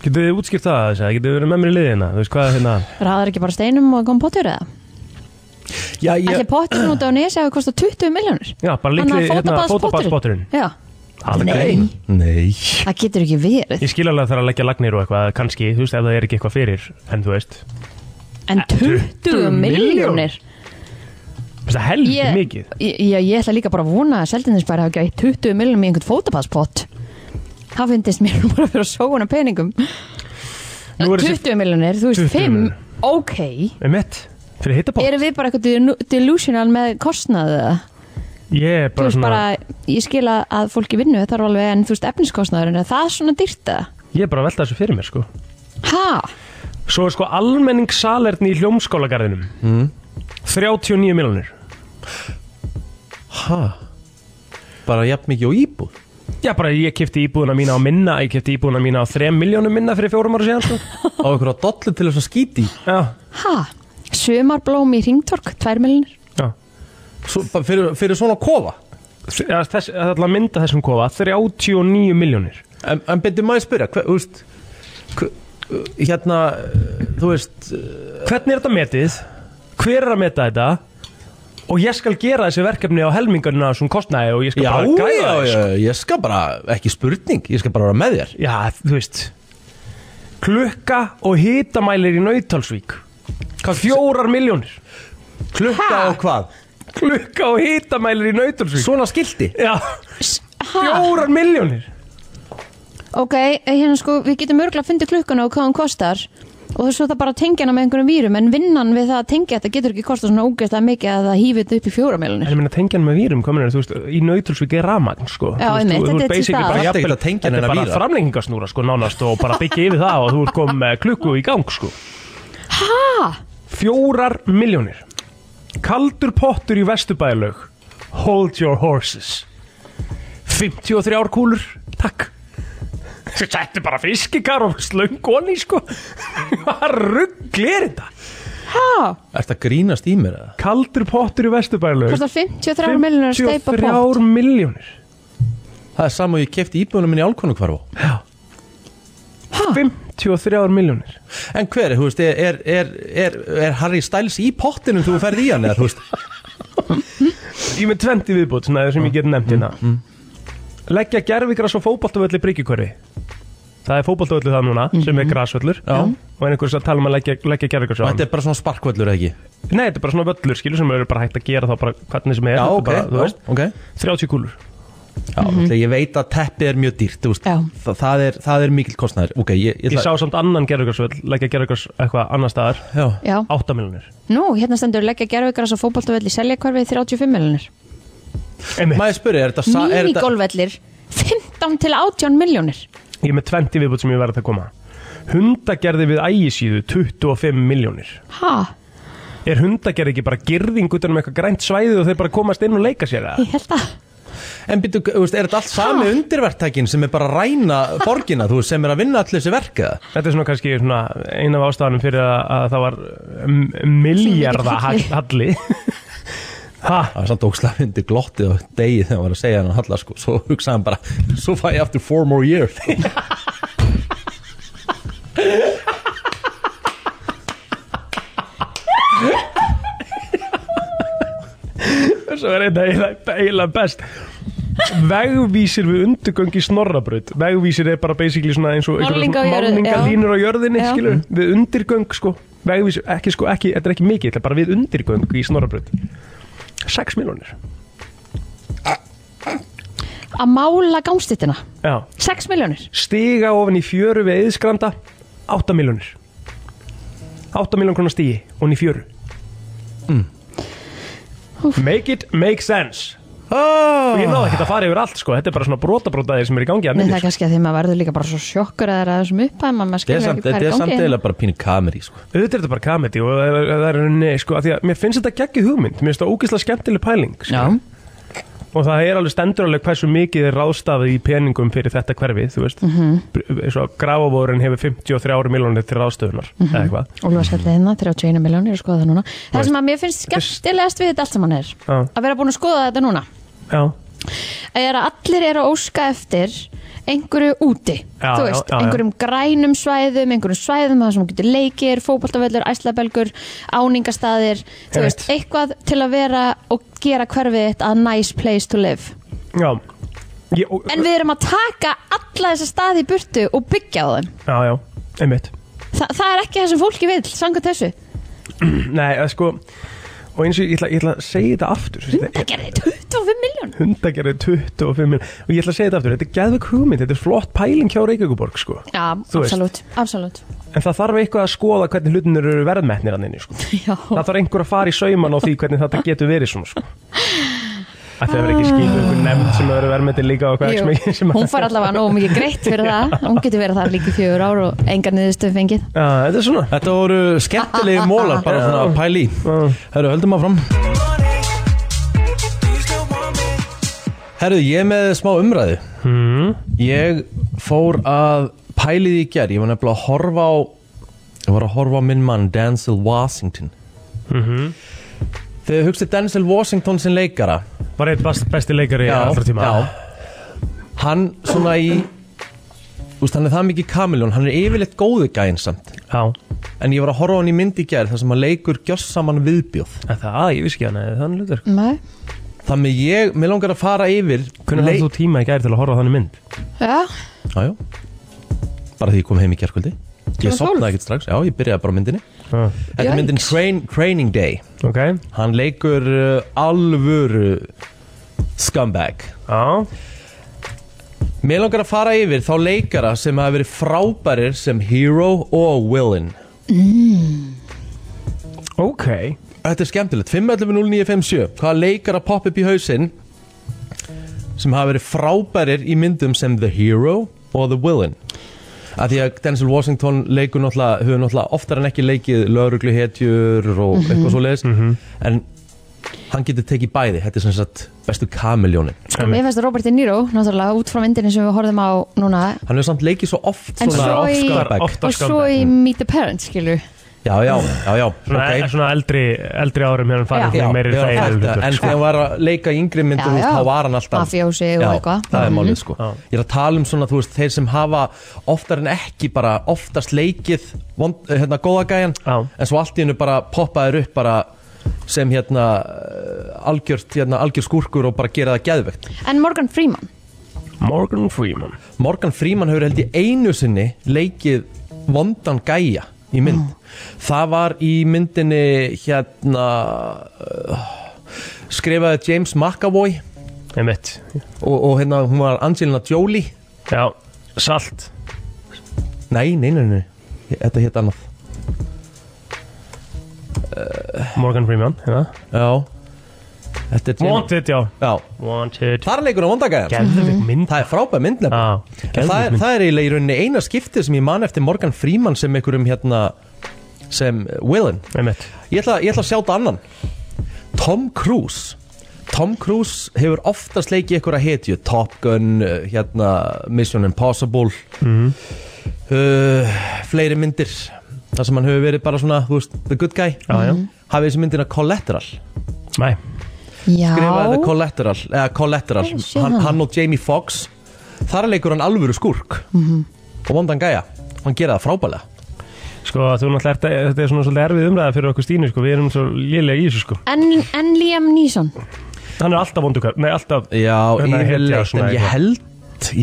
Getur þið útskýrt það þess að, getur þið verið með mér í liðina, þú veist hvað hérna
Ráðar ekki bara steinum og kom pottur eða?
já,
Ætli
ég,
potturinn út á nesi hafi kostað 20 miljónir
Já, bara
Þannig
líkli,
að
hérna,
fótabaðspotturinn
fótabaðspotturinn
Já,
Nei
nei
það getur ekki verið
Ég skil alveg að það er að leggja lagnir og eitthvað, kannski, þú veist, ef það er ekki eitthvað fyrir, en þú veist
En
Eh,
20 miljónir
Þú veist, það er helviti
Ég-
mikið
Ég- Já, ég ætla líka bara að vona að Seldinsbær hafi gætt 20 miljónum í einhvern fótapasspott Það finnst mér nú bara fyrir að sóna peningum
Nú er þessi-
20 miljónir, þú veist
20
5
milljónir.
Ok,
Með mitt Fyrir hittaból?
Erum við bara eitthvað delu- delusional með kostnaðu eða?
Ég er
Þú
bara
veist
svona,
bara, ég skil að- að fólki vinnu Það er alveg en þú veist efniskostnaður En er það svona dyrta
ég er bara að velta þessu fyrir mér sko
Ha?
Svo er sko almenningssalerni í hljómskólagarðinum 39 miljonir
Hæ? Bara jafn mikið á íbúð?
Já, bara ég kefti íbúðuna mína á minna Ég kefti íbúðuna mína á 3 miljónum minna fyrir fjórum ára síðan sko.
Á einhverja dollu til þess að skíti?
Já,
Ha? Sumarblóm í ringtork, tvær miljonir
já
Svo, bara fyrir, fyrir svona kofa?
Þ- eða Þess, Það er alltaf að mynda þessum kofa 39 miljónir
En, en byrju maður spyrja, hver, þú veist, hver, hérna, þú veist,
Hvernig er þetta metið? Hver er að meta þetta? Og ég skal gera þessi verkefni á helmingunina sem kostnaði og ég skal
já,
bara
já,
græða
já,
það, sko.
já, ég skal bara, ekki spurning, ég skal bara vera með þér.
já, þú veist Klukka og hitamælir í Nautalsvík Hvað fjórar miljónir?
Klukka og hvað?
Klukka og hitamælir í Nautalsvík
Svona skilti?
Já,
S- Ha?
fjórar miljónir
Ok, hérna sko, við getum örgulega að fundi klukkuna og hvað hún kostar og þess að það bara að tengja hana með einhverjum vírum en vinnan við það að tengja þetta getur ekki kostað svona ógeðslega mikið að það hýfið þetta upp í
En
fjóramilunir
ég meina tengjan með vírum, hvað mennir, þú veist, í nautilsvík er rafmagn, sko.
Já,
Þú veist,
einmitt,
þú- þú
þetta er
ert
til
basically
staðar.
bara
Ég átti ekkert að
jafnvel-
tengja hennar
Þetta er
víra.
bara framlengingasnúra, sko, nánast og bara byggja yfir það og þú ert komið með klukku í gang, sko.
Ha?
Fjórar miljónir. Kaldur pottur í vesturbælaug. Hold your horses. 53 kúlur, takk. Þetta er bara fiskikar og slöngoni, sko. Hvað ruggli er þetta?
Ha?
Ertu að grínast í mér eða?
Kaldur pottur í vesturbælaug.
Kostar 53 miljonir að steipa pott
53 miljónir.
Það er saman og ég kefti íbúðunum minni í álkonu hvarfa.
53 miljónir
En hver, þú veist, er, er, er, er, er Harry Styles í pottinum þú ferð í hann eða, þú veist?
Ég er með 20 viðbútt, svona sem ég get nefnt hérna
Mm,
Leggja gerfigras á fótboltavölli Bryggjukverfi Það er fótboltavöllu það núna,
Mhm.
sem er grasvöllur Já. Og er einhvers að tala um að leggja, leggja gerfigras á
Og
hann
Þetta er bara svona sparkvöllur eða ekki?
Nei, þetta er bara svona völlur, skilur, sem eru bara hægt að gera þá bara hvernig sem er Þetta er bara, þú
já,
veist,
ok.
30 kúlur
Já, mm ég veit að teppið er mjög dýrt, þú veist,
Já.
Þa, það, er, það er mikil kostnæður. Ok, ég, ég,
Ég sá samt annan gerfigrasvöll, leggja gerfigras eitthvað annar staðar
Já,
Já,
8 miljonir
nú, hérna stendur leggja gerfugras og fótboltavelli selja hverfið 35 miljonir
maður spyrir, er þetta... sa- er þetta-
Minigolvellir 15 til 18 miljonir
Ég er með 20 viðbútt sem ég verði að koma Hundagerði við ægisíðu 25 miljónir
Ha?
Er hundagerð ekki bara girðing utan um eitthvað grænt svæði og þeir bara komast inn og leika sér það?
Ég held að
En býtu, þú veist, er þetta allt sami undirverktækin sem er bara að ræna borgina, þú veist, sem er að vinna allir þessi verka?
Þetta er svona kannski svona ein af ástafanum fyrir að, að það var um, miljarda halli ha,
Það var samt ókslega myndi glottið og degið þegar hann var að segja hann hallar, sko, svo hugsaði hann bara, svo fæ ég aftur four more years.
Svo er þetta eiginlega- eiginlega best Vegvísir við undugöng í snorrabraut Vegvísir er bara basically svona eins og einhverjar
Málninga á jörð-
málningalínur á jörðinni
Já.
skilur, Við undirgöng sko Vegvísir, ekki sko, ekki, þetta er ekki mikið Þetta er bara við undirgöng í snorrabraut 6 miljonir
að mála gangstittina
Já
6 miljonir
stiga ofan í fjöru við eðisgranda 8 miljonir 8 miljón kronar stigi ofan í fjöru Make it make sense og ég náði ekki að fara yfir allt sko þetta er bara svona brotabrotaðir sem er í gangi að
Nei, það
minni
er kannski að því maður verður líka bara svo sjokkur að það er þessum upphæðum að
Þetta
maður skilur
er samt-
ekki hvað
þetta
er í
er samt
gangi
eða bara pínu kameri, sko.
auðvitað er þetta bara komedi og það er- það er nei, sko, að því að mér finnst þetta geggi hugmynd mér finnst þetta ógeðslega skemmtileg pæling sko. og það er alveg stendur alveg hversu mikið er ráðstafið í peningum fyrir þetta hverfi þú veist, mm
Mhm.
-hmm. grafavórin hefur 53 miljonir til ráðstöfunar eða eitthvað
Úlfarsfjallið hérna, 31 miljónir að skoða það núna Það sem að mér finnst skemmtilegast við þetta allt saman er
Já.
að vera búin að skoða þetta núna
Já.
er að allir eru að óska eftir einhverju úti
Já,
þú
já,
veist,
já, já.
einhverjum grænum svæðum einhverjum svæðum þar sem þú getur leikir fótboltavellur, æslabelgur, áningastaðir þú
Einmitt.
veist, eitthvað til að vera og gera hverfið þitt að nice place to live
Já ég, og,
en við erum að taka alla þessa staði í burtu og byggja á þeim
Já, já, einmitt
Þa, það er ekki það sem fólki vil, sangu þessu
Nei, það sko Og eins og ég ætla, ég ætla að segja þetta aftur
það gerði 25 miljón
Hundagerði 25 mil Og ég ætla að segja þetta aftur, þetta er geðvik hugmynd Þetta er flott pæling hjá Reykjavíkuborg sko
Já,
Þú veist.
absolutt, absolutt
Eh, En það þarf eitthvað að skoða hvernig hlutinir eru verðmetnir hann inni, sko.
Já.
Það þarf einhver að fara í sauman á því hvernig þetta getur verið svona, sko. Ætti Það verður ekki skiluð einhver nefnd sem verður verðmetnir líka og hvað ekki
Jú,
sem ekki sem að...
Hún fær allavega nógu mikið greitt fyrir það Hún getur verið það líka í fjögur ár og engar niðurstöð fengið
Já, þetta er svona.
Þetta voru skemmtilegir mólar bara svona að pæli í Herru, höldum áfram Herru, ég er með smá umræðu Ég fór að pæli því í gerð Ég var nefnilega að horfa á Ég var að horfa á minn mann Denzel Washington Þegar hugsið Denzel Washington sem leikara
Bara eitt best, besti leikari allra tíma.
já Hann svona í Úst, hann er það mikið kamiljón, hann er yfirleitt góðu gæinn samt
Já.
En ég var að horfa á hann í myndi í gær þar sem hann leikur gjössamann viðbjóð
En það, ég vissi ekki hann, eða þannig hlutur.
Nei
Þannig ég, mér langar að fara yfir
Hvernig
leik-
hafði þú tíma í gæri til að horfa á þannig mynd?
Já,
Já, já Bara því ég kom heim í gærkvöldi Ég
Klukkan tólf?
sopnaði ekkert strax, já, ég byrjaði bara á myndinni
Já.
Þetta er myndin
Yikes.
train, Training Day
Ok.
Hann leikur uh, alvöru scumbag
Já.
Mér langar að fara yfir þá leikara sem hafa verið frábærir sem hero og villain
Ok.
Þetta er skemmtilegt, 5.11.0957 Hvaða leikara popp upp í hausinn sem hafa verið frábærir í myndum sem The Hero og The Villain að því að Denzel Washington leikur náttúrulega, hefur náttúrulega oftar en ekki leikið laurugluhetjur og eitthvað svoleiðis en hann getur tekið bæði þetta er sem sagt bestu kamiljónin
sko, mér finnst Robert De Niro Náttúrulega út frá myndinni sem við horfðum á núna
hann hefur samt leikið svo oft
En
svona
svo í-
scumbag.
Oft
Og svo í
Mm.
Meet the Parents, skilur
já, já, já, já
Svona, e-
ok.
svona eldri, eldri árum hérna
Já.
farið
Já,
fyrir meiri
já,
þægilegri
þetta,
hlutur,
en
sko.
þegar hann var að leika í yngri myndum
Já,
þú veist,
já.
þá var hann alltaf
Mafíósi og
Já,
eitthvað.
það er
Mhm.
málið sko
Já.
ég er að tala um svona, þú veist, þeir sem hafa oftar en ekki bara oftast leikið vond, eh, hérna, góða gæjan
Já.
en svo allt í hennu bara poppaður upp bara sem hérna eh, algjört, hérna, algjör skúrkur og bara gera það geðvegt
En Morgan Freeman
Morgan Freeman
Morgan Freeman hefur held í einu sinni leikið vondan gæja í mynd það var í myndinni hérna uh, skrifaði James McAvoy
er mitt
og, og hérna hún var Angelina Jolie
Já, salt
nei, nei, nei, nei, þetta hétt annað
Morgan Freeman hérna.
já þetta er James-
Wanted, já
já,
Wanted
þar leikur hún vondan gæja
Geðvik mynd
það er frábæð myndlega
Já,
En það er, það er eiginlega í rauninni eina skiptið sem ég man eftir Morgan Freeman sem einhverjum hérna sem uh, villain
er mitt
Ég ætla, ég ætla að sjá þetta annan Tom Cruise Tom Cruise hefur oftast leikið ykkur að hetju Top Gun, uh, hérna, Mission Impossible
Mhm.
uh, Fleiri myndir Það sem hann hefur verið bara svona, þú veist, the good guy
Já, já
Hafið þessi myndina Collateral
Nei,
Já
Skrifaði The Collateral, eða Collateral
Ég sé
hann,
hana.
hann og Jamie Foxx Þar leikur hann alvöru skúrk Og vondan gæja, hann gera það frábælega
sko þú náttúrulega ert að- Þetta er svona svolítið erfið umræða fyrir okkur Stínu sko. Við erum svo lélega í þessu sko
En, en Liam Neeson
Hann er alltaf vondukar Nei, alltaf
Já,
Hérna, hetja
yfirleitt,
svona
en ég
eitthvað.
held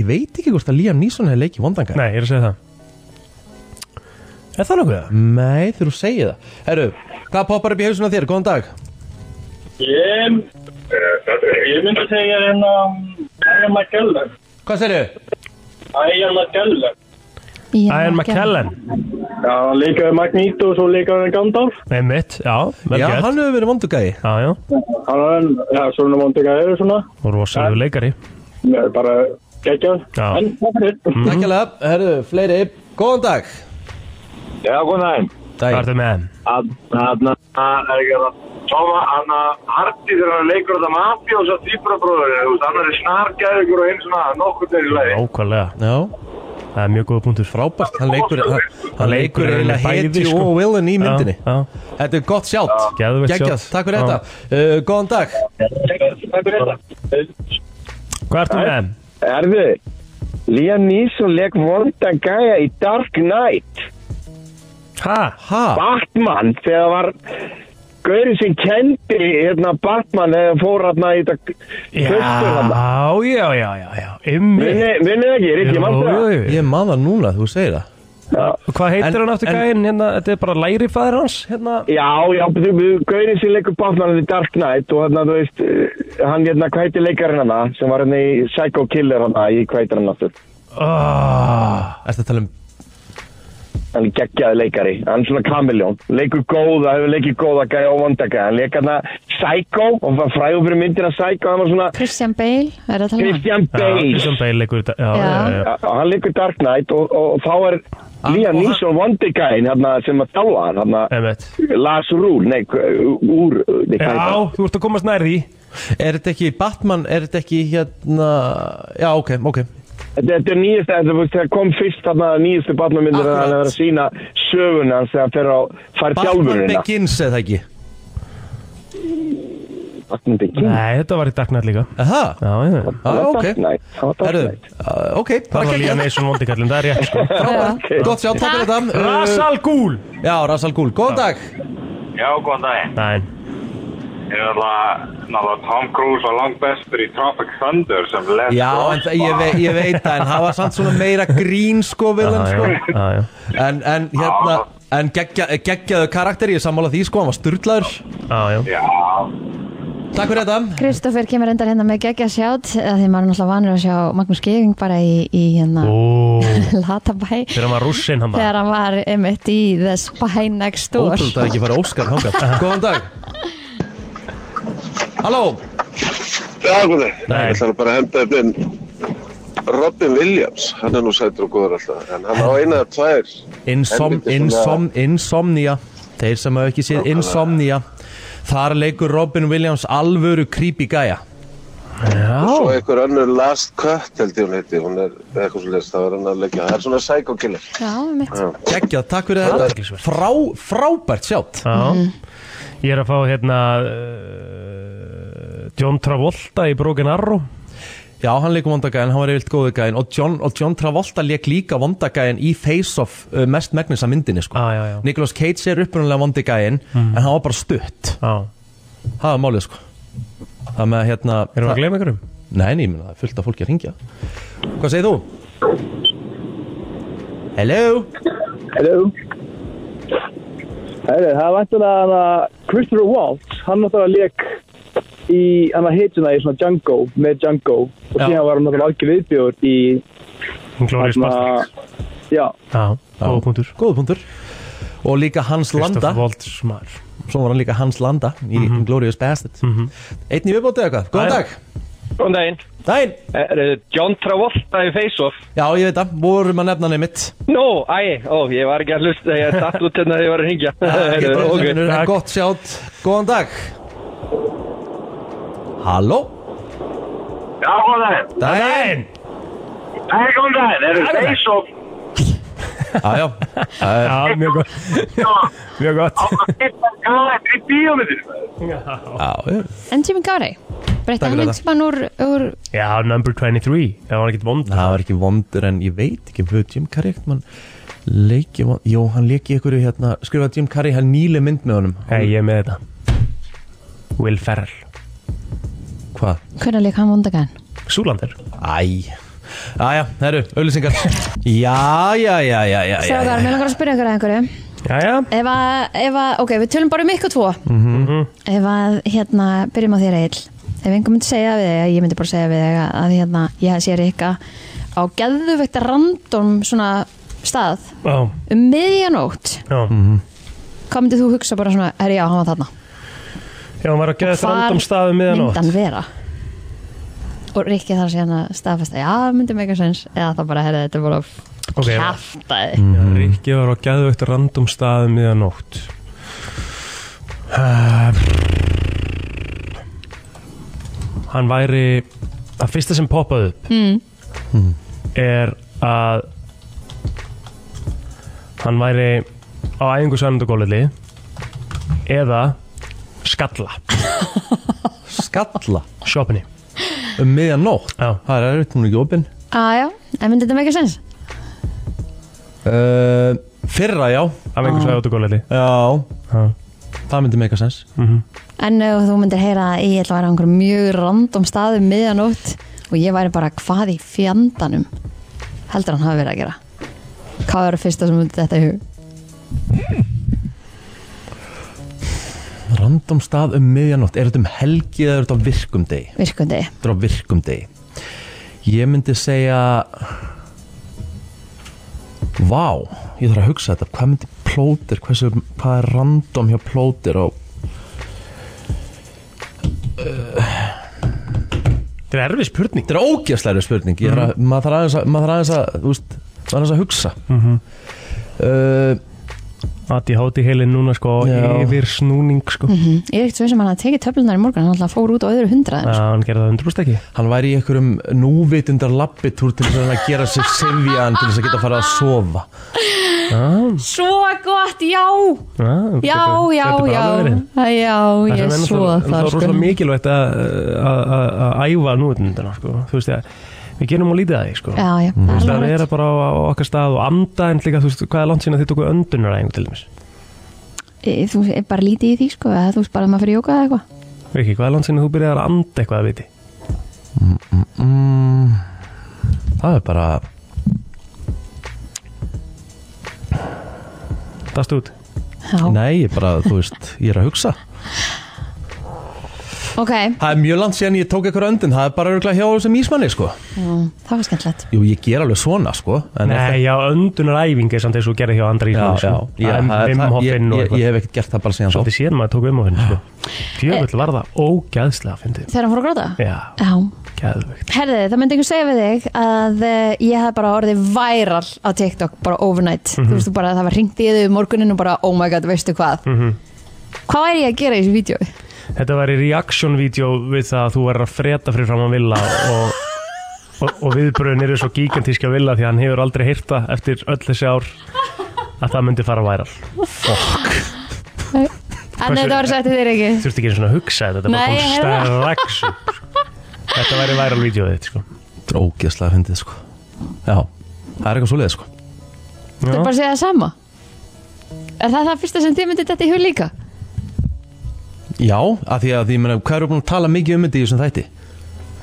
Ég veit ekki hvort að Liam Neeson hefur leikið vondan gæja
Nei, ég er að segja það Er það nokkuð það?
Nei, þegar þú segir það Herru, hvað poppar upp í hausuna þér? Góðan dag
Ég, eh, ég myndi segja hérna Æja Magella
Hvað segirðu?
Æja Magella
Ian McKellen
Já, hann leikaði Magníto og svo leikaði hann Gandalf
Nei, mitt, já, vel
Já,
gert
hann hefur verið vondugæði
Já, já,
Hann var enn, já, svona vondika eru svona
og rosalegu leikari
Nei, bara geggjað
Já.
En, það fyrir
Mhm.
Takk hérlega, herru, fleiri Góðan dag
Já, góðan daginn
Hvað
Dag
ertu með hann?
Þannig að er ekki að Tóma, hann að Harti þegar hann leikur þetta mafi og svo tvíbrabróður þú veist, hann er snargæðugur og eins og það nokkur þegar í lagi
Ókvælega,
Já,
það er mjög góða punktur
frábært, hann leikur Hann, hann leikur eiginlega
bæði,
hetju
sko.
og Willin í myndinni
Já, já
Þetta er gott sjátt
Geðveikt
Geggjað,
sjátt.
takk fyrir
Já.
þetta uh, Góðan dag
Hvað ertu með?
Erðu, Liam Neeson leik vondan gæja í Dark Knight
Hæ?
Ha,
Batman þegar var Gaurið sem kendi hérna Batman eða fór hérna í þetta
Já, já, já, já, já Ymmi
Vinnið ekki, Rikki, mannstu það?
ég man það núna, þú segir það
Hvað heitir
En-
hann aftur
en-
gæinn? Hérna, þetta er bara læri fæðir hans hérna.
Já, já, Gaurið sem leikur Batman í Dark Knight og hérna, þú veist, eh, hann hérna, hvað heitir leikarinn hana sem var hérna í Psycho Killer hana, í hvað heitir hann aftur?
oh,
Ertu að tala um
hann er geggjaði leikari, hann er svona kamiljón leikur góða, hefur leikið góða gæja og vondagæja, hann leik hann að Psycho og var frægur fyrir myndir að Psycho hann var svona
Christian Bale, er það að tala um?
Christian Bale
Christian Bale leikur í dag já,
Já.
já, já, já.
Já, og hann leikur Dark Knight og, og, og þá er
Ah,
Liam Neeson vondagæin sem að þjálfa hann hérna,
Einmitt.
Las Rúl, nei, úr uh, nei, hvað heitir
já,
hann?
þú ert að komast nær því
Er þetta ekki Batman, er þetta ekki hérna Já, ok, ok
Þetta, þetta er nýjasta, þetta, þú veist, það kom fyrst þarna nýjastu barnamyndir að
Akkurat.
hann er að sína söguna hans þegar hann fer á fær
Batman
þjálfurina.
Begins eða ekki
Batman
Mm.
Begins.
Nei, þetta var í Dark Knight líka
Aha,
Já, já, já
ah, ok
Dark Knight, það var Dark
Herðu,
Knight.
uh, ok,
Það
bara
var Liam
ekki
Neeson vondikallin, það er rétt sko
Ok.
Gott sjá, takk fyrir þetta Uh,
Rasal Gúl
Já, Rasal Gúl, góðan dag
Já, góðan daginn.
Nei,
Ég er alveg, náttúrulega Tom Cruise var langt bestur í Tropic Thunder sem lest
Já, en það- ég, ve ég veit það, en það var samt svona meira grín sko við
já,
hann
já,
sko
já, já
En, en hérna, en geggja, geggjaðu karakter, ég er sammála því sko, hann var sturlaður
Já, já
Já,
Takk fyrir þetta
Kristoffer kemur endar hérna með geggja sjátt að því maður er náttúrulega vanur að sjá Magnús Geving bara í, í hérna
Ó,
Latabæ
þegar hann var rússinn
Hérna.
hann
þegar hann var einmitt í The Spy Next Door
Ótrúld að ekki fara Óskar þangað Góðan dag Halló
Já, góði.
Nei.
Ég ætla nú bara að henda upp inn Robin Williams, hann er nú sætur og góður alltaf, en hann á eina eða tvær.
Insom,
Helviti
insom,
svona-
Insomnia Þeir sem hafa ekki séð Insomnia Þar leikur Robin Williams alvöru creepy gæja
Svo einhver önnur Last Cut held ég hún heiti, hún er eitthvað svo leist, það var hann að leggja. Það er svona psycho-killer.
Já, einmitt
Geggjað, takk fyrir þetta
Athyglisvert.
Frá, Frábært sjátt
Já, ég er að fá hérna uh, John Travolta í Broken Arrow
Já, hann leikur vondagæðin, hann var yfirlt góðu gæðin og John, og John Travolta leik líka vondagæðin í Face Off uh, mest megnisa myndinni sko.
Ah, Já, já, já. Mhm.
Nicolas Cage er upprunalega vondagæðin en hann var bara stutt
Já,
Það var málið sko Það með hérna
erum við
það-
að gleyma ykkurum?
Nei, nei, ég meina, það er fullt af fólki að ringja Hvað segir þú? Hello
Hello. Hello, það var eftir að Christopher Waltz, hann náttúrulega leik í, hann að hituna í svona Django, með Django og
Já.
síðan var hann náttúrulega algjör viðbjörn í uh,
Glóriðs Bastards
já,
Já, ópuntur
Góðu punktur Og líka Hans Landa
Kristoffer Waltz maður
Svo var hann líka Hans Landa í
Mhm.
Glorious Bastard Einn í viðbótið eitthvað, góðan
Jæja.
dag
Góðan daginn,
Dæin
er John Travolta í Face Off?
Já, ég veit það, vorum að nefna hann einmitt
Nó, æ, ó, ég var ekki að hlusta, ég datt út hérna þegar ég var að hingja.
Getur
ok,
okay,
takk.
Gott sjátt, góðan dag Halló
já, góðan daginn.
Dæin
Nei, góðan daginn, er það face off
Jájá,
Já, mjög gott Mjög gott
á að hitta gæt í bíómyndinu?
jájá
En Jimmy Carrey breytta
Takk
hann
fyrir
einhvers mann úr, úr
Já, number 23 Það var ekkert vond
Það var ekki vondur en ég veit ekki Hvað Jim Carrey ekkert mann leiki von- Jó, hann leiki ykkur hérna Skrifaði Jim Carrey hann nýli mynd með honum
Hei, ég er með þetta Will Ferrell
Hvað?
hvernig leik hann vondagaðan
Súlander
Æ Æja, það eru auðlýsingar Já, já, já, já, já, já,
Strákar,
já.
mér langar að spyrja ykkur að einhverju
Jæja
Ef að, ef að, ok, við tölum bara um ykkur tvo
Mhm.
Ef að, hérna, byrjum á þér eill Ef einhver myndi segja við þig, ég myndi bara segja við þig að, að hérna, ég sé Rikka á geðveikt random svona stað
Já,
um miðjanótt
já
Mhm.
Hvað myndið þú hugsa bara svona, herri já, hann var þarna
Já, hann var að geða þetta
Hvar
random staðum miðan
myndi hann vera? Og Rikki þarf síðan að staðfesta, já, myndið mega sens Eða það bara, herri, þetta er bara
Ok, Mm.
okay,
já.
kjaftaði
Já, Rikki var á geðveikt random staðum miðan nótt uh, Hann væri að fyrsta sem poppaði upp
Hmm.
mm. er að hann væri á æfingu sænundagóliðli eða skalla
Skalla
shoppinni
Um miðjan nótt
Já.
Það er erfitt, hún er ekki opinn
Á, Ah, já, en myndið þetta mega sens?
uh, Fyrra, já
Ah.
á æfingu sænundagóliðli
Já,
Já.
það myndi meika sens
En ef þú myndir heyra að ég ætla að vera á einhverjum mjög random staðum miðanótt og ég væri bara hvað í fjandanum heldur hann hafi verið að gera Hvað er það fyrsta sem myndi þetta í hug?
Random stað um miðjanótt, er þetta um helgi eða er þetta á virkum degi?
Virkundi
Þetta er á virkum degi Ég myndi segja Vá, ég þarf að hugsa þetta Hvað myndi plótir, hversu, hvað er random hjá plótir á
Þetta er erfið spurning
Þetta er ógjastlega erfið spurning Ég þarf að, maður þarf aðeins að, maður þarf aðeins að, þú veist Maður þarf aðeins að hugsa Eh,
Mhm.
uh,
Adi háti heilin núna sko Yfir snúning sko
Mm Ég er ekkert svo sem hann hafi tekið töflunar í morgun, hann alltaf fór út á öðru hundraðum.
Já,
sko.
hann gerði það 100% ekki
Hann væri í einhverjum núvitundar labbitúr til þess að reyna að gera sig sefjan til þess að geta að fara að sofa ah,
Svo gott, já!
ah,
Já, já, já, já, ég
Það sem er
svo
náttúrulega- en
þar
Það er
sko.
rosalega mikilvægt að að- að- að æfa núutnundina sko. Þú veist, ég, við gerum og lítið að því sko.
Já, já,
Þú
það
veist,
er
Það
alveg
er bara á, á okkar stað og anda en líka, þú veist, hvað er langt síðan að þið tóku öndunaræðing til dæmis?
E, Þú er bara lítið í því sko, eða þú veist bara að maður fyrir jóka eða eitthvað.
Viki, hvað er langt síðan að þú byrjar að anda eitthvað að viti?
mm, Það er bara
Dastu út?
Já.
Nei, ég bara, þú veist, ég er að hugsa
Ok,
Það er mjög langt síðan ég tók eitthvað öndin Það er bara örgulega hjá þessum ísmanni, sko
já, Mm, það var skemmtilegt.
Jú, ég ger alveg svona, sko en
Nei, já, öndunaræðing er samt eins og þú gerði hjá andra ísmann
já,
sko.
já,
Það
það
er
er það-
vimhoffinn
ég-
og
ég- ég hef ekkert gert það bara síðan
þá Svolítið síðan maður tók vimhoffinn sko. Fjöfull var það ógæðslega fyndið
Þegar hann fór að gráta?
Já,
Já.
gæðvegt
Herði, það myndi einhver segja við þig að eh, ég hef bara orðið væral á TikTok bara overnight,
Mhm.
þú veist þú bara að það var ringt í þau um morgunin og bara oh my god, veistu hvað
Mhm.
hvað væri ég að gera í þessu vídeo?
Þetta var í reaction-vídeó við það að þú verður að freta fyrir fram að Villa og, og, og viðbröðin eru svo gigantíski að Villa því að hann hefur aldrei heyrta eftir öll þessi ár að það myndi fara væral. Fokk.
en þetta var sættið þér ekki
Þú ert ekki einu svona að hugsa þetta, þetta
Nei,
var
ég heyrði
bara
það.
kom strax. upp, sko. Þetta væri væral-vídeóið þitt, sko.
Þetta er ógeðslega fyndið sko Já, það er eitthvað svoleiðið sko
Þú er bara að segja það sama Er það það fyrsta sem þið myndið þetta í hug líka?
Já, af því að því, menna, hvað eru búin að tala mikið um þetta í þessum þætti?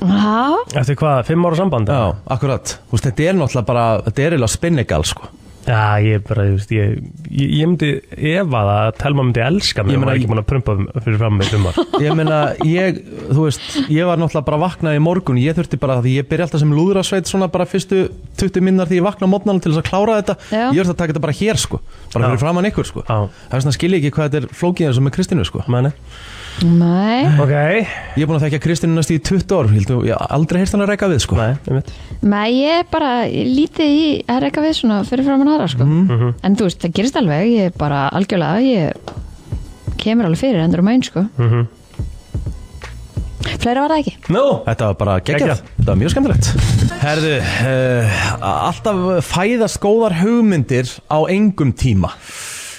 Já,
Eftir hvað, fimm ára samband?
Já, akkurat, Þú veist, þetta er náttúrulega bara, þetta er eiginlega spinnegal sko
Já, ég er bara, þú veist, ég, ég, ég myndi efa það að Telma myndi elska mig og var ekki búin að prumpa fyrir fram með fimm ár.
Ég meina, ég, þú veist, ég var náttúrulega bara vaknað í morgun Ég þurfti bara, því ég byrja alltaf sem lúðrasveit svona bara fyrstu 20 minnar því ég vakna á mótnarna til þess að klára þetta
Já.
Ég þurfti að taka þetta bara hér sko, bara fyrir framann ykkur sko
Já.
Það er svona skil ég ekki hvað þetta er flókið eins og með Kristínu sko
Mæni
nei
Ok
Ég er búin að þekka Kristínu næst í 20 ár, hildu, ég hef aldrei heyrst hann að reyka við sko
Nei, um veit
Nei, ég er bara lítið í er eitthvað við svona fyrir fram hann aðra sko.
mhm.
en þú veist, það gerist alveg ég er bara algjörlega, ég kemur alveg fyrir endur um einn sko
Mhm.
-hmm.
Fleira var það ekki
no. Þetta var bara geggjað Þetta var mjög skemmtilegt Herðu, uh, alltaf fæðast góðar hugmyndir á engum tíma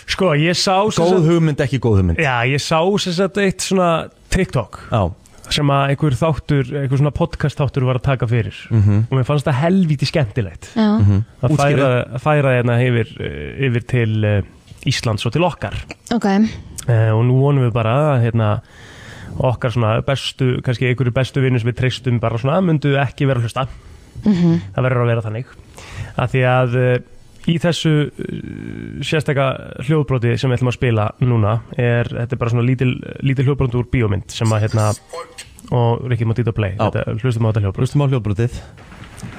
Sko, ég sá sem
Góð
sagt-
hugmynd, ekki góð hugmynd
Já, ég sá sem sagt eitt svona TikTok
Já.
sem að einhver þáttur, einhver svona podcast þáttur var að taka fyrir
Mhm.
og mér fannst það helvíti skemmtilegt
Já. Mhm.
að
Útskýrðu.
færa, að færa hérna yfir, eh, yfir til eh, Íslands og til okkar
Ok,
Eh, og nú vonum við bara að hérna, okkar svona bestu, kannski einhverju bestu vinnur sem við treystum bara svona myndu ekki vera að hlusta
Mhm.
það verður að vera þannig að því að eh, í þessu eh, sérstaka hljóðbroti sem við ætlum að spila núna er, þetta er bara svona lítil, lítil hljóðbrot úr bíómynd sem að hérna og Rikki má dýta play, þetta, hlustum á þetta hljóðbrot
hlustum á hljóðbrotið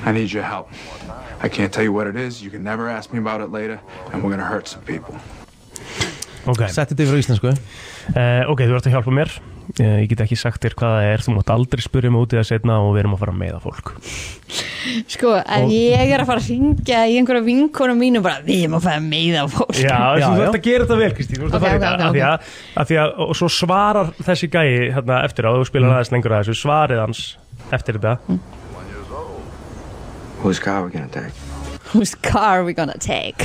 I need your help. I can't tell you what it is. You can never ask me about it later, and we're gonna hurt some people.
okay.
Setti þetta yfir á íslensku
Uh, ok, þú ert að hjálpa mér uh, Ég get ekki sagt þér hvað það er Þú mátt aldrei spyrja mig út í það setna og við erum að fara að meiða fólk
sko, ef ég er að fara að ringja í einhverja vinkonu mínu bara, við erum að fara með á fólk
Já, þú ert að gera þetta vel Kristín Þú ert
Ok,
að fara í
ok, ok,
þetta af því að- af því að- Og svo svarar þessi gæi hérna, eftir á Þú spilar
Mm.
aðeins lengur að þessu Svarið hans eftir þetta
Whose car are we gonna take?
Whose car are we gonna take?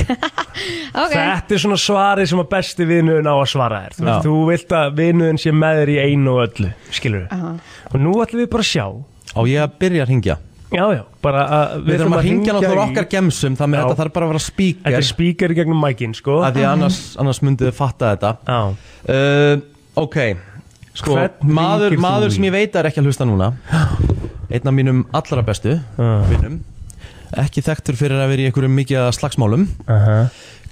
ok,
Þetta er svona svarið sem að besti vinuðin á að svara þér Þú, veist, þú vilt að vinuðin sé með þér í einu og öllu Skilur við
Aha.
Og nú ætlum við bara að sjá
Á ég að byrja að ringja
Já, já, bara að
Við þurfum að hringja náttúrulega
í-
okkar gemsum Þannig að þetta þarf bara að vera spíker
Þetta er spíker gegnum mækin sko
Af því að annars, annars myndið þið fatta þetta uh, Ok Sko,
Hvern
maður,
hringir þú
maður
í?
sem ég veit að er ekki að hlusta núna Einn af mínum allra bestu
Ah.
vinnum Ekki þekktur fyrir að vera í einhverjum mikið af slagsmálum
Ah.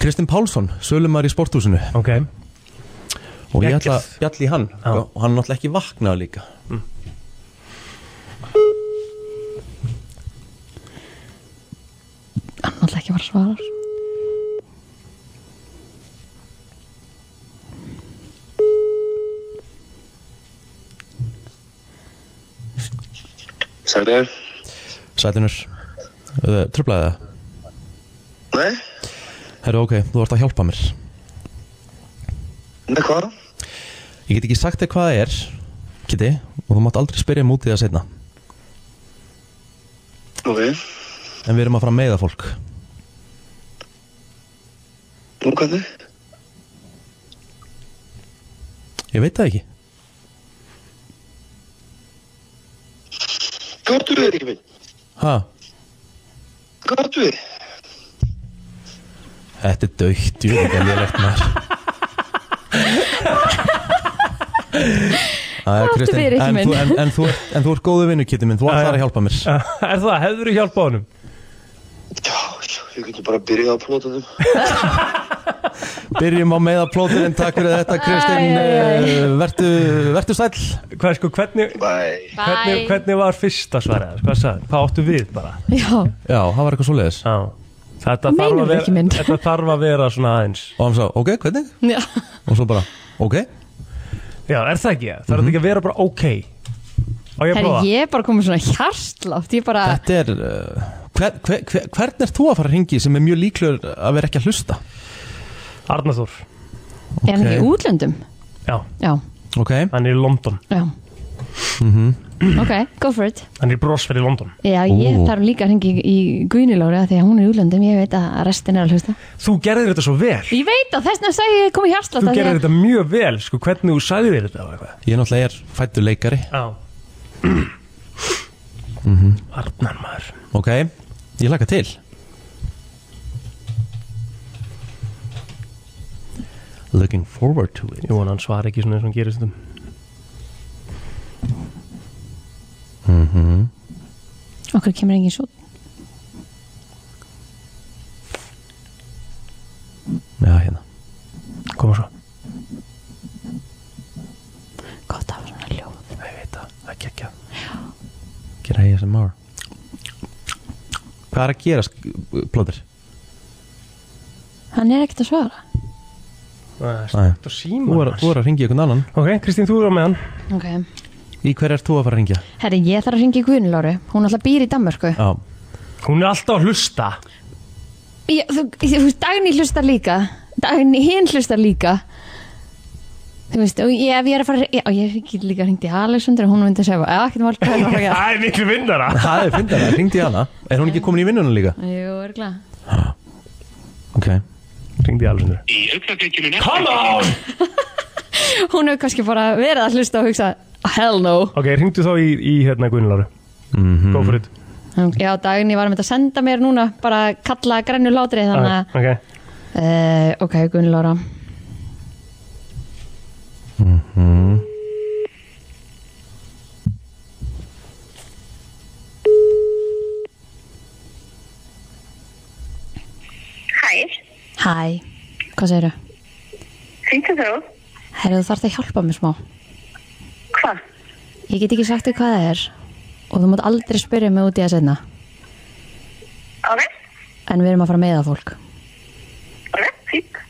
Kristinn Pálsson, sölumar í sporthúsinu
okay.
Og ég
Geggjað.
ætla að bjalla í hann sko,
Já.
Og hann er náttúrulega ekki vaknað líka
Mm.
hann alltaf ekki var að svara
Sælir?
Sælinur uh, Trublaði það?
Nei?
Herru, ok, þú ert að hjálpa mér
Nei, hvað?
Ég get ekki sagt þér hvað það er Kitty, og þú mátt aldrei spyrja mútið það setna
Ok,
En við erum að fara að meiða fólk
nú hvernig?
Ég veit það ekki
Gáttu við, Ríkvin?
Ha,
Gáttu við?
þetta er dögt, ég veit ekki að lélegt maður Æ,
Gáttu
Kristín,
fyrir,
en,
ekki minn.
þú, en, en, þú, ert- en þú ert góðu vinnu, Kitty minn, þú ætlar að hjálpa mér
Er það, hefur þú hjálpa honum?
Ég getur bara að byrja að plóta þeim.
Byrjum á meiða plóturinn, takk fyrir þetta Kristinn
Æ, æ, æ.
Eh, Vertu, vertu sæll
Hvað, sko, hvernig, hvernig,
Bye.
hvernig var fyrsta svarið? Hvað, sagði- hvað áttu við bara?
Já,
Já, það var eitthvað svoleiðis
Já Þetta
Þú
þarf,
meinar
að
ekki
vera,
mynd.
þetta þarf að vera svona aðeins
Og hann sagði, ok, hvernig?
já,
Og svo bara, ok
Já, er það ekki? Þarf þetta ekki að vera bara ok Á ég að
herri,
prófa?
ég er bara komið svona hjartlátt, ég bara,
Þetta er, uh, hver, hver, hver, hvern er þú að fara að ringi sem er mjög líklegur að vera ekki að hlusta?
Arnaþór
er hann ekki í útlöndum?
Já,
Já,
ok Hann
er í London
já,
mm -hmm.
ok, go for it.
Hann er í brosferð í London
Já, ég
Ú.
þarf líka að hringi í Guðnilóri að því að hún er í útlöndum, ég veit að restin er að hlusta.
Þú gerðir þetta svo vel
Ég veit að þess vegna sagði ég komið hjartlátt af
Þú
því
gerðir
að-
þetta mjög vel, sko, hvernig þú sagði þér þetta og eitthvað
Ég er náttúrulega er fættur leikari
Já
mm
Mhm. Arnar maður
Ok, ég laka til Looking forward to it
Ég vona hann svar ekki svona eins og hann gerir stundum
mm -hmm.
Okkur kemur engin svo
Já, hérna
Koma svo
Gott að hafa svona ljóð
Ég veit það, það er gekkja
Gera heiða sem már Hvað er að gera, plóður?
Hann er ekkert að svara
Þetta síma
Þú er, þú er að ringi einhvern annan
Ok, Kristín, þú er á með hann
Ok
Í hver er þú að fara að ringja?
Herri, ég þarf að ringi í Guðnilóri Hún alltaf býr í Danmörku
Já
Hún er alltaf að hlusta
ég, þú, þú veist, Dagný hlustar líka Dagný, hinn hlustar líka Þú veist, og ég, ef ég er að fara Já, ég get líka hringt í Alexander og Hún myndi að segja, já, ekkert mál hvað er að gera?"
Það er miklu vinnara
Það er fyndara, ringdi hana Er hún ekki komin í vinnunum líka?
Jú, örgla
Ok
Ringdi í Alessandur
Come on!
Hún hefur kannski bara verið að hlusta og hugsa Hell no
Ok, ringdu þá í, í hérna Gunnlaru
mm -hmm.
Go for it
Já, Dagný var með að senda mér núna bara kalla grænu látri þannig að
Ok,
Uh, ok, Gunnlóra
Mm.
Hæ,
Hæ, hvað segirðu?
syngdu þú?
Herðu, þú þarft að hjálpa mér smá
Hvað?
Ég get ekki sagt þér hvað það er og þú mátt aldrei spyrja mig út í að setna
Ok,
en við erum að fara með það fólk
ok, fínt.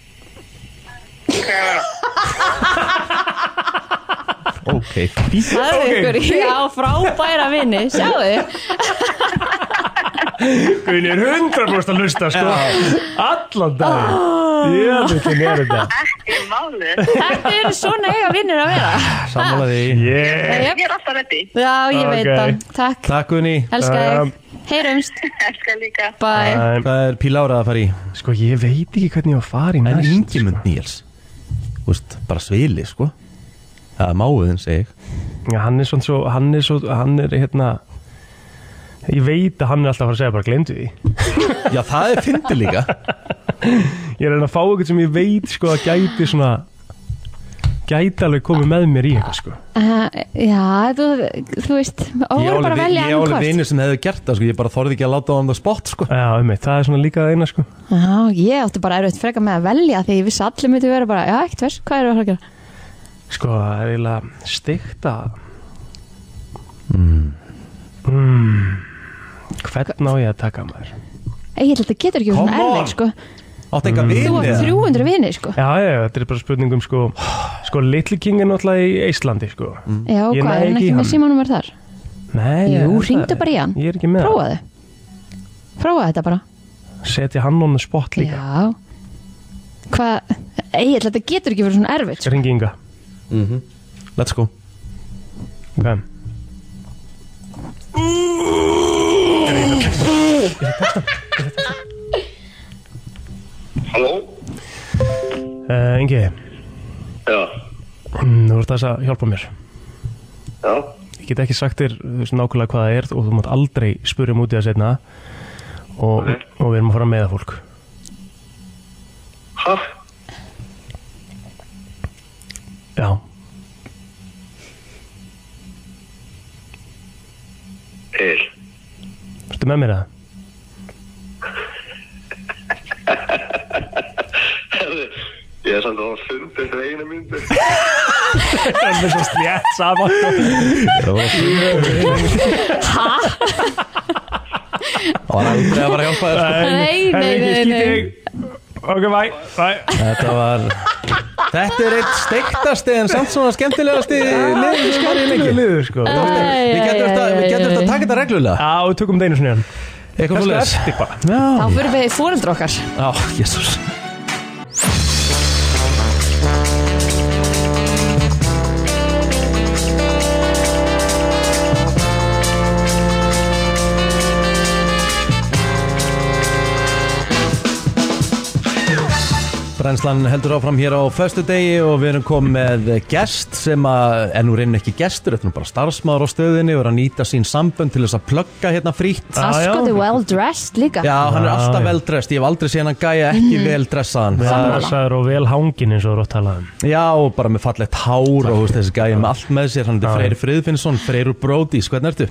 Ok,
Það er ykkur, já, frábæra vinni Sjáðu,
Gunni er 100% að hlusta, sko Allan dag
Ah.
Ég veit ekki mér þetta
Ekki máli.
þetta eru svona eiga vinnir að vera
Sammála því
Yeah
Ég er alltaf reddi.
Já, ég veit
Ok.
það, takk
Takk Gunni
Elska þig, heyrumst
Elskar líka
Bye
Hvað er Píl Ára að fara í?
Sko ég veit ekki hvernig ég var að fara í
næst En Ingimund Níels Þú veist, bara svili sko Það er máuðin segi ég
Já, hann er svona svo, hann er svo, hann er hérna Ég veit að hann er alltaf að fara að segja bara glemdu því
Já, það er fyndi líka
Ég er að reyna að fá eitthvað sem ég veit sko að gæti svona Gæti alveg komið með mér í eitthvað sko
uh, Já, þú, þú veist Ó,
Ég
voru bara að velja
ég á
annað
alveg
hvort
vinnu sem hefðu gert það sko Ég bara þorði ekki að láta á hann það spott sko
Já, um eitt, það er svona líka það eina sko
Já, ég átti bara erfitt freka með að velja því ég vissi að allir myndi vera bara, já, ekkert vers, hvað eru að fara að gera?
Sko, það er eiginlega stygt að mm. Hvern á ég að taka maður?
Egil, þetta getur ekki verið svona
Come on.
erfið, sko
Átt
Mm.
Þú átt 300 vinni, sko
Já, já, þetta er bara spurningum sko Sko, Little King er náttúrulega í Íslandi sko
Já, hvað,
Ég næ
er hann
ekki í
ekki
hann.
með símanúmer þar?
Nei,
Jú,
ég-
hringdu
það-
bara í hann.
Ég er ekki með
Prófaðu Prófaðu þetta bara
það. Setja hann on the spot líka
Já Hvað, Egil, þetta getur ekki verið svona erfitt sko.
Ringi ynga mm -hmm.
Let's go
Ok
Halló?
uh, Ingi
Já,
mm, Þú ert þess að hjálpa mér
já,
Ég get ekki sagt þér þú veist, nákvæmlega hvað það er og þú mátt aldrei spurja um út í það setna og, og við erum að fara með að fólk
ha?
Já,
Eil,
ertu með mér það?
ég er samt að hafa fundið þetta eina myndu.
Það er svo slétt saman
Ha?
Það var aldrei að fara að hjálpa þér sko.
Nei, nei,
Herri,
nei,
ég skýt
nei.
Ok, bæ, bæ
Þetta var
Þetta er eitt steiktasti en samt svona skemmtilegasti liður sem var í lengi
liður sko
Við getum eftir að- við getum eftir að taka þetta reglulega
Já, við tökum þetta einu sinni hann
Eitthvað
Kannski
svoleiðis.
eftir bara
Þá fyrir við fóreldra okkar
Já, jésús Brænslan heldur áfram hér á föstudegi og við erum komið með gest sem að, en nú reynir ekki gestur, þetta er nú bara starfsmáður á stöðinni og er að nýta sín sambönd til þess að plugga hérna frýtt.
Askoti sko, well dressed líka
Já, hann er alltaf
já.
vel dressed, ég hef aldrei séð hann gæja ekki
Mhm.
vel dressaðan
Það sagður og vel hangin eins og þú eru að tala um
Já, og bara með fallegt hár og þú veist, þessi gæja með allt með sér, hann er
Já.
Freyr Friðfinnsson, Freyr úr Brodís, hvernig ertu?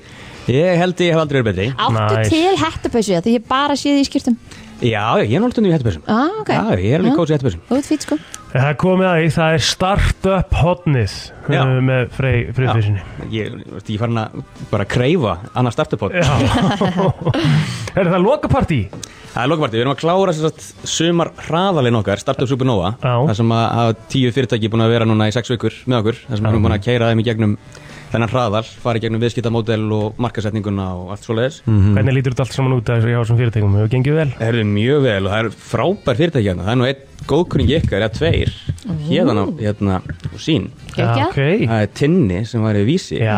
Ég held ég hef aldrei verið betri
Áttu til hettupausu því ég bara sé því í skýrtum
Já, ég er náttúrulega nýju hættupessum
ah, okay.
Já, ég er alveg kósið hættupessum
Þú ert fýt sko
Það er komið að því, það er startup hotnið
Já.
uh, með Frey Friðfinsinni
Ég ég er farin að bara kreyfa annars startupot
Já. Er það lokapartí?
Það er lokapartí, við erum að klára sem sagt sumar hraðalinn okkar, Startup Supernova Já. Það sem að, að tíu fyrirtæki er búin að vera núna í sex vikur með okkur Það sem við erum búin að keira þeim í gegnum þennan hraðal Fara í gegnum viðskiptamódel og markasetninguna og allt svoleiðis
Hvernig lítur þetta allt saman út að þessu hjá þessum fyrirtækum? Hefur gengið vel?
Það er mjög vel og það er frábær fyrirtæki hérna Það er nú einn góðkunning ykkar, eða tveir Hérna, hérna, og sín
Geggjað.
okay.
Það er Tinni sem var í vísi
Já,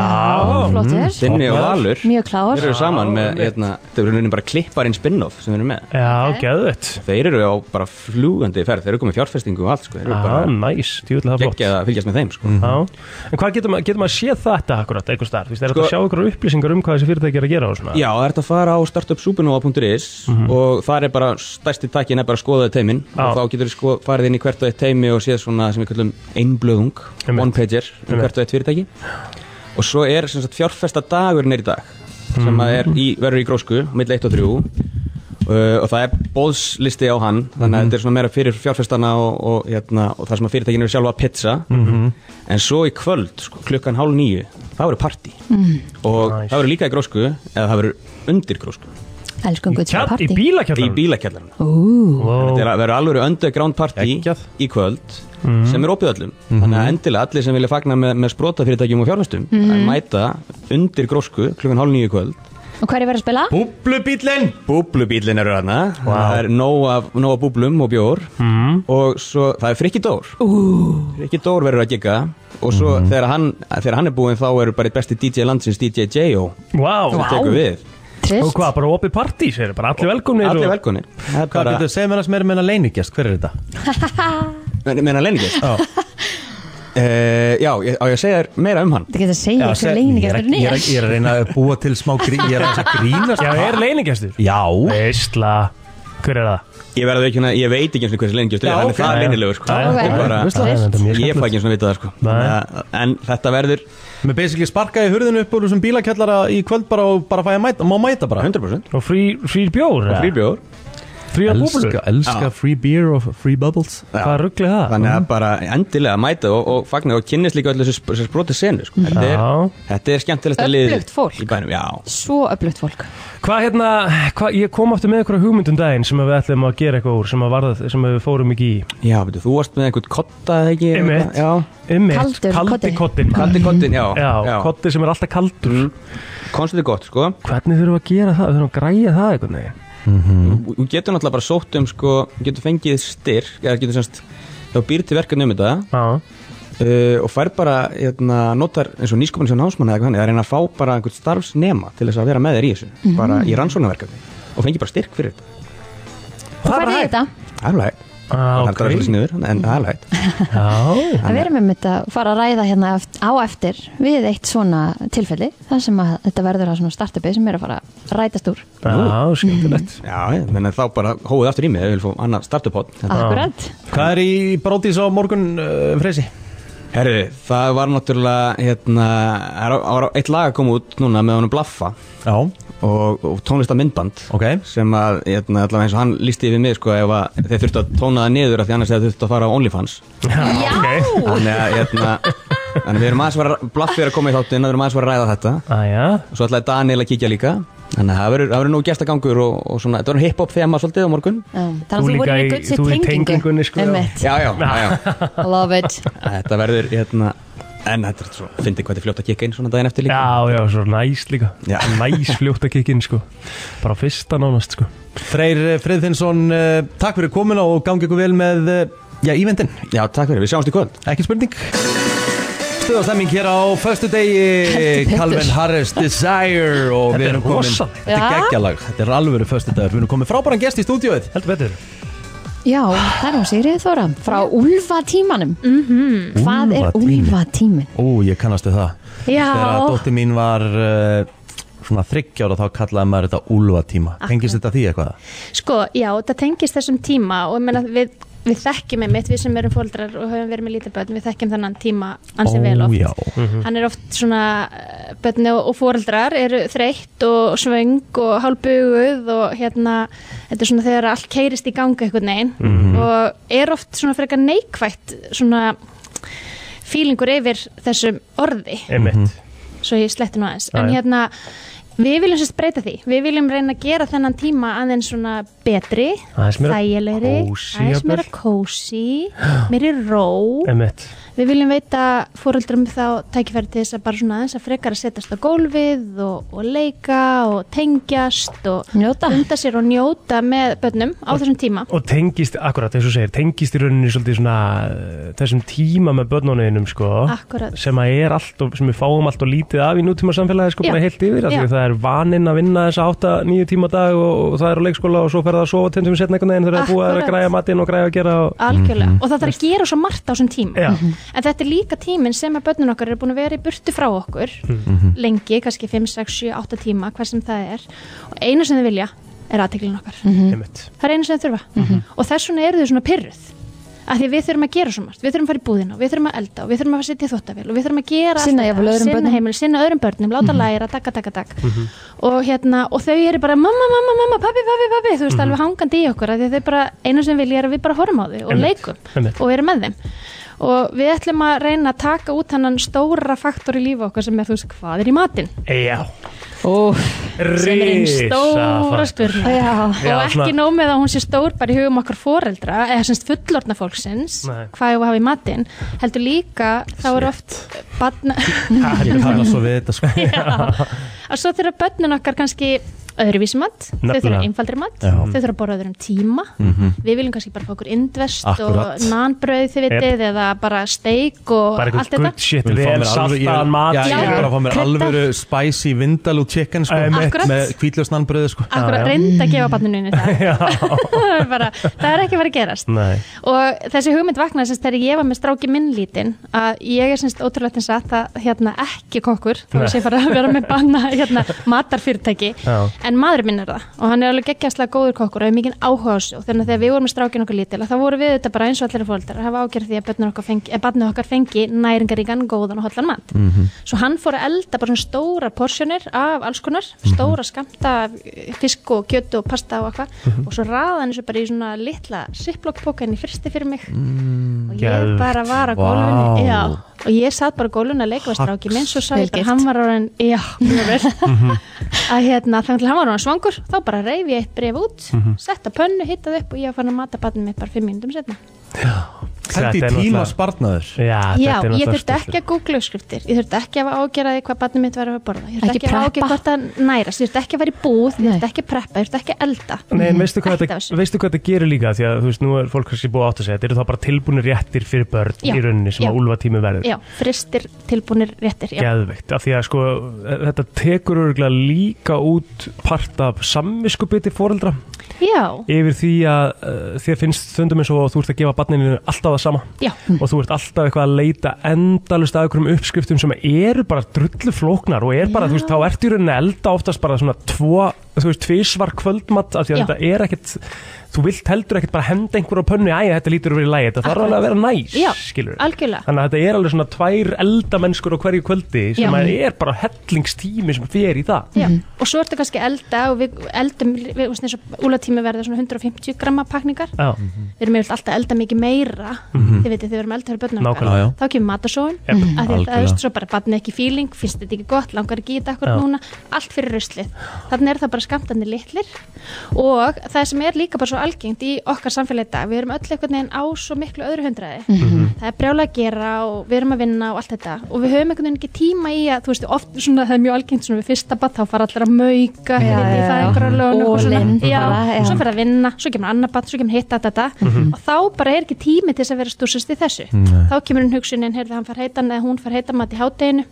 flottur.
Tinni og Valur
Mjög klár.
Þeir eru saman með, hérna, þeir eru rauninni bara klipparinn spin-off sem við erum með
Já, geðvett
Þeir eru á bara flugandi ferð, þeir eru komið fjárfestingu og allt sko, þeir eru
Já,
bara
næs, djúvilega flott
Geggjað að fylgjast með þeim sko
Já. En hvað getur maður, getur maður séð þetta akkurat einhver starf? Er þetta
Sko-
að sjá ykkur upplýsingar um hvað þessi fyrirtæki er að gera og svona?
Já, það er þetta að fara á startupsupernova.is og þar er bara, stærsti takkin er bara að skoða teimin og þá getur þú farið inn í hvert og eitt teimi og séð svona sem við kallum einblöðung, one pager um
Einmitt.
hvert og eitt fyrirtæki og svo er sem sagt fjárfesta dagur neyri dag sem
Mhm.
að er í, verður í grósku milli 1 og 3 uh, og það er bóðslisti á hann þannig að
Mhm.
þetta er svona meira fyrir fjárfestana og, og, hérna, og það sem að fyrirtækinu er sjálfa að pizza
Mhm.
en svo í kvöld, sko, klukkan hálf nýju þá eru partí
Mhm.
og það verður líka í grósku eða það verður undir grósku
Elskum gutt sem partí
sko, í bílakjallarinn
Ú
þetta er að verður alveg underground partí í kvöld
Mhm.
sem er opið öllum þannig að endilega allir sem vilja fagna með, með sprótafyrirtækjum og fjárhastum
Mhm.
að mæta undir grósku klukkan hálf nýju í kvöld
Og hverju verður að spila?
Búblubílinn Búblubílinn eru hana wow. það er nóg af, nóg af búblum og bjór og svo það er Frikki Dór Frikki Dór verður að gigga og svo þegar, hann, þegar hann er búinn þá eru bara eitt besti DJ landsins DJ J.O.
Vá,
sem tekur við
Trist.
Og Sko, hvað, bara opið partí, segir bara allir velkomnir
Allir
og-
velkomnir
Hvað getur segja mér að sem er meina leiningest, hver er þetta?
Men, Meina leiningest? Já Já, ég, á ég að segja þér meira um hann
Þetta getur að segja
Já,
hver
seg-
leiningastur
ég er,
nýjar
að- ég er að reyna að búa til smá grín, ég er að að grínast
Já, er leiningestur?
Já
Veistla, hver er það?
Ég verði ekki hérna, ég veit ekki eins og hversu lengi
Já,
Þannig okay.
ok.
það er leinilegur sko.
Já, ok.
Ég bara,
Veistla. Nei, þetta er mjög
Ég fæ ekki eins og vita það sko. Þannig að- En þetta verður
Með basically sparkaði hurðinu upp úr þessum bílakjallara í kvöld bara og bara fæ að mæta, má mæta bara
100%
Og frýr bjór?
Og
eða?
frýr bjór
Fríar búblur?
Elska, elska free beer og free bubbles
Hvað
ruggli það?
Þannig að bara endilega mæta og, og fagna og kynnist líka öllu þessu sp- þessu sproti senu sko. þetta, er, þetta er skemmtilegt að lið
Öflugt fólk.
í bænum, já
Svo öflugt fólk
Hvað hérna, hva, ég kom aftur með einhverja hugmyndum daginn sem að við ætlum að gera eitthvað úr sem, að varða, sem að við fórum ekki í
Já, veitu, þú varst með einhvern kotta eða ekki
Einmitt. Einmitt. Kaldur Kaldi koddinn. koddinn.
Kaldi kottin, já,
Já,
kotti
sem er alltaf kaldur mm.
Konstantið gott, sko
Hvernig þurfum við að gera það? Við þurfum að græja það einhvern veginn
Mm.
Þú þú getur náttúrulega bara sótt um sko, þú getur fengið styrk eða getur semst, þá býr til verkefni um þetta uh, og fær bara hérna, notar eins og nýskopin sem námsmann eða eitthvað þannig, það er reyna að fá bara einhvern starfsnema til þess að vera með þér í þessu,
Mm.
bara
Mhm.
í rannsóknarverkefni og fengi bara styrk fyrir þetta
Hvað er þetta?
Það er alveg hægt.
ah,
okay. það er alveg sniður, en það er alveg hægt
Já
Að vera með þetta, fara að ræða hérna eft- á eftir við eitt svona tilfelli þar sem að þetta verður að svona startupi sem er að fara að rætast úr
Já, skemmtilegt
Já, ég menna þá bara hóðið aftur í mig ef við viljum fá annar startup-hot
Akkurat
Hvað er í brótis á morgun uh, freysi? Herru, það var náttúrulega hérna, það var- það var eitt lag að koma út núna með honum Blaffa Já Og, og tónlista myndband okay. sem að, hérna, allavega eins og hann lísti yfir mig sko, ef að þeir þurftu að tóna það niður af því annars þeir þurftu að fara á OnlyFans
Já
Þannig að, hérna, þannig að við erum aðeins að vera Blaffi er að koma í þáttinn, við erum aðeins að vera að ræða þetta
Æja
Svo ætlaði Daniel að kíkja líka Þannig að það verður- það verður nú gestagangur og, og svona, þetta verður hip-hop þema svolítið á morgun
Þannig að þú voru með gutsi tengingu Einmitt.
Já, já, já, já.
Love it
Þetta verður hérna En þetta er svo, fyndi hvað þið fljótt að kikka inn svona daginn eftir líka
Já, já, svo næs líka Næs fljótt að kikka inn sko Bara á fyrsta nánast sko
Freyr eh, Friðfinnsson, eh, takk fyrir komin og gangi ykkur vel með eh, já, ívendin
Já, takk fyrir, við sjáumst í kvöld
Ekki spurning Stöða stemming hér á föstu degi
Heldur betur.
Calvin Harris Desire og
Þetta
við
er
erum komin
rosalegt.
Þetta
Já.
er geggjalag, þetta er alvöru föstu dagur Við erum komin frábæran gest í stúdíóið
Heldur betur
Já, það er hún Sigrið Þóra frá Úlfa tímanum
Mhm.
Hvað er Úlfa tímin?
Ú, ég kannast við það
Já.
Þegar dóttir mín var uh, svona þryggjára þá kallaði maður þetta úlfatíma Tengist þetta því eitthvað?
Sko, já, það tengist þessum tíma og ég meina, við, við þekkjum einmitt, við sem erum fóldrar og höfum verið með lítið börn, við þekkjum þannan tíma ansi vel oft.
Já
Hann er oft svona, eh, börn og, og fóldrar eru þreytt og svöng og hálbuguð og hérna, þetta er svona þegar allt keirist í ganga einhvern veginn
Mhm.
og er oft svona frekar neikvætt svona fílingur yfir þessum orði
Mhm.
Einmitt
svo ég sletti nú aðeins
Já,
en
já.
hérna, við viljum sérst breyta því við viljum reyna að gera þennan tíma aðeins svona betri
Aðeins meira
þægilegri,
kósí
aðeins
jafnvel.
meira kósi meiri ró
Einmitt
við viljum veita fóreldrum þá tækifæri til þess að bara svona aðeins að frekar að setjast á gólfið og, og leika og tengjast og njóta. unda sér og njóta með börnum á þessum tíma
Og tengist, akkurat eins og þú segir, tengist í rauninni svolítið svona eh, þessum tíma með börnunum sko
Akkúrat.
Sem að er allt og, sem við fáum allt og lítið af í nútíma samfélagi sko
Já.
bara heilt yfir af því að
Já.
Það er vaninn að vinna þessa 8-9 tíma á dag og, og það er á leikskóla og svo ferða að sofa tundum við setna einhvern veginn þegar það er búið að
Akkúrat.
græja matinn og græja að gera
Ah.
og...
algjörlega og það þarf að gera svo margt á þessum tíma
Já.
en þetta er líka tíminn sem að börnun okkar eru búin að vera í burtu frá okkur
Mhm.
lengi, kannski 5, 6, 7, 8 tíma hvað sem það er og eina sem þau vilja er aðteklin okkar það er eina sem þau þurfa
Mhm.
og þess vegna eru þau svona pyrruð af því að við þurfum að gera svo margt við þurfum að fara í búðina og við þurfum að elda og við þurfum að fara að setja þóttavél og við þurfum að gera
Sinna
allt
jafnvel
þetta,
öðrum
sinna
börnum. Mhm.
heimil, sinna öðrum börnum, láta læra, takka, takka, takka
Mhm.
og hérna, og þau eru bara mamma, mamma, mamma, pappi, pappi, pappi þú veist,
Mhm.
alveg hangandi í okkur, af því að þau bara einu sem vilja er að við bara horfum á þau og
Einmitt,
leikum
einmitt.
og erum með þeim og við ætlum að reyna að taka út hennan stóra faktor í lífi okkar sem er, þú veist, hvað er í matinn
Já
Ó,
sem er einn stóra
Risafaktor.
spurning
Já,
og
svona-
ekki nóg með að hún sé stór bara í hugum okkar foreldra eða semst fullorna fólksins
Nei.
hvað ég hafa í matinn heldur líka þá er oft badna,
Ég kannast svo við þetta sko
að svo þurfa börnin okkar kannski öðruvísi mat, þau þurfa
Nefnilega.
einfaldri mat
Já.
þau þurfa að borða á öðrum tíma
Mhm.
við viljum kannski bara fá okkur indvest
Akkúrat.
og nanbröð þið vitið eða bara steik og
Bara
allt þetta
Ég vil fá
vel
mér alvöru- ég-
saltaðan mat,
Já, ég vil
skilur.
bara fá mér
Krydda.
alvöru spicy vindalú chicken sko
Einmitt. Akkurat.
Með hvítljósnanbröðu sko
Akkurat, reynda að gefa barninu inn í það bara, það er ekki að vera að gerast
Nei
og þessi hugmynd vaknaði semst þegar ég var með stráki minn lítinn að ég er semst ótrúlegt eins að það hérna ekki kokkur þá
Nei.
sé ég fara að vera með banna hérna matarfyrirtæki
Já.
en en maður minn er það og hann er alveg geggjastlega góður kokkur og hefur mikinn áhuga á þessu og þannig að þegar við vorum með strákin okkar lítil þá vorum við þetta bara eins og allir fóreldrar að hafa ágjörð því að barnið okkar fengi, eh, barnið okkar fengi næringaríkan, góðan og hollan mat svo hann fór að elda bara svona stóra porsjónir af alls konar, stóra skamta af, eh, fisk og kjötu og pasta og eitthvað
Mhm.
og svo raða hann þessu bara í svona litla sipplokkpoka inn í fyrsti fyrir mig og ég
geðveikt.
bara var á
Vá.
gólfinu já, og ég satt bara á gólfinu að leika við strákið minn svo sagði
Vel
ég bara
gert.
hann var orðin, já, mjög vel
Mhm.
að hérna, þannig til hann var hann svangur þá bara reyf ég eitt bref út mm
Mhm.
setta pönnu, hittað upp og ég var fann að mata batnum mitt bara fimm mínútum setna
Þetta er tíma
sko.
spartnaður
Já,
Já, ég þurfti ekki að googla uppskriftir ég þurfti ekki að hafa ágjara því hvað batnum mitt var að borða ég þurfti
Ekki
ekki, að hafa ágjara
preppa.
hvort það nærast ég þurfti ekki að fara í búð, ég þurfti ekki að preppa ég þurfti ekki að elda
Nei, en veistu
Allt
hvað,
af
þetta,
þessu.
veistu hvað þetta gerir líka því að þú veist, nú er fólk kannski búið átt að segja þetta eru þá bara tilbúinir réttir fyrir börn
Já,
í rauninni sem
já.
að úlfa tími verður
Já, fristir tilbúnir réttir já.
geðveikt, af því að sko þetta tekur örgulega líka út part af samviskubiti fóreldra
já,
yfir því að uh, þér finnst þundum eins og þú ert að gefa barninu alltaf það sama
Já.
og þú ert alltaf eitthvað að leita endalust að einhverjum uppskriftum sem eru bara drullu flóknar og er bara, þú veist, þá ertu í rauninni að elda oftast bara svona tvo, þú veist, tvísvar kvöldmatt af því að
Já.
þetta er ekkit þú vilt heldur ekkit bara henda einhver á pönnu æja, þetta lítur verið í lægi, þetta þarf
Akkurat.
alveg að vera næs
Já,
skilur
algjörlega.
þannig að þetta er alveg svona tvær eldamennskur á hverju kvöldi
Já.
sem að er bara hellingstími sem fer í það
Já, og svo ertu kannski að elda og við eldum, við, þú veist, eins og úlatími verða svona 150 gramma pakningar
Já.
við erum yfirleitt alltaf að elda mikið meira
Mhm.
þið veitir, þið verum elda fyrir börnum okkar.
Nákvæmlega, já.
þá kemur matasóun
Jep.
mm -hmm. að þetta
Algjörlega.
aðust svo bara batni ekki fíling finnst þetta ekki gott, langar ekki í þetta akkur
Já.
núna allt fyrir ruslið, þannig er það bara skamtandi litlir og það sem er líka bara svo algengt í okkar samfélagi í dag, við erum öll einhvern veginn á svo miklu öðru hundraði
Mhm.
það er brjála að gera og við erum að vinna og allt þetta og við höfum einhvern veginn ekki tíma í að þú veist, oft svona, það er mjög algengt svona við fyrsta bat þá fara allir að mauka
Já,
hérna í það
já.
einhverja lögn og svona
Ólin
já,
bara, já.
svo fer að vinna, svo kemur annar bat, svo kemur hitt að þetta
Mhm.
og þá bara er ekki tími til þess að vera stúsast í þessu
Nei.
þá kemur hún hugsunin, heyrðu hann far heitan eða hún far heitan mat í hátteginu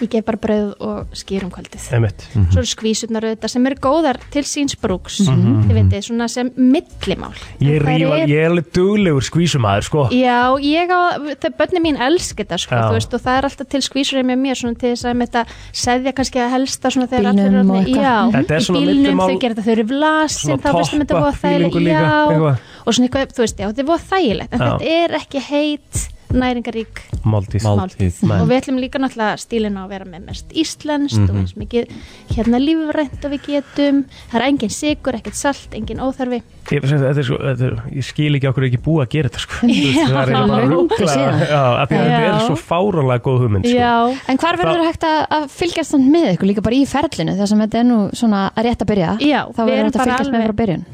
ég gef bara brauð og skýr um kvöldið
Einmitt.
svo eru skvísurnar auðvitað sem eru góðar til síns brúks
Mhm.
þið veitir, svona sem millimál
Ég,
En þær
rífa,
eru-
ég er alveg duglegur skvísumæður sko
Já, ég á, þau bönni mín elsk þetta sko,
Já.
þú veist, og það er alltaf til skvísur með mér svona til þess að með þetta seðja kannski að helsta svona þegar
Bílnum
allir eru
og
orðnir-
eitthvað.
Þetta
Já,
er
í
svona
bílnum
millimál-
þau gerir þetta, þau eru
Svona
vlasin, þá finnst þeim þetta
toppa
voða þægilegt,
feelingu líka, eitthvað.
já, og svona eitthvað, þú veist, já, þetta er voða þægilegt, en
Já.
þetta er ekki heit, næringarík
Máltíð,
máltíð.
Nei.
og við ætlum líka náttúrulega stílinn á að vera með mest íslenskt og
Mhm.
eins mikið hérna lífrænt og við getum, það er engin sigur, ekkert salt, engin óþarfi
Ég, þetta, er sko, þetta, er- ég skil ekki okkur er ekki búið að gera þetta sko. Þú veist,
Já,
það er eiginlega bara
löngu
ruglað.
síðan.
Já, af því
Já.
að þetta er svo fáranlega góð hugmynd sko.
Já,
En hvar verður
Það-
hægt að, að fylgjast þannig með ykkur líka bara í ferlinu þar sem þetta er nú svona að rétt að byrja
Já,
þá
við
verður
erum
hægt að
bara
fylgjast með
alveg-
frá byrjun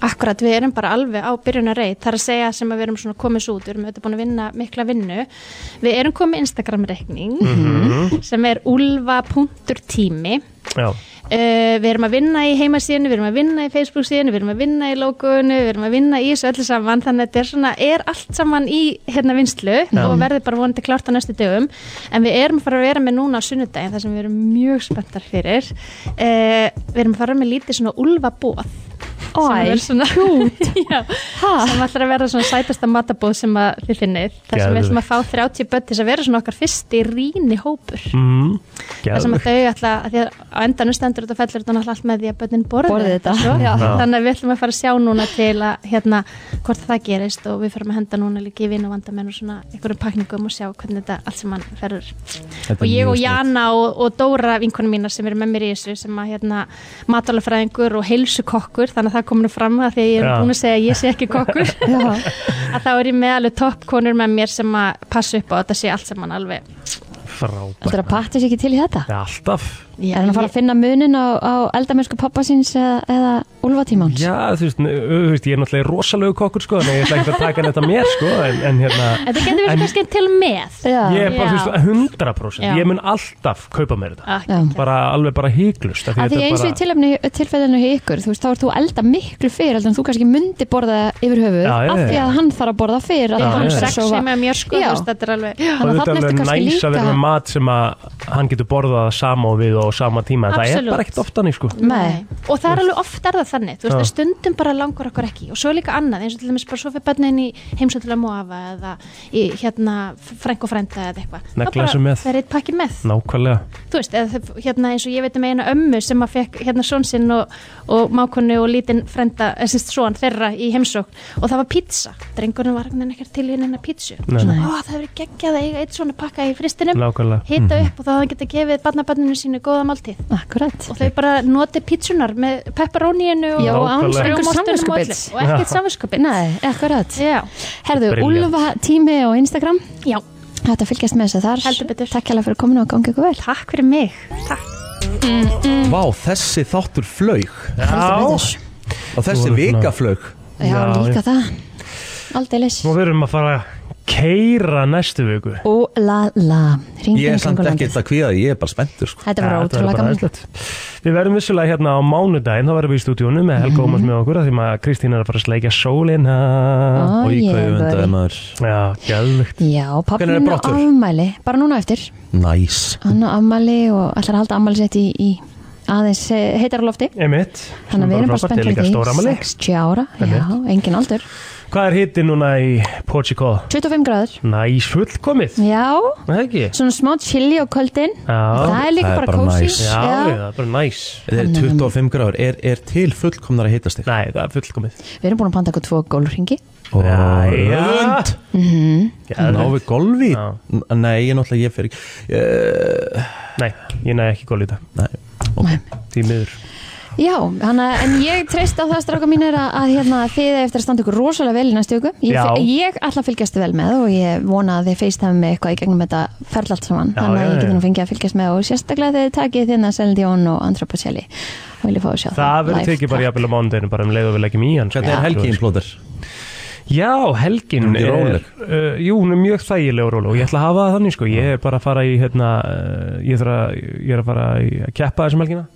Akkurat, við erum bara alveg á byrjunarreit þar að segja sem að við erum svona komið svo út við erum auðvitað búin að vinna mikla vinnu við erum komið Instagram-reikning
Mhm.
sem er ulva.tími
Já.
uh, við erum að vinna í heimasíðinu við erum að vinna í Facebook-síðinu, við erum að vinna í logoinu, við erum að vinna í þessu öllu saman þannig að þetta er, svona, er allt saman í hérna vinslu
Já.
og verður bara vonandi klárt á næstu dögum en við erum að fara að vera með núna á sunnudagin þar sem við erum mjög spenntar fyrir uh, við erum að fara með lítið svona ulvabóð
Æ,
sem er svona kjút sem ætlar að vera svona sætasta matabóð sem að þið finnið þar sem við ætlum að fá 30 börn til þess að vera svona okkar fyrsti ríni hópur
mm,
þar sem að þau ætla að því að á endanum stendur þetta og fellur þetta náttúrulega allt með því að börnin borði,
Borði þetta.
svo.
Já. Já.
þannig að við ætlum að fara að sjá núna til að hérna hvort það gerist og við förum að henda núna líka í vinn og vandamenn og svona einhverjum pakningum og sjá hvernig þetta allt sem hann ferur
Þetta er
og ég
mjög
og
snjallt.
Jana og, og Dóra vinkunum mína sem eru með mér í þessu sem að hérna matálafræðingur og heilsukokkur þannig að það komur nú fram að því að ég er
Já.
búin að segja að ég sé ekki kokkur að þá er ég með alveg toppkonur með mér sem að passa upp á að þetta sé allt saman alveg
Frábært
Þetta er að patti sér ekki til í þetta
Alltaf
Er hann að fara að finna munin á, á eldamennsku pappa síns eða, eða úlfatímans?
Já, þú veist, n- þú veist, ég er náttúrulega rosalegu kokkur sko, en ég ætla ekki að taka hann þetta mér sko, en, en hérna
Þetta getur verið
En-
kannski til með
Ég er bara, þú veist, 100%
Já.
Ég mun alltaf kaupa mér þetta
Já.
bara, Alveg bara híklust
Að því eins og í tilefni, tilfellinu hjá ykkur, þú veist, þá ert þú að elda miklu fyrr heldur en þú kannski myndi borða yfir höfuð
Já, já,
af því
já.
að hann þarf að borða fyrr að
Já,
hann
já, já.
er
Sex
svo-
sem er mjög sko,
Já.
þú veist, þetta er alveg
og þetta er alveg næs að vera með mat sem að hann getur borðað það sama og við og á sama tíma en það er
Absolutt.
bara ekkert oft þannig sko
Nei. og það er alveg oft er það þannig þú veist
Já.
að stundum bara langar okkur ekki og svo er líka annað eins og til dæmis bara svo fyrir bönnin í heimsöldulega móafa eða í hérna frænk og frænda eða eitthvað
Negla
Það bara
þessu með. Mm.
fer eitt pakki með
nákvæmlega
þú veist eða þau- hérna eins og ég veit um eina ömmu sem að fekk hérna són sinn og, og mákonu og lítinn frænda eða són þeirra í heimsókn og það var pizza drengurinn var hérna ekkert til hérna hérna pizzu
Nei.
Svona,
Nei.
"Ó, það hefur geggjað að eiga eitt svona pakka í fristinum
Nákvæmlega.
hita
Mhm.
upp og það geta gefið barnabarninu sínu góða máltíð
Akkurat.
og þau bara noti pítsunar með pepperóníinu
Já, og án Nákvæmlega. einhvers samviskubits.
og ekkert
Já.
samvinskupið
Nei, akkurat Herðu,
Brilliant.
Úlfa tími á Instagram
Já
Þetta fylgjast með þess að þar Heldur betur Takk hérlega fyrir kominu og gangi ykkur vel
Takk fyrir mig
Vá, þessi þáttur flaug
Já.
Og þessi
Þú voru
vika
svona-
flaug
Já, líka það Aldeilis
Nú verðum að fara að keira næstu viku
Ó la la Ringum
Ég er samt ekkert að kvíða, því, ég er bara spenntur sko.
Þetta var
Já,
ótrúlega
bara
gaman
æðislegt. Við verðum vissulega hérna á mánudaginn, þá verðum við í stúdíónu með Helga Ómas
Mhm.
með okkur, af því maður Kristín er að fara að sleikja sólina.
Ó, Og í hvað ég ég öfundaði veit.
maður.
Já, gæðvikt.
Já, pappi
Hvenær er
minn á
brottför?
afmæli Bara núna á eftir
Næs.
Hann á afmæli og allar að halda afmæli sitt í, í aðeins eh, heitar á lofti
Emitt.
Þannig að við erum bara spennt
fyrir því. Stóra
fyrir því
amali.
60 ára, já, engin aldur
Hvað er hitti núna í Portugal?
25 gráður,
Næs, fullkomið.
já
Það ekki?
Svona smá chili á kvöldin Það er líka bara kósi
næs.
Já, það er bara næs.
Þetta er 25 gráður, er, er til fullkomnar að hitast þig?
Nei, það er fullkomið
Við erum búin að panta okkur tvo gólringi
Rönd
Mhm.
Ná við golfi Nei, ég náttúrulega, ég fer ekki uh,
Nei, ég næ ekki golfi í dag
Nei,
ok, tímiður
Já, hana, en ég treyst á það stráka mínir að, að hérna, þið eigi eftir að standa ykkur rosalega vel í næstu viku ég,
Já.
ég ætla að fylgjast vel með og ég vona að þið feistæmi með eitthvað í gegnum þetta ferl allt saman
Já,
Þannig að
já,
ég
já.
geti nú fengið að fylgjast með og sérstaklega þegar þið takið þinn að Selin Dion og Andra Pacelli og viljið fá að sjá
Það verður
live.
tekið bara jafnvel á mánudeginu bara um leið og við leggjum í hann
Hvernig er helgin, plóður?
Já, helgin
Hún er róleg.
uh, Jú, hún er mjög þægileg og róleg og ég ætla að hafa það þannig sko Ég er bara að fara í, hérna, uh, ég, þarf að, ég er að fara í að keppa þessum helgina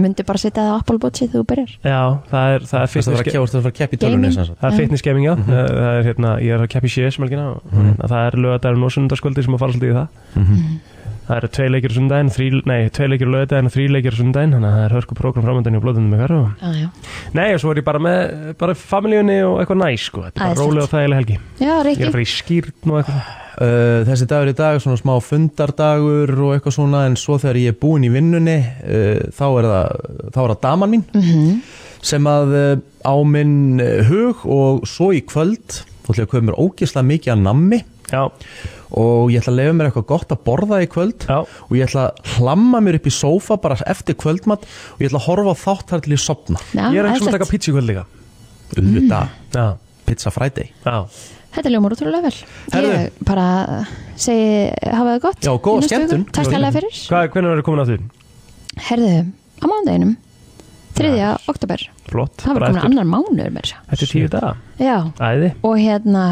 Myndu bara setja það á Apple Watchi þegar þú byrjar
Já, það er, það er
Varstu að fara að keppa- varstu að fara að keppa í tölvunni, Gaming. sem sagt?
Það er
Já.
fitness gaming, já uh, það er, hérna, Ég er að keppa í CS um helgina og
Mhm.
hérna, Það er lögadagurinn og sundarskvöldi sem að fara svolítið í það
Mhm.
Það eru tvei leikir á sundaginn, þrí, nei, tvei leikir á laugardaginn og þrí leikir á sundaginn, þannig að það er hörku prógram framöndan í blóðunum með hverju.
Já, já.
Nei, og svo er ég bara með, bara familíunni og eitthvað næs, sko. Þetta er bara
Æðislegt.
rólega og þægileg helgi.
Já,
Ég er
Rikki
að fara í skýrn og eitthvað.
Uh, þessi dagur í dag, svona smá fundardagur og eitthvað svona, en svo þegar ég er búinn í vinnunni uh, þá er það þá er það daman mín sem að uh, á minn uh, hug og svo í kvöld þá ætla ég að köpa mér ógislega mikið að nammi
Já.
og ég ætla að lefa mér eitthvað gott að borða í kvöld
Já.
og ég ætla að hlamma mér upp í sófa bara eftir kvöldmatt og ég ætla að horfa á þátt þar til ég sopna
Já,
Ég er að hugsa um að
æðislegt.
taka pizza í kvöld líka.
Þetta,
mm.
pizza friday
Já.
Þetta ljómar útrúlega vel
Herðu.
Ég bara segi hafa það gott
Já,
í
góða
næstu viku.
skemmtun.
Takk hérlega fyrir
Hvað, hvernig verður komin að því?
Herðu, á mándaginum 3. oktober
Flott.
Það verður
bara
komin
eftir-
annar mánuður með þess
Þetta er tíu daga.
Já,
Æði.
og hérna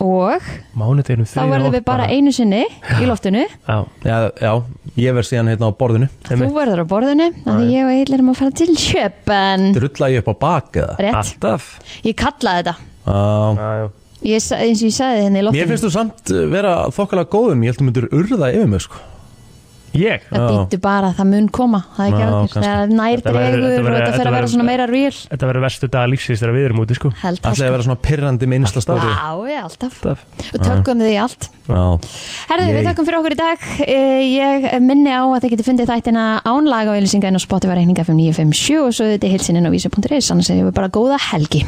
og
Mánudeginu
þá verðum við bara einu sinni í loftinu
Já,
já, ég verð síðan hérna á borðinu
Þú verður á borðinu af því ég og Egil erum að fara til Sjöpen
Drulla ég upp á bak eða? Ah,
Rétt.
Ah.
Alltaf. Ég kallaði þetta
Já.
ég, sa- eins og ég sagði henni í loftinu
Mér finnst þú samt eh, vera þokkalega góðum, ég held að þú myndir urða yfir mig sko.
Ég?
Það býttu bara, það mun koma, það er ekki
Já,
alveg,
kannski.
það er nær
Þetta verður-
dregur
þetta
og
verður-
þetta
þetta
fer að vera
verður-
svona meira real.
Þetta verður verstu daga lífsins þegar við erum úti, sko.
Held það, Ætlaði að sko. vera
svona pirrandi með
instastóri.
Já, já, alltaf. Og tökum því allt. Herðu, við
Yay.
þakkum fyrir okkur í dag. Eh, Ég minni á að þið getur fundið þættina án laga og ylýsinga inn á Spotify reyninga 5957 og svo þetta er hilsininn á vísi.is, annars erum við bara góða helgi.